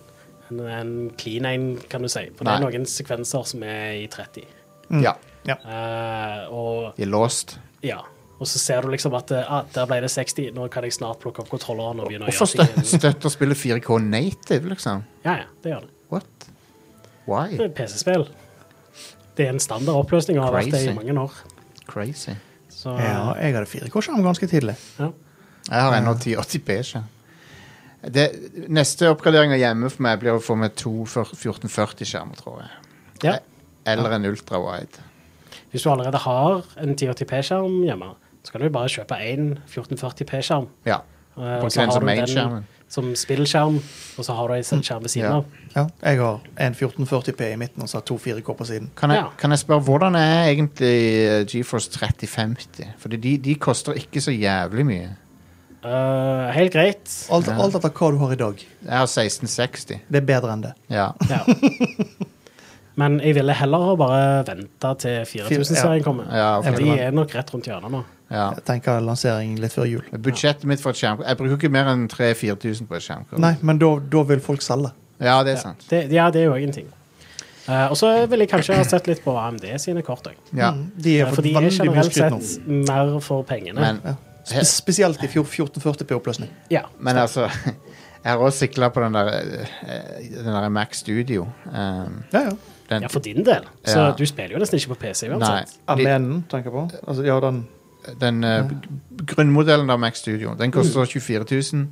[SPEAKER 2] en, en clean en, kan du si. For det er
[SPEAKER 1] Nei.
[SPEAKER 2] noen sekvenser som er i 30.
[SPEAKER 1] ja.
[SPEAKER 2] Eh, og
[SPEAKER 1] De er låst.
[SPEAKER 2] ja. Og så ser du liksom at eh, ah, der ble det 60, nå kan jeg snart plukke opp kontrolleren og begynne å
[SPEAKER 1] Hvorfor
[SPEAKER 2] gjøre
[SPEAKER 1] støt-
[SPEAKER 2] ting.
[SPEAKER 1] støtter spillet 4K native, liksom?
[SPEAKER 2] Ja, ja, det gjør det.
[SPEAKER 1] What? Why?
[SPEAKER 2] Det er PC-spill. Det er en standard oppløsning og har vært det i
[SPEAKER 1] Crazy.
[SPEAKER 2] mange år.
[SPEAKER 1] Crazy.
[SPEAKER 2] Så,
[SPEAKER 3] Ja, jeg hadde 4K-skjerm ganske tidlig.
[SPEAKER 2] ja.
[SPEAKER 1] Jeg har ennå 1080P-skjerm. Neste oppgradering av hjemme for meg blir å få meg to fyr- 1440-skjermer, tror jeg. E-
[SPEAKER 2] Ja.
[SPEAKER 1] Eller en ultrawide.
[SPEAKER 2] Hvis du allerede har en 1080p-skjerm hjemme, så kan du jo bare kjøpe én 1440p-skjerm.
[SPEAKER 1] Ja.
[SPEAKER 2] eh,
[SPEAKER 1] Bruker
[SPEAKER 2] og så
[SPEAKER 1] den
[SPEAKER 2] har
[SPEAKER 1] som
[SPEAKER 2] du
[SPEAKER 1] mainskjermen.
[SPEAKER 2] som spillskjerm, og så har du en sånn skjerm ved siden
[SPEAKER 1] Ja.
[SPEAKER 2] av.
[SPEAKER 3] Ja, jeg har en 1440P i midten og så har to 4K på siden.
[SPEAKER 1] Kan jeg,
[SPEAKER 2] Ja.
[SPEAKER 1] kan jeg spørre, hvordan er egentlig eh, GeForce 3050? Fordi de, de koster ikke så jævlig mye.
[SPEAKER 2] Eh, Eh, helt greit.
[SPEAKER 3] Alt,
[SPEAKER 1] Ja.
[SPEAKER 3] alt etter hva du har i dag.
[SPEAKER 1] Jeg har 1660.
[SPEAKER 3] Det er bedre enn det.
[SPEAKER 1] Ja.
[SPEAKER 2] Ja. Men jeg ville heller ha bare vente til 4000-serien kommer.
[SPEAKER 1] ja, ok.
[SPEAKER 2] De er nok rett rundt hjørnet nå.
[SPEAKER 1] ja.
[SPEAKER 3] Jeg tenker lansering litt før jul.
[SPEAKER 1] Budsjettet mitt for et skjermkort Jeg bruker ikke mer enn 3000-4000 på et skjermkort.
[SPEAKER 3] Nei, men da, da vil folk selge.
[SPEAKER 1] Ja, det er
[SPEAKER 2] Ja,
[SPEAKER 1] sant.
[SPEAKER 2] det, ja, det er jo òg en ting. Eh, og så ville jeg kanskje ha sett litt på AMD sine kort òg.
[SPEAKER 1] Ja.
[SPEAKER 3] Mm, De er
[SPEAKER 2] For
[SPEAKER 3] fått
[SPEAKER 2] de er
[SPEAKER 3] veldig mye
[SPEAKER 2] generelt
[SPEAKER 3] skryt nå.
[SPEAKER 2] sett mer for pengene.
[SPEAKER 1] Men,
[SPEAKER 3] Ja. Spe- Spesielt i fjor- 1440P-oppløsning.
[SPEAKER 2] ja.
[SPEAKER 1] men altså *laughs* Jeg har også sikla på den der, eh, den der Mac Studio. Um,
[SPEAKER 3] Ja, ja.
[SPEAKER 1] den,
[SPEAKER 2] ja, for din del. Så
[SPEAKER 1] Ja.
[SPEAKER 2] du spiller jo nesten ikke på PC
[SPEAKER 1] nei,
[SPEAKER 2] uansett.
[SPEAKER 1] de,
[SPEAKER 3] Armenen, tenker jeg på. Altså, ja, den
[SPEAKER 1] den eh, gr- grunnmodellen av Mac Studio. Den koster 24 000.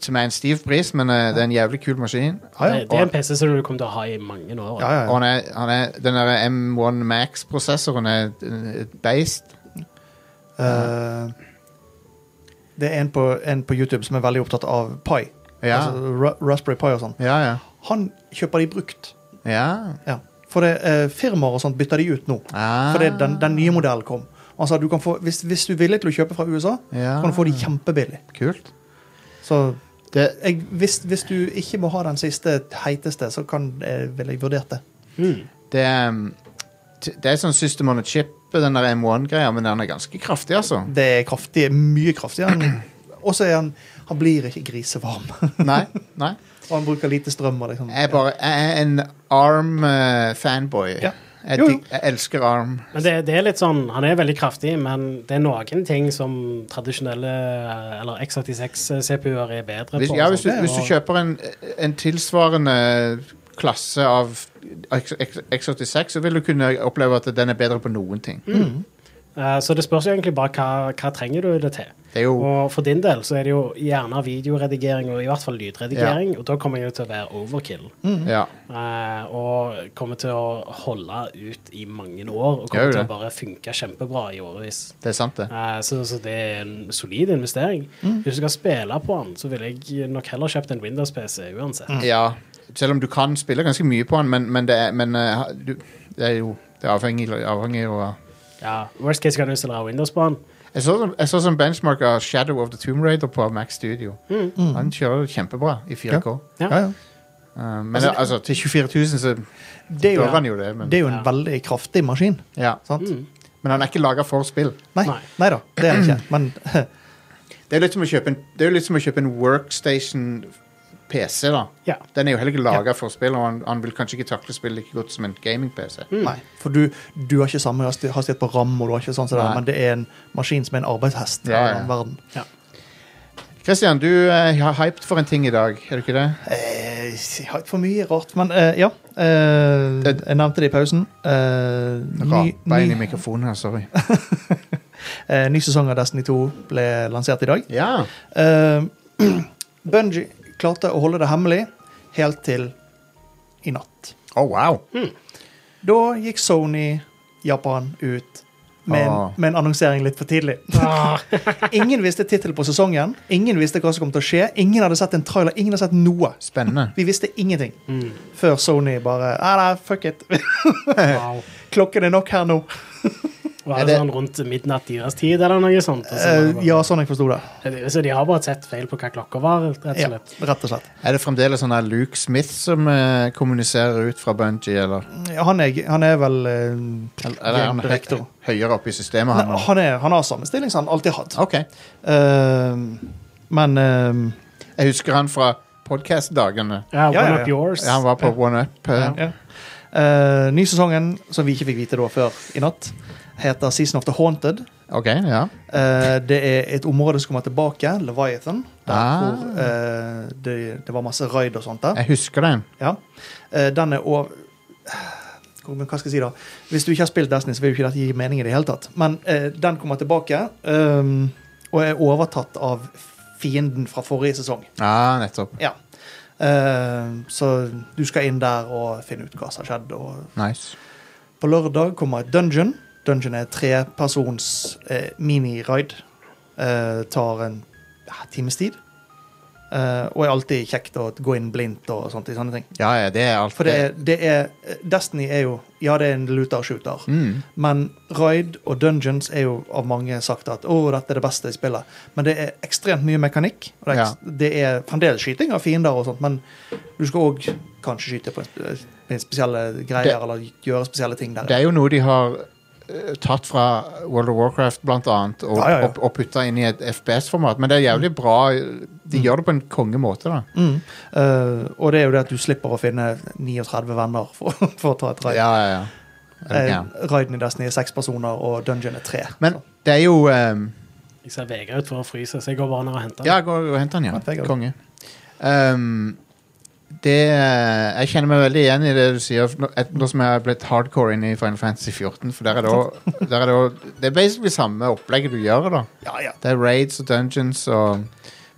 [SPEAKER 1] Som er en stiv pris, men eh, det er en jævlig kul maskin.
[SPEAKER 3] Ja,
[SPEAKER 2] Det, det er en PC som du kommer til å ha i mange år.
[SPEAKER 3] Ja, ja,
[SPEAKER 1] Og
[SPEAKER 3] ja.
[SPEAKER 1] han er, han er, den der M1 Max-prosessoren er et- et beist.
[SPEAKER 3] Eh, det er en på, en på YouTube som er veldig opptatt av Pi.
[SPEAKER 1] Ja.
[SPEAKER 3] Altså, ra Raspberry Pi og sånn.
[SPEAKER 1] Ja, ja.
[SPEAKER 3] Han kjøper de brukt.
[SPEAKER 1] ja.
[SPEAKER 3] Ja. For det, eh, firmaer og sånt bytter de ut nå.
[SPEAKER 1] Ah.
[SPEAKER 3] Fordi den, den nye modellen kom. Og Han sa du kan få, hvis, hvis du er villig til å kjøpe fra USA,
[SPEAKER 1] Ja.
[SPEAKER 3] kan du få de kjempebillig.
[SPEAKER 1] Kult.
[SPEAKER 3] Så
[SPEAKER 1] Ah. Det,
[SPEAKER 3] jeg, hvis, hvis du ikke må ha den siste heiteste, så kan, eh, vil jeg vurdert det.
[SPEAKER 2] Mm.
[SPEAKER 1] det, er, um, t- det er sånn system on a chip, den der M1-greia, men den er ganske kraftig, altså.
[SPEAKER 3] Det er kraftig, mye kraftigere. enn- Og så er han *clears throat* Han blir ikke grisevarm. *laughs*
[SPEAKER 1] Nei, nei.
[SPEAKER 3] og han bruker lite strøm. Og liksom.
[SPEAKER 1] Jeg er bare jeg er en ARM-fanboy.
[SPEAKER 3] Ja.
[SPEAKER 1] eh, Jeg,
[SPEAKER 3] Jo, jo.
[SPEAKER 1] dig- jeg elsker ARM.
[SPEAKER 2] Men det, det er litt sånn, Han er veldig kraftig, men det er noen ting som tradisjonelle eh, eller X86-CPU-er er bedre
[SPEAKER 1] Hvis,
[SPEAKER 2] på.
[SPEAKER 1] ja,
[SPEAKER 2] og sånn.
[SPEAKER 1] hvis, du,
[SPEAKER 2] sånt.
[SPEAKER 1] hvis du kjøper en, en tilsvarende klasse av X- X- X86, så vil du kunne oppleve at den er bedre på noen ting.
[SPEAKER 2] Eh, Så det spørs jo egentlig bare hva, hva trenger du det til.
[SPEAKER 1] Det er jo
[SPEAKER 2] Og for din del så er det jo gjerne videoredigering og i hvert fall lydredigering, og da kommer jeg jo til å være overkill.
[SPEAKER 1] Ja.
[SPEAKER 2] Eh, og kommer til å holde ut i mange år, og
[SPEAKER 1] Gjør
[SPEAKER 2] kommer
[SPEAKER 1] det.
[SPEAKER 2] til å bare funke kjempebra i årevis.
[SPEAKER 1] Det er sant, det.
[SPEAKER 2] Eh, Så, så det er en solid investering. Hvis du skal spille på den, så ville jeg nok heller kjøpt en Windows-PC uansett.
[SPEAKER 1] Ja. Selv om du kan spille ganske mye på den, men, men, det, er, men eh, ha- du, det er jo det er avhengig, avhengig av
[SPEAKER 2] Ja, worst case kan du installere Windows på den.
[SPEAKER 1] Jeg så, som- jeg så som benchmark av Shadow of the Tomb Raider på Mac Studio. Han kjører kjempebra i 4K.
[SPEAKER 2] Ja.
[SPEAKER 3] Ja, ja.
[SPEAKER 1] Uh, men altså, til 24 000 så
[SPEAKER 3] Det, er jo,
[SPEAKER 1] gjør han jo det. Men,
[SPEAKER 3] det er jo en
[SPEAKER 2] Ja.
[SPEAKER 3] veldig kraftig maskin.
[SPEAKER 1] ja.
[SPEAKER 3] Sant?
[SPEAKER 1] men han er ikke laga for spill.
[SPEAKER 3] Nei,
[SPEAKER 2] Nei.
[SPEAKER 3] nei da, det er den
[SPEAKER 1] *clears throat*
[SPEAKER 3] ikke. Men *laughs*
[SPEAKER 1] Det er litt som å kjøpe en, det er jo litt som å kjøpe en workstation PC, da.
[SPEAKER 2] Ja.
[SPEAKER 1] Den er jo heller ikke laga for spill, og han, han vil kanskje ikke takle spill like godt som en gaming-PC.
[SPEAKER 3] nei, for du, du har ikke samme hasti- hastighet på ram, og du har ikke sånn som det,
[SPEAKER 1] Nei.
[SPEAKER 3] men det er en maskin som er en arbeidshest.
[SPEAKER 1] Ja, ja.
[SPEAKER 3] av den verden.
[SPEAKER 2] Ja.
[SPEAKER 1] Christian, du eh, er hyped for en ting i dag, er du ikke det?
[SPEAKER 3] Eh, jeg har ikke for mye rart, men eh, ja. Eh,
[SPEAKER 1] Det-
[SPEAKER 3] jeg nevnte det i pausen. Eh, ny,
[SPEAKER 1] Rapa inn i
[SPEAKER 3] ny,
[SPEAKER 1] mikrofonen her, sorry.
[SPEAKER 3] eh, ny sesong av Destiny 2 ble lansert i dag.
[SPEAKER 1] Ja.
[SPEAKER 3] Eh, *clears throat* Bungie klarte å holde det hemmelig helt til i natt.
[SPEAKER 1] *laughs* Oh, wow.
[SPEAKER 3] Da gikk Sony Japan ut med, en-
[SPEAKER 1] Ah.
[SPEAKER 3] med en annonsering litt for tidlig.
[SPEAKER 2] Ah,
[SPEAKER 3] *laughs* Ingen visste tittelen på sesongen, ingen visste hva som kom til å skje, ingen hadde sett en trailer, ingen hadde sett noe.
[SPEAKER 1] Spennende.
[SPEAKER 3] Vi visste ingenting
[SPEAKER 2] mm.
[SPEAKER 3] før Sony bare Nei, nei, fuck it.
[SPEAKER 2] wow.
[SPEAKER 3] Klokken er nok her nå.
[SPEAKER 2] Var
[SPEAKER 1] det-
[SPEAKER 2] det sånn rundt midnatt deres tid, eller noe sånt? og så var det
[SPEAKER 3] Eh,
[SPEAKER 2] bare-
[SPEAKER 3] ja, sånn jeg forsto det.
[SPEAKER 2] Så de har bare sett feil på hva klokka var, rett og
[SPEAKER 3] Ja,
[SPEAKER 2] slett.
[SPEAKER 3] rett og slett.
[SPEAKER 1] Er det fremdeles sånn her Luke Smith som eh, kommuniserer ut fra Bungie, eller?
[SPEAKER 3] Ja, Han er, han er vel eh,
[SPEAKER 1] Eller er han
[SPEAKER 3] game director.
[SPEAKER 1] høy, høyere oppe i systemet?
[SPEAKER 3] Nei,
[SPEAKER 1] Han, nå?
[SPEAKER 3] han, er, han har samme stilling som han alltid har hatt.
[SPEAKER 1] ok.
[SPEAKER 3] Eh, men eh,
[SPEAKER 1] Jeg husker han fra podcast-dagene.
[SPEAKER 2] Ja,
[SPEAKER 3] Ja,
[SPEAKER 2] One
[SPEAKER 3] ja, ja.
[SPEAKER 2] Up Yours.
[SPEAKER 1] Han var på One Up. eh.
[SPEAKER 3] ja. Eh, ny sesongen, som vi ikke fikk vite da før i natt, heter Season of the Haunted.
[SPEAKER 1] Ok, ja.
[SPEAKER 3] Eh, det er et område som kommer tilbake, Leviathan, der
[SPEAKER 1] Ah.
[SPEAKER 3] hvor eh, det, det var masse raid og sånt der.
[SPEAKER 1] Jeg husker den.
[SPEAKER 3] Ja. Eh, den er over Hva skal jeg si, da? Hvis du ikke har spilt Destiny, så vil jo ikke dette gi mening i det hele tatt. Men eh, den kommer tilbake, ehm, og er overtatt av fienden fra forrige sesong.
[SPEAKER 1] Ja, nettopp.
[SPEAKER 3] Ja. Eh, så du skal inn der og finne ut hva som har skjedd. Og
[SPEAKER 1] Nice.
[SPEAKER 3] på lørdag kommer et dungeon. Dungeon er trepersons eh, mini-ride. Eh, tar en ja, times tid. eh, og er alltid kjekt å gå inn blindt og sånt, i sånne ting.
[SPEAKER 1] Ja, ja, det er alt
[SPEAKER 3] For det er, det er Destiny er jo Ja, det er en looter og shooter,
[SPEAKER 1] Mm.
[SPEAKER 3] men raid og dungeons er jo av mange sagt at 'Å, dette er det beste i spillet'. Men det er ekstremt mye mekanikk. Og det, er, ekst- det er fremdeles skyting av fiender og sånt, men du skal òg kanskje skyte på en, en spesielle greier
[SPEAKER 1] Det-
[SPEAKER 3] eller gjøre spesielle ting der.
[SPEAKER 1] Det er jo noe de har eh, tatt fra World of Warcraft blant annet og,
[SPEAKER 3] Ja, ja, ja.
[SPEAKER 1] og, og putta inn i et FPS-format, men det er jævlig bra. De gjør det på en kongemåte, da.
[SPEAKER 3] Mm. Eh, og det er jo det at du slipper å finne 39 venner for, *laughs* for å ta et raid.
[SPEAKER 1] Ja, ja, ja. Er du
[SPEAKER 3] Eh,
[SPEAKER 1] gæren?
[SPEAKER 3] Raiden i Destiny er seks personer, og Dungeon er tre.
[SPEAKER 1] Men det er jo ehm,
[SPEAKER 2] Jeg ser Vegard ut for å fryse, så jeg går bare ned og henter
[SPEAKER 1] Ja, gå og hent han, ja.
[SPEAKER 3] Ja, det er godt.
[SPEAKER 1] Konge. Ehm, det eh, Jeg kjenner meg veldig igjen i det du sier, nå- et- nå som jeg har blitt hardcore inn i Final Fantasy 14. For der er det også, der er det, også, det er basically samme opplegget du gjør, da.
[SPEAKER 3] Ja, ja.
[SPEAKER 1] Det er raids og dungeons og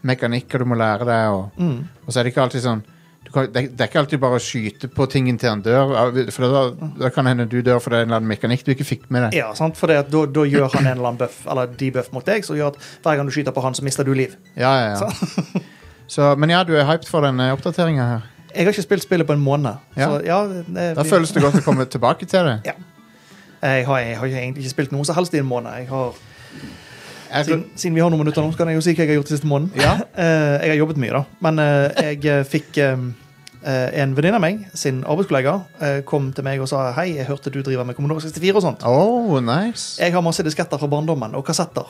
[SPEAKER 1] mekanikker du må lære deg, og
[SPEAKER 3] Mm.
[SPEAKER 1] Og så er det ikke alltid sånn du kan, det, det er ikke alltid bare å skyte på ting inntil han dør. av- For da, da kan hende du dør fordi det er en eller annen mekanikk du ikke fikk med deg.
[SPEAKER 3] Ja, sant? For det at da, da gjør han en eller annen buff Eller debuff mot deg, som gjør at hver gang du skyter på han, så mister du liv.
[SPEAKER 1] Ja, ja, ja.
[SPEAKER 3] *laughs*
[SPEAKER 1] Så, men ja, du er hyped for denne oppdateringa her.
[SPEAKER 3] Jeg har ikke spilt spillet på en måned.
[SPEAKER 1] Ja.
[SPEAKER 3] Så ja, det,
[SPEAKER 1] Da føles det godt å komme tilbake til det.
[SPEAKER 3] jeg har, jeg har egentlig ikke spilt noe som helst i en måned. Jeg har,
[SPEAKER 1] Jeg,
[SPEAKER 3] siden, siden vi har noen minutter nå, så kan jeg jo si hva jeg har gjort den siste måneden.
[SPEAKER 1] ja,
[SPEAKER 3] *laughs* Eh, jeg har jobbet mye, da. Men eh, jeg eh, fikk eh, eh, en venninne av meg, sin arbeidskollega, eh, kom til meg og sa hei, jeg hørte du driver med Commodore 64 og sånt.
[SPEAKER 1] oh, nice.
[SPEAKER 3] Jeg har masse disketter fra barndommen og kassetter.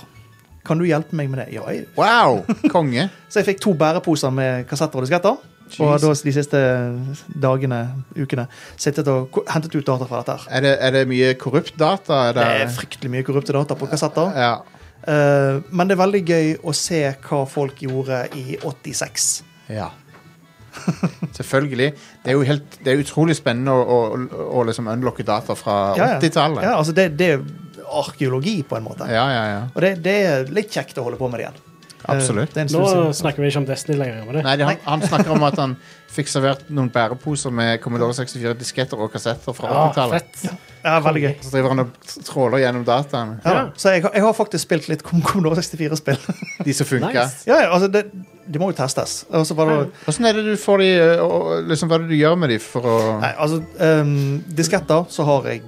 [SPEAKER 3] Kan du hjelpe meg med det? Ja, jeg
[SPEAKER 1] Wow! Konge.
[SPEAKER 3] Så jeg fikk to bæreposer med kassetter og disketter. Og da de siste dagene, ukene, sittet og ko- hentet ut data fra dette. her.
[SPEAKER 1] Er det, er det mye korrupt data? Er
[SPEAKER 3] Det
[SPEAKER 1] det,
[SPEAKER 3] er fryktelig mye korrupte data på kassetter.
[SPEAKER 1] ja.
[SPEAKER 3] Eh, men det er veldig gøy å se hva folk gjorde i 86.
[SPEAKER 1] ja. Selvfølgelig. Det er jo helt, det er utrolig spennende å, å, å liksom unlocke data fra
[SPEAKER 3] Ja, ja.
[SPEAKER 1] 80-tallet.
[SPEAKER 3] Ja, altså det, det er arkeologi, på en måte.
[SPEAKER 1] Ja, ja, ja.
[SPEAKER 3] Og det, det er litt kjekt å holde på med det igjen. Eh,
[SPEAKER 1] Absolutt.
[SPEAKER 3] det er en
[SPEAKER 2] Nå
[SPEAKER 3] stund siden.
[SPEAKER 2] snakker vi ikke om Destiny lenger.
[SPEAKER 3] Eh,
[SPEAKER 2] Med det.
[SPEAKER 1] Nei, det, han, han snakker om at han fikk servert noen bæreposer med Commodore 64 disketter og kassetter fra
[SPEAKER 3] Ah,
[SPEAKER 2] Ja,
[SPEAKER 1] 80-tallet.
[SPEAKER 2] Ah, fett.
[SPEAKER 3] Ja, veldig gøy.
[SPEAKER 1] Så driver han og tråler gjennom dataene.
[SPEAKER 3] Ja,
[SPEAKER 2] Ja.
[SPEAKER 3] så jeg, har- jeg har faktisk spilt litt *laughs* Commodore 64-spill.
[SPEAKER 1] De som funka.
[SPEAKER 2] Nice.
[SPEAKER 3] ja, ja, altså det, de må jo testes. Og så var det
[SPEAKER 1] Åssen er det du får de øh, og, liksom, Hva er det du gjør med de for å
[SPEAKER 3] Nei, altså ehm, Disketter, så har jeg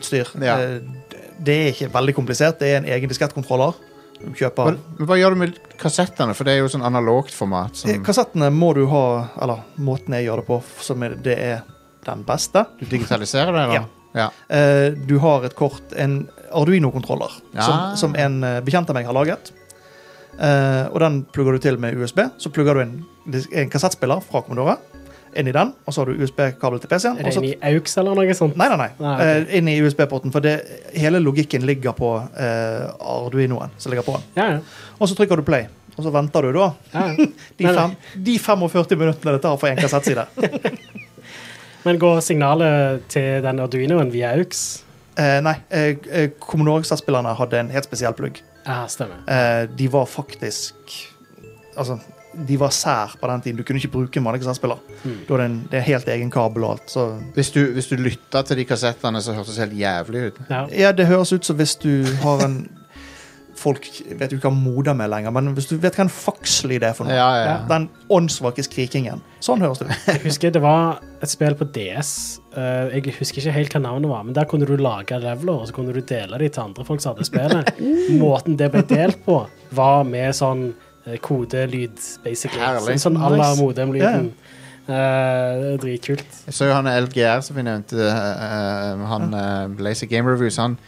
[SPEAKER 3] utstyr.
[SPEAKER 1] Ja.
[SPEAKER 3] Eh, d- Det er ikke veldig komplisert. Det er en egen diskettkontroller. Du
[SPEAKER 1] hva,
[SPEAKER 3] kjøper
[SPEAKER 1] men hva gjør du med kassettene? For det er jo sånn analogt format.
[SPEAKER 3] Eh,
[SPEAKER 1] Som,
[SPEAKER 3] Kassettene må du ha Eller måten jeg gjør det på, som er, det er den beste.
[SPEAKER 1] du digitaliserer det, da?
[SPEAKER 3] Ja.
[SPEAKER 1] Ja.
[SPEAKER 3] Eh, du har et kort, en Arduino-kontroller,
[SPEAKER 1] Ja.
[SPEAKER 3] som, som en eh, bekjent av meg har laget. Eh, og den plugger du til med USB. Så plugger du en, dis- en kassettspiller fra Commodore inn i den, og så har du USB-kabel til PC-en.
[SPEAKER 2] Er
[SPEAKER 3] og
[SPEAKER 2] det
[SPEAKER 3] så-
[SPEAKER 2] inn i Aux eller noe sånt?
[SPEAKER 3] Nei, nei, nei.
[SPEAKER 2] Nei, ok.
[SPEAKER 3] Eh, inn i USB-porten, for det, hele logikken ligger på eh, Arduinoen. som ligger på den.
[SPEAKER 2] Ja, ja.
[SPEAKER 3] Og så trykker du play, og så venter du da
[SPEAKER 2] ja. ja.
[SPEAKER 3] de,
[SPEAKER 2] Nei, nei.
[SPEAKER 3] fem, de 45 minuttene det tar for
[SPEAKER 2] *laughs*
[SPEAKER 3] en kassettside.
[SPEAKER 2] Men går signalet til den Arduinoen via Aux?
[SPEAKER 3] Eh, nei, eh, eh, Kommunorgsatspillerne hadde en helt spesiell plugg.
[SPEAKER 2] Ja, stemmer.
[SPEAKER 3] Eh, de var faktisk Altså, de var sær på den tiden. Du kunne ikke bruke en vanlig kassettspiller.
[SPEAKER 2] Mm.
[SPEAKER 3] Da er det, en, det er helt egen kabel og alt. Så
[SPEAKER 1] Hvis du, hvis du lytta til de kassettene, så hørtes det helt jævlig ut.
[SPEAKER 2] Ja.
[SPEAKER 3] Ja, det høres ut som hvis du har en Folk vet jo ikke hva moder med lenger, men hvis du vet hva en fakslyd er for noe
[SPEAKER 1] Ja, ja, ja.
[SPEAKER 3] Den åndssvake skrikingen. Sånn høres det ut.
[SPEAKER 2] Jeg husker det var et spill på DS. eh, jeg husker ikke helt hva navnet var, men der kunne du lage leveler, og så kunne du dele de til andre folk som hadde spillet. Måten det ble delt på, var med sånn eh, kodelyd, basically.
[SPEAKER 1] Herlig.
[SPEAKER 2] Så, sånn à la
[SPEAKER 3] Nice.
[SPEAKER 2] modem-lyden. Eh, det er dritkult.
[SPEAKER 1] Jeg så jo han LGR som vi nevnte, eh, eh, han eh, Lazy Game Reviews, han,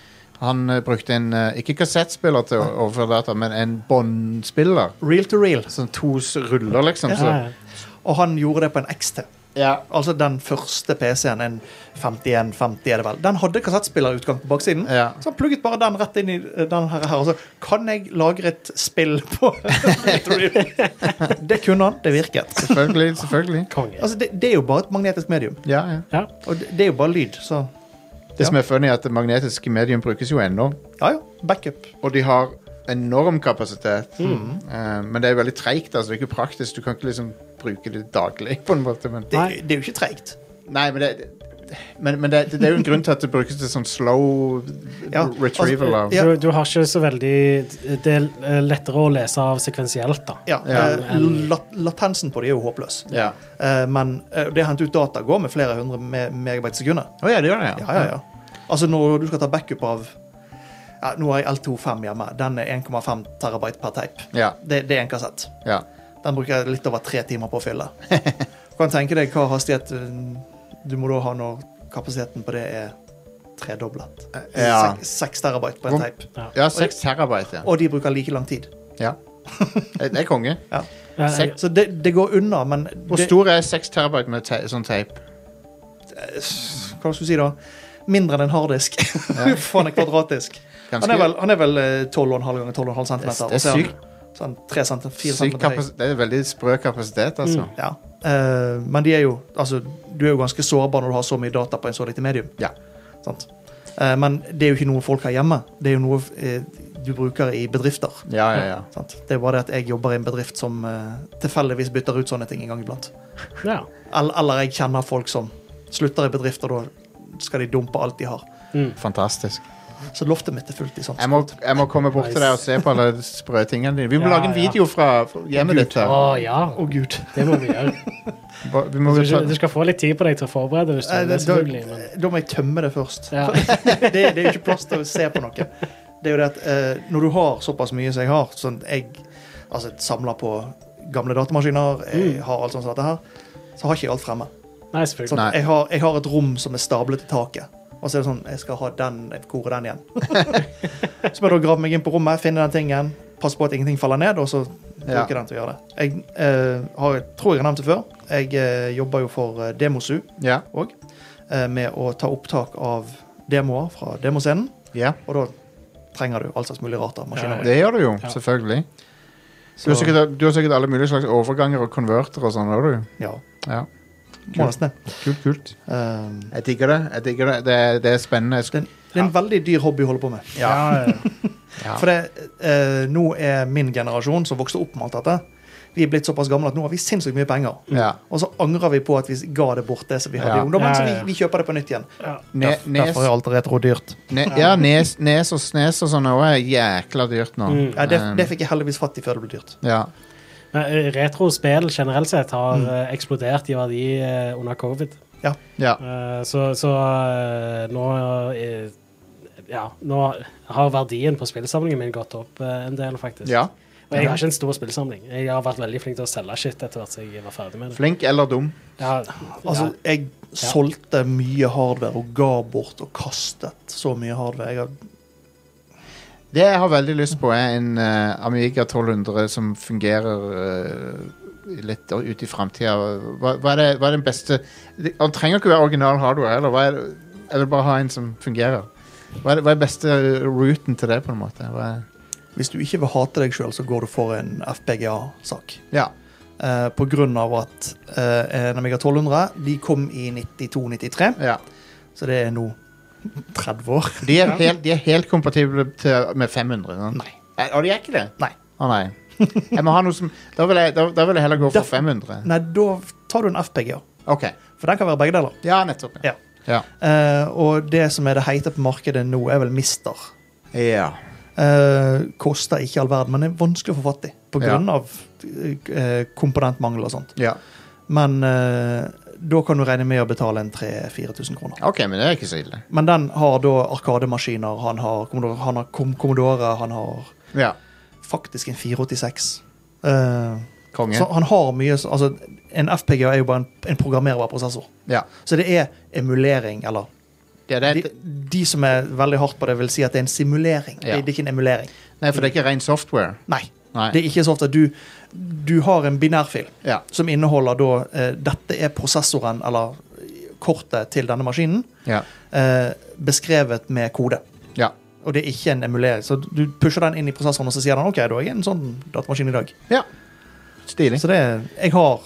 [SPEAKER 1] han eh, brukte en, eh, ikke kassettspiller til å overføre data, men en båndspiller.
[SPEAKER 3] Real to real.
[SPEAKER 1] Sånn to s- ruller, liksom. Så.
[SPEAKER 2] Ja, ja.
[SPEAKER 3] Og han gjorde det på en XT.
[SPEAKER 1] Ja.
[SPEAKER 3] Altså den første PC-en, en 5150 er det vel. Den hadde kassettspillerutgang på baksiden.
[SPEAKER 1] Ja.
[SPEAKER 3] Så han plugget bare den rett inn i eh, den her, her og så kan jeg lagre et spill på *laughs* Real to real? Det kunne han. Det virket.
[SPEAKER 1] Selvfølgelig. selvfølgelig.
[SPEAKER 2] Konge.
[SPEAKER 3] Altså, det, det er jo bare et magnetisk medium.
[SPEAKER 1] Ja, ja.
[SPEAKER 2] Ja.
[SPEAKER 3] Og det, det er jo bare lyd, så
[SPEAKER 1] Det som er funny, er at det magnetiske medium brukes jo ennå.
[SPEAKER 3] ja ja. Backup.
[SPEAKER 1] Og de har enorm kapasitet.
[SPEAKER 3] Mm.
[SPEAKER 1] Eh, men det er veldig treigt. Altså, det er ikke praktisk. Du kan ikke liksom bruke det daglig, på en måte. Men,
[SPEAKER 3] Det,
[SPEAKER 2] Nei.
[SPEAKER 3] det er jo ikke treigt.
[SPEAKER 1] nei, men det, Men, men det, det er jo en grunn til at det brukes til sånn slow
[SPEAKER 3] Ja, altså,
[SPEAKER 1] retrieval av.
[SPEAKER 3] Ja.
[SPEAKER 2] Du, du har ikke så veldig Det er eh, lettere å lese av sekvensielt, da.
[SPEAKER 3] Ja,
[SPEAKER 1] Ja.
[SPEAKER 3] eh, lat latensen på det er jo håpløs.
[SPEAKER 1] Ja.
[SPEAKER 3] Eh, men eh, det å hente ut data går med flere hundre me megabyte sekunder.
[SPEAKER 1] Å ja, det gjør det,
[SPEAKER 3] Ja, ja, ja. Altså når du skal ta backup av ja, Nå har jeg L25 hjemme. Den er 1,5 terabyte per teip.
[SPEAKER 1] ja.
[SPEAKER 3] Det, det er en kassett.
[SPEAKER 1] ja.
[SPEAKER 3] Den bruker jeg litt over tre timer på å
[SPEAKER 1] *laughs*
[SPEAKER 3] fylle. Du kan tenke deg hva hastighet eh, du må da ha når kapasiteten på det er tredoblet.
[SPEAKER 1] Ja.
[SPEAKER 3] Sek- Seks terabyte på en
[SPEAKER 1] Hvor-
[SPEAKER 3] teip.
[SPEAKER 1] Ja, 6 terabyte, ja.
[SPEAKER 3] Og de bruker like lang tid.
[SPEAKER 1] ja. Det det er
[SPEAKER 3] *laughs*
[SPEAKER 1] konge.
[SPEAKER 2] Ja, jeg-
[SPEAKER 1] Sek-
[SPEAKER 3] Så det, det går unna, men
[SPEAKER 1] Hvor
[SPEAKER 3] det-
[SPEAKER 1] stor er 6 terabyte med te sånn teip?
[SPEAKER 3] hva skal du si da? Mindre enn en harddisk. *laughs* For han er kvadratisk. Han
[SPEAKER 1] Ganske
[SPEAKER 3] er vel, han er vel eh, 12,5 ganger 12,5 cm.
[SPEAKER 1] Det er- det er sykt.
[SPEAKER 3] Sånn 3 cm, 4
[SPEAKER 1] syk
[SPEAKER 3] cm høy.
[SPEAKER 1] kapasitet. Det er veldig sprø kapasitet, altså.
[SPEAKER 3] Ja. Eh, men de er jo, altså, du er jo ganske sårbar når du har så mye data på en så lite medium.
[SPEAKER 1] Ja.
[SPEAKER 3] Sant? Eh, men det er jo ikke noe folk har hjemme. Det er jo noe eh, du bruker i bedrifter.
[SPEAKER 1] Ja, ja, ja.
[SPEAKER 3] Sant? Det er bare det at jeg jobber i en bedrift som eh, tilfeldigvis bytter ut sånne ting en gang iblant.
[SPEAKER 2] ja.
[SPEAKER 3] Eller, eller jeg kjenner folk som slutter i bedrifter, da skal de dumpe alt de har.
[SPEAKER 2] Mm.
[SPEAKER 1] Fantastisk.
[SPEAKER 3] Så loftet mitt er fullt i sånt.
[SPEAKER 1] Jeg må, jeg må komme bort til deg og se på alle de sprø tingene dine. Vi må
[SPEAKER 2] Ja,
[SPEAKER 1] lage en
[SPEAKER 2] ja.
[SPEAKER 1] video fra fra hjemmet ditt.
[SPEAKER 2] Å
[SPEAKER 1] her.
[SPEAKER 2] ja,
[SPEAKER 3] Å, gud.
[SPEAKER 2] det må vi gjøre.
[SPEAKER 1] Ba- Vi *laughs* må
[SPEAKER 2] Du,
[SPEAKER 1] ta,
[SPEAKER 2] skal- du skal få litt tid på deg til å forberede hvis du
[SPEAKER 3] Eh,
[SPEAKER 2] vil det,
[SPEAKER 3] da,
[SPEAKER 2] selvfølgelig. Men,
[SPEAKER 3] da må jeg tømme det først.
[SPEAKER 2] ja.
[SPEAKER 3] det, det er jo ikke plass til å se på noe. Det er jo det at eh, når du har såpass mye som jeg har sånn jeg altså, samler på gamle datamaskiner,
[SPEAKER 2] Mm.
[SPEAKER 3] jeg har alt sånt som dette her, så har ikke jeg alt fremme.
[SPEAKER 2] Nei, selvfølgelig.
[SPEAKER 3] Sånn,
[SPEAKER 1] Nei.
[SPEAKER 3] jeg, har, jeg har et rom som er stablet i taket. Og så er det sånn Jeg skal ha den, jeg korer
[SPEAKER 1] *laughs*
[SPEAKER 3] den igjen. så må jeg da grave meg inn på rommet, finne den tingen, passe på at ingenting faller ned, og så bruke
[SPEAKER 1] Ja.
[SPEAKER 3] den til å gjøre det. Jeg eh, har, tror jeg har nevnt det før. Jeg eh, jobber jo for eh, Demosu
[SPEAKER 1] ja.
[SPEAKER 3] òg, med å ta opptak av demoer fra demoscenen.
[SPEAKER 1] ja.
[SPEAKER 3] Og da trenger du all slags mulig rart av maskiner.
[SPEAKER 1] Det gjør du jo,
[SPEAKER 2] Ja.
[SPEAKER 1] selvfølgelig. Du
[SPEAKER 3] Så-
[SPEAKER 1] har, sikkert, du har sikkert alle mulige slags overganger og konverter og sånn, har du?
[SPEAKER 3] Ja,
[SPEAKER 1] Ja.
[SPEAKER 3] må nesten det.
[SPEAKER 1] Kult, kult.
[SPEAKER 3] Um,
[SPEAKER 1] Jeg digger det. jeg digger Det Det er, det er spennende. Jeg sk-
[SPEAKER 3] det, det er en veldig dyr hobby å holde på med.
[SPEAKER 1] Sånn,
[SPEAKER 2] Ja, ja.
[SPEAKER 1] Ja.
[SPEAKER 3] For det, eh, nå er min generasjon som vokste opp med alt dette, vi er blitt såpass gamle at nå har vi sinnssykt mye penger.
[SPEAKER 1] Ja.
[SPEAKER 3] Og så angrer vi på at vi ga det bort, det som vi hadde
[SPEAKER 1] Ja.
[SPEAKER 3] i
[SPEAKER 2] Ja,
[SPEAKER 3] ungdommen, så
[SPEAKER 2] ja,
[SPEAKER 3] vi,
[SPEAKER 2] ja.
[SPEAKER 3] vi kjøper det på nytt igjen.
[SPEAKER 2] Ja.
[SPEAKER 1] Ne, nes,
[SPEAKER 3] Derfor er alt retro dyrt.
[SPEAKER 1] ne, ja, nes, nes og snes og sånn òg er jækla dyrt nå.
[SPEAKER 2] Mm.
[SPEAKER 3] Ja, det,
[SPEAKER 1] Um,
[SPEAKER 3] det fikk jeg heldigvis fatt i før det ble dyrt.
[SPEAKER 1] ja.
[SPEAKER 2] Men, eh, Retrospill generelt sett har
[SPEAKER 1] Mm.
[SPEAKER 2] eh, eksplodert i verdi eh, under covid.
[SPEAKER 1] ja.
[SPEAKER 2] Eh, så så eh, nå eh, Ja, nå har verdien på spillsamlingen min gått opp eh, en del, faktisk.
[SPEAKER 1] ja.
[SPEAKER 2] Og jeg har ikke en stor spillsamling. Jeg har vært veldig flink til å selge shit etter hvert som jeg var ferdig med det.
[SPEAKER 1] Flink eller dum.
[SPEAKER 2] Ja,
[SPEAKER 3] Altså, jeg solgte mye hardware og ga bort og kastet så mye hardware. Jeg har
[SPEAKER 1] Det jeg har veldig lyst på, er en eh, Amiga 1200 som fungerer eh, litt ut i framtida. Hva, hva, er det- hva er den beste det- Han trenger ikke være original hardware heller. Hva er, jeg vil bare ha en som fungerer. Hva er, det- hva er beste routen til det, på en måte? Hva er,
[SPEAKER 3] Hvis du ikke vil hate deg sjøl, så går du for en FPGA-sak.
[SPEAKER 1] ja.
[SPEAKER 3] Eh, på grunn av at eh, en Amiga 1200 de kom i 92-93,
[SPEAKER 1] ja.
[SPEAKER 3] så det er nå *laughs* 30 år.
[SPEAKER 1] De er helt, de er helt kompatible til, med 500. Sant?
[SPEAKER 3] Nei.
[SPEAKER 1] Eh, Og de er ikke det?
[SPEAKER 3] Nei.
[SPEAKER 1] Å nei. Jeg må ha noe som Da vil jeg, da, da vil jeg heller gå for
[SPEAKER 3] Derfor-
[SPEAKER 1] 500.
[SPEAKER 3] Nei, da tar du en FPGA.
[SPEAKER 1] OK.
[SPEAKER 3] For den kan være begge deler.
[SPEAKER 1] Ja, nettopp.
[SPEAKER 3] Ja.
[SPEAKER 1] Ja.
[SPEAKER 3] Eh, og det som er det heite på markedet nå, er vel Mister.
[SPEAKER 1] ja.
[SPEAKER 3] Eh, koster ikke all verden, men er vanskelig å få fatt i på
[SPEAKER 1] Ja.
[SPEAKER 3] grunn av eh, komponentmangel og sånt.
[SPEAKER 1] ja.
[SPEAKER 3] Men eh, da kan du regne med å betale en 3000-4000 kroner.
[SPEAKER 1] OK, men det er ikke så ille.
[SPEAKER 3] Men den har da arkademaskiner, han har Commodore, han har, Kom- Commodore, han har
[SPEAKER 1] Ja.
[SPEAKER 3] faktisk en 486. Eh,
[SPEAKER 1] Konge.
[SPEAKER 3] så han har mye så- altså, En FPGA er jo bare en, en programmerbar prosessor.
[SPEAKER 1] Ja.
[SPEAKER 3] Så det er emulering, eller
[SPEAKER 1] Ja, det er
[SPEAKER 3] de,
[SPEAKER 1] et,
[SPEAKER 3] de som er veldig hardt på det, vil si at det er en simulering.
[SPEAKER 1] Ja.
[SPEAKER 3] Det, det er ikke en emulering.
[SPEAKER 1] Nei, for det er ikke ren software.
[SPEAKER 3] Nei.
[SPEAKER 1] Nei.
[SPEAKER 3] Det er ikke så ofte at du, du har en binærfil
[SPEAKER 1] ja.
[SPEAKER 3] som inneholder da eh, Dette er prosessoren, eller kortet til denne maskinen,
[SPEAKER 1] Ja.
[SPEAKER 3] eh, beskrevet med kode.
[SPEAKER 1] ja.
[SPEAKER 3] Og det er ikke en emulering. Så du pusher den inn i prosessoren, og så sier den OK, da er jeg en sånn datamaskin i dag.
[SPEAKER 1] ja. Stilig.
[SPEAKER 3] Så det er, jeg har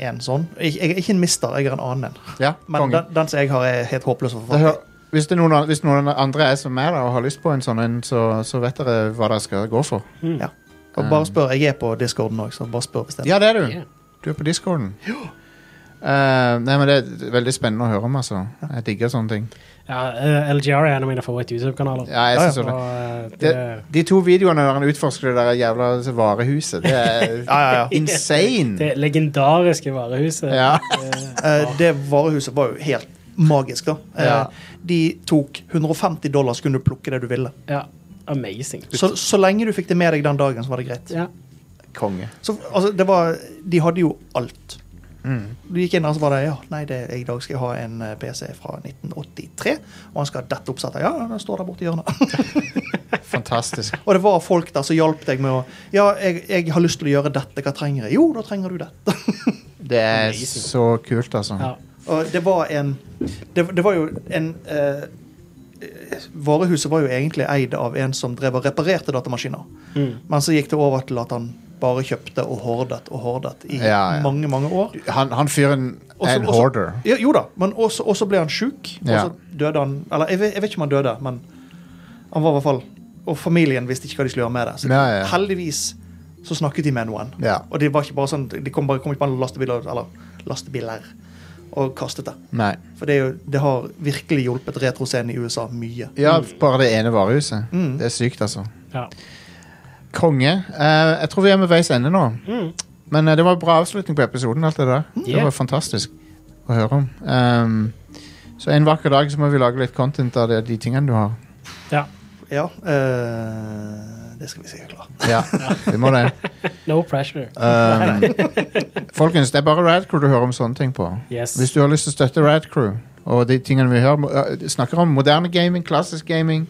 [SPEAKER 3] en sånn. Jeg, jeg er ikke en mister, jeg er en annen en.
[SPEAKER 1] Ja,
[SPEAKER 3] Men
[SPEAKER 1] konge.
[SPEAKER 3] den, den som jeg har, er helt håpløs å få
[SPEAKER 1] Det
[SPEAKER 3] fatt i.
[SPEAKER 1] hø- hvis, det er noen, an- hvis noen andre er som meg da, og har lyst på en sånn en, så, så vet dere hva dere skal gå for.
[SPEAKER 3] Ja.
[SPEAKER 1] Eh.
[SPEAKER 3] Og bare spør. Jeg er på discorden òg, så bare spør hvis det er
[SPEAKER 1] Ja, det er du.
[SPEAKER 2] Ja.
[SPEAKER 1] Du er på discorden. Eh, nei, men det er veldig spennende å høre om, altså. Jeg digger sånne ting.
[SPEAKER 2] Ja, eh, LGR er en av mine favoritt-YouTube-kanaler.
[SPEAKER 1] Ja, jeg
[SPEAKER 3] Ja, ja.
[SPEAKER 1] synes jo det.
[SPEAKER 2] Og, eh, det,
[SPEAKER 1] Det- De to videoene der han utforsker det der jævla varehuset, det er
[SPEAKER 3] *laughs* Ja, ja, ja.
[SPEAKER 1] *laughs* insane!
[SPEAKER 2] det legendariske varehuset.
[SPEAKER 3] *laughs*
[SPEAKER 1] Ja.
[SPEAKER 2] Det-
[SPEAKER 3] Eh, det varehuset var jo helt magisk, da. Eh,
[SPEAKER 1] Ja.
[SPEAKER 3] De tok 150 dollar, så kunne du plukke det du ville.
[SPEAKER 2] ja. Amazing.
[SPEAKER 3] Så, så lenge du fikk det med deg den dagen, så var det greit.
[SPEAKER 2] Ja.
[SPEAKER 1] Konge.
[SPEAKER 3] Så, altså, det var, de hadde jo alt.
[SPEAKER 1] Mm.
[SPEAKER 3] Du gikk inn og så var det ja, nei, det, i dag skal jeg ha en eh, PC fra 1983. Og han skal ha dette oppsettet. Ja, den står der borte i hjørnet.
[SPEAKER 1] Fantastisk.
[SPEAKER 3] og det var folk der som hjalp deg med å Ja, jeg, jeg har lyst til å gjøre dette, hva trenger jeg? Jo, da trenger du dette. *laughs*
[SPEAKER 1] Det er
[SPEAKER 2] Amazing.
[SPEAKER 1] så kult, altså.
[SPEAKER 2] Ja.
[SPEAKER 3] Og det var en Det, det var jo en eh, eh, Varehuset var jo egentlig eid av en som drev og reparerte datamaskiner.
[SPEAKER 2] Mm.
[SPEAKER 3] Men så gikk det over til at han bare kjøpte og hordet og hordet i
[SPEAKER 1] Ja, ja.
[SPEAKER 3] mange, mange år.
[SPEAKER 1] Han, han fyren
[SPEAKER 3] Også-
[SPEAKER 1] er en
[SPEAKER 3] også-
[SPEAKER 1] hoarder.
[SPEAKER 3] Ja, jo da, men også, også ble han sjuk. Og
[SPEAKER 1] Ja.
[SPEAKER 3] så døde han Eller jeg vet, jeg vet ikke om han døde, men han var i hvert fall Og familien visste ikke hva de skulle gjøre med det. Så
[SPEAKER 1] Ja, ja.
[SPEAKER 3] heldigvis så snakket de med noen.
[SPEAKER 1] Ja.
[SPEAKER 3] Og det var ikke bare sånn De kom, bare, kom ikke bare med lastebiler eller lastebiler og kastet det.
[SPEAKER 1] Nei.
[SPEAKER 3] For det, er jo, det har virkelig hjulpet retroscenen i USA mye.
[SPEAKER 1] Ja, bare det ene varehuset.
[SPEAKER 3] Mm.
[SPEAKER 1] Det er sykt, altså.
[SPEAKER 2] Ja.
[SPEAKER 1] Konge. Eh, jeg tror vi er med veis ende nå.
[SPEAKER 2] Mm.
[SPEAKER 1] Men eh, det var en bra avslutning på episoden. alt Det der. Det
[SPEAKER 2] Yeah.
[SPEAKER 1] var fantastisk å høre om. Ehm, så en vakker dag så må vi lage litt content av det, de tingene du har.
[SPEAKER 2] ja.
[SPEAKER 3] Ja, eh, det skal vi sikkert klare.
[SPEAKER 2] *laughs*
[SPEAKER 1] Ja, vi må det.
[SPEAKER 2] No pressure.
[SPEAKER 1] Ehm, folkens, det er bare Rad Crew du hører om sånne ting på.
[SPEAKER 2] Yes.
[SPEAKER 1] Hvis du har lyst til å støtte Rad Crew og de tingene vi hører, om, eh, snakker om moderne gaming, klassisk gaming,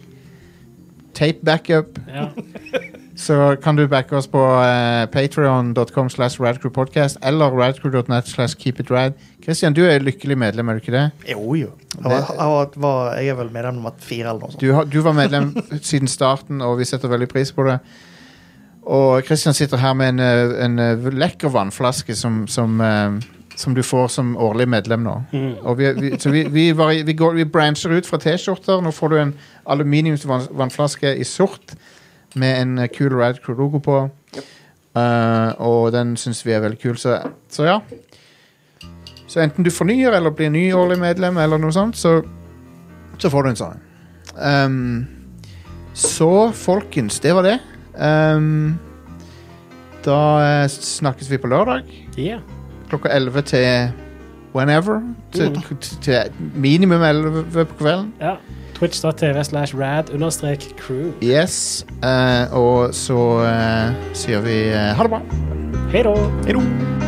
[SPEAKER 1] tape backup,
[SPEAKER 2] Ja.
[SPEAKER 1] så kan du backe oss på uh, patreon.com slash radcrewpodcast eller radcrew.net slash keepitrad. Christian, du er lykkelig medlem, er du ikke det?
[SPEAKER 3] Jo, jo. Jeg, var, jeg, var, var, jeg er vel medlem nummer fire eller noe sånt.
[SPEAKER 1] Du, har, du var medlem siden starten, og vi setter veldig pris på det. Og Christian sitter her med en, eh, en eh, lekker vannflaske som, som, eh, som du får som årlig medlem nå.
[SPEAKER 2] Mm.
[SPEAKER 1] Og vi, vi, så vi, vi, vari- vi, går, vi brancher ut fra T-skjorter. Nå får du en aluminiumsvannflaske i sort med en eh, kul Rad Crew-logo på. Eh, og den syns vi er veldig kul, så, så ja. Så enten du fornyer eller blir ny årlig medlem, eller noe sånt, så, så får du en sånn. Ehm, så, folkens, det var det. Ehm, da eh, snakkes vi på lørdag
[SPEAKER 2] Yeah.
[SPEAKER 1] klokka 11 til whenever. Til,
[SPEAKER 2] Mm.
[SPEAKER 1] til, til minimum 11 på kvelden.
[SPEAKER 2] Ja. Twitch.tv slash rad understrek crew.
[SPEAKER 1] Yes. Eh, og så eh, sier vi eh, ha det bra.
[SPEAKER 2] Hei da!
[SPEAKER 3] Hei då.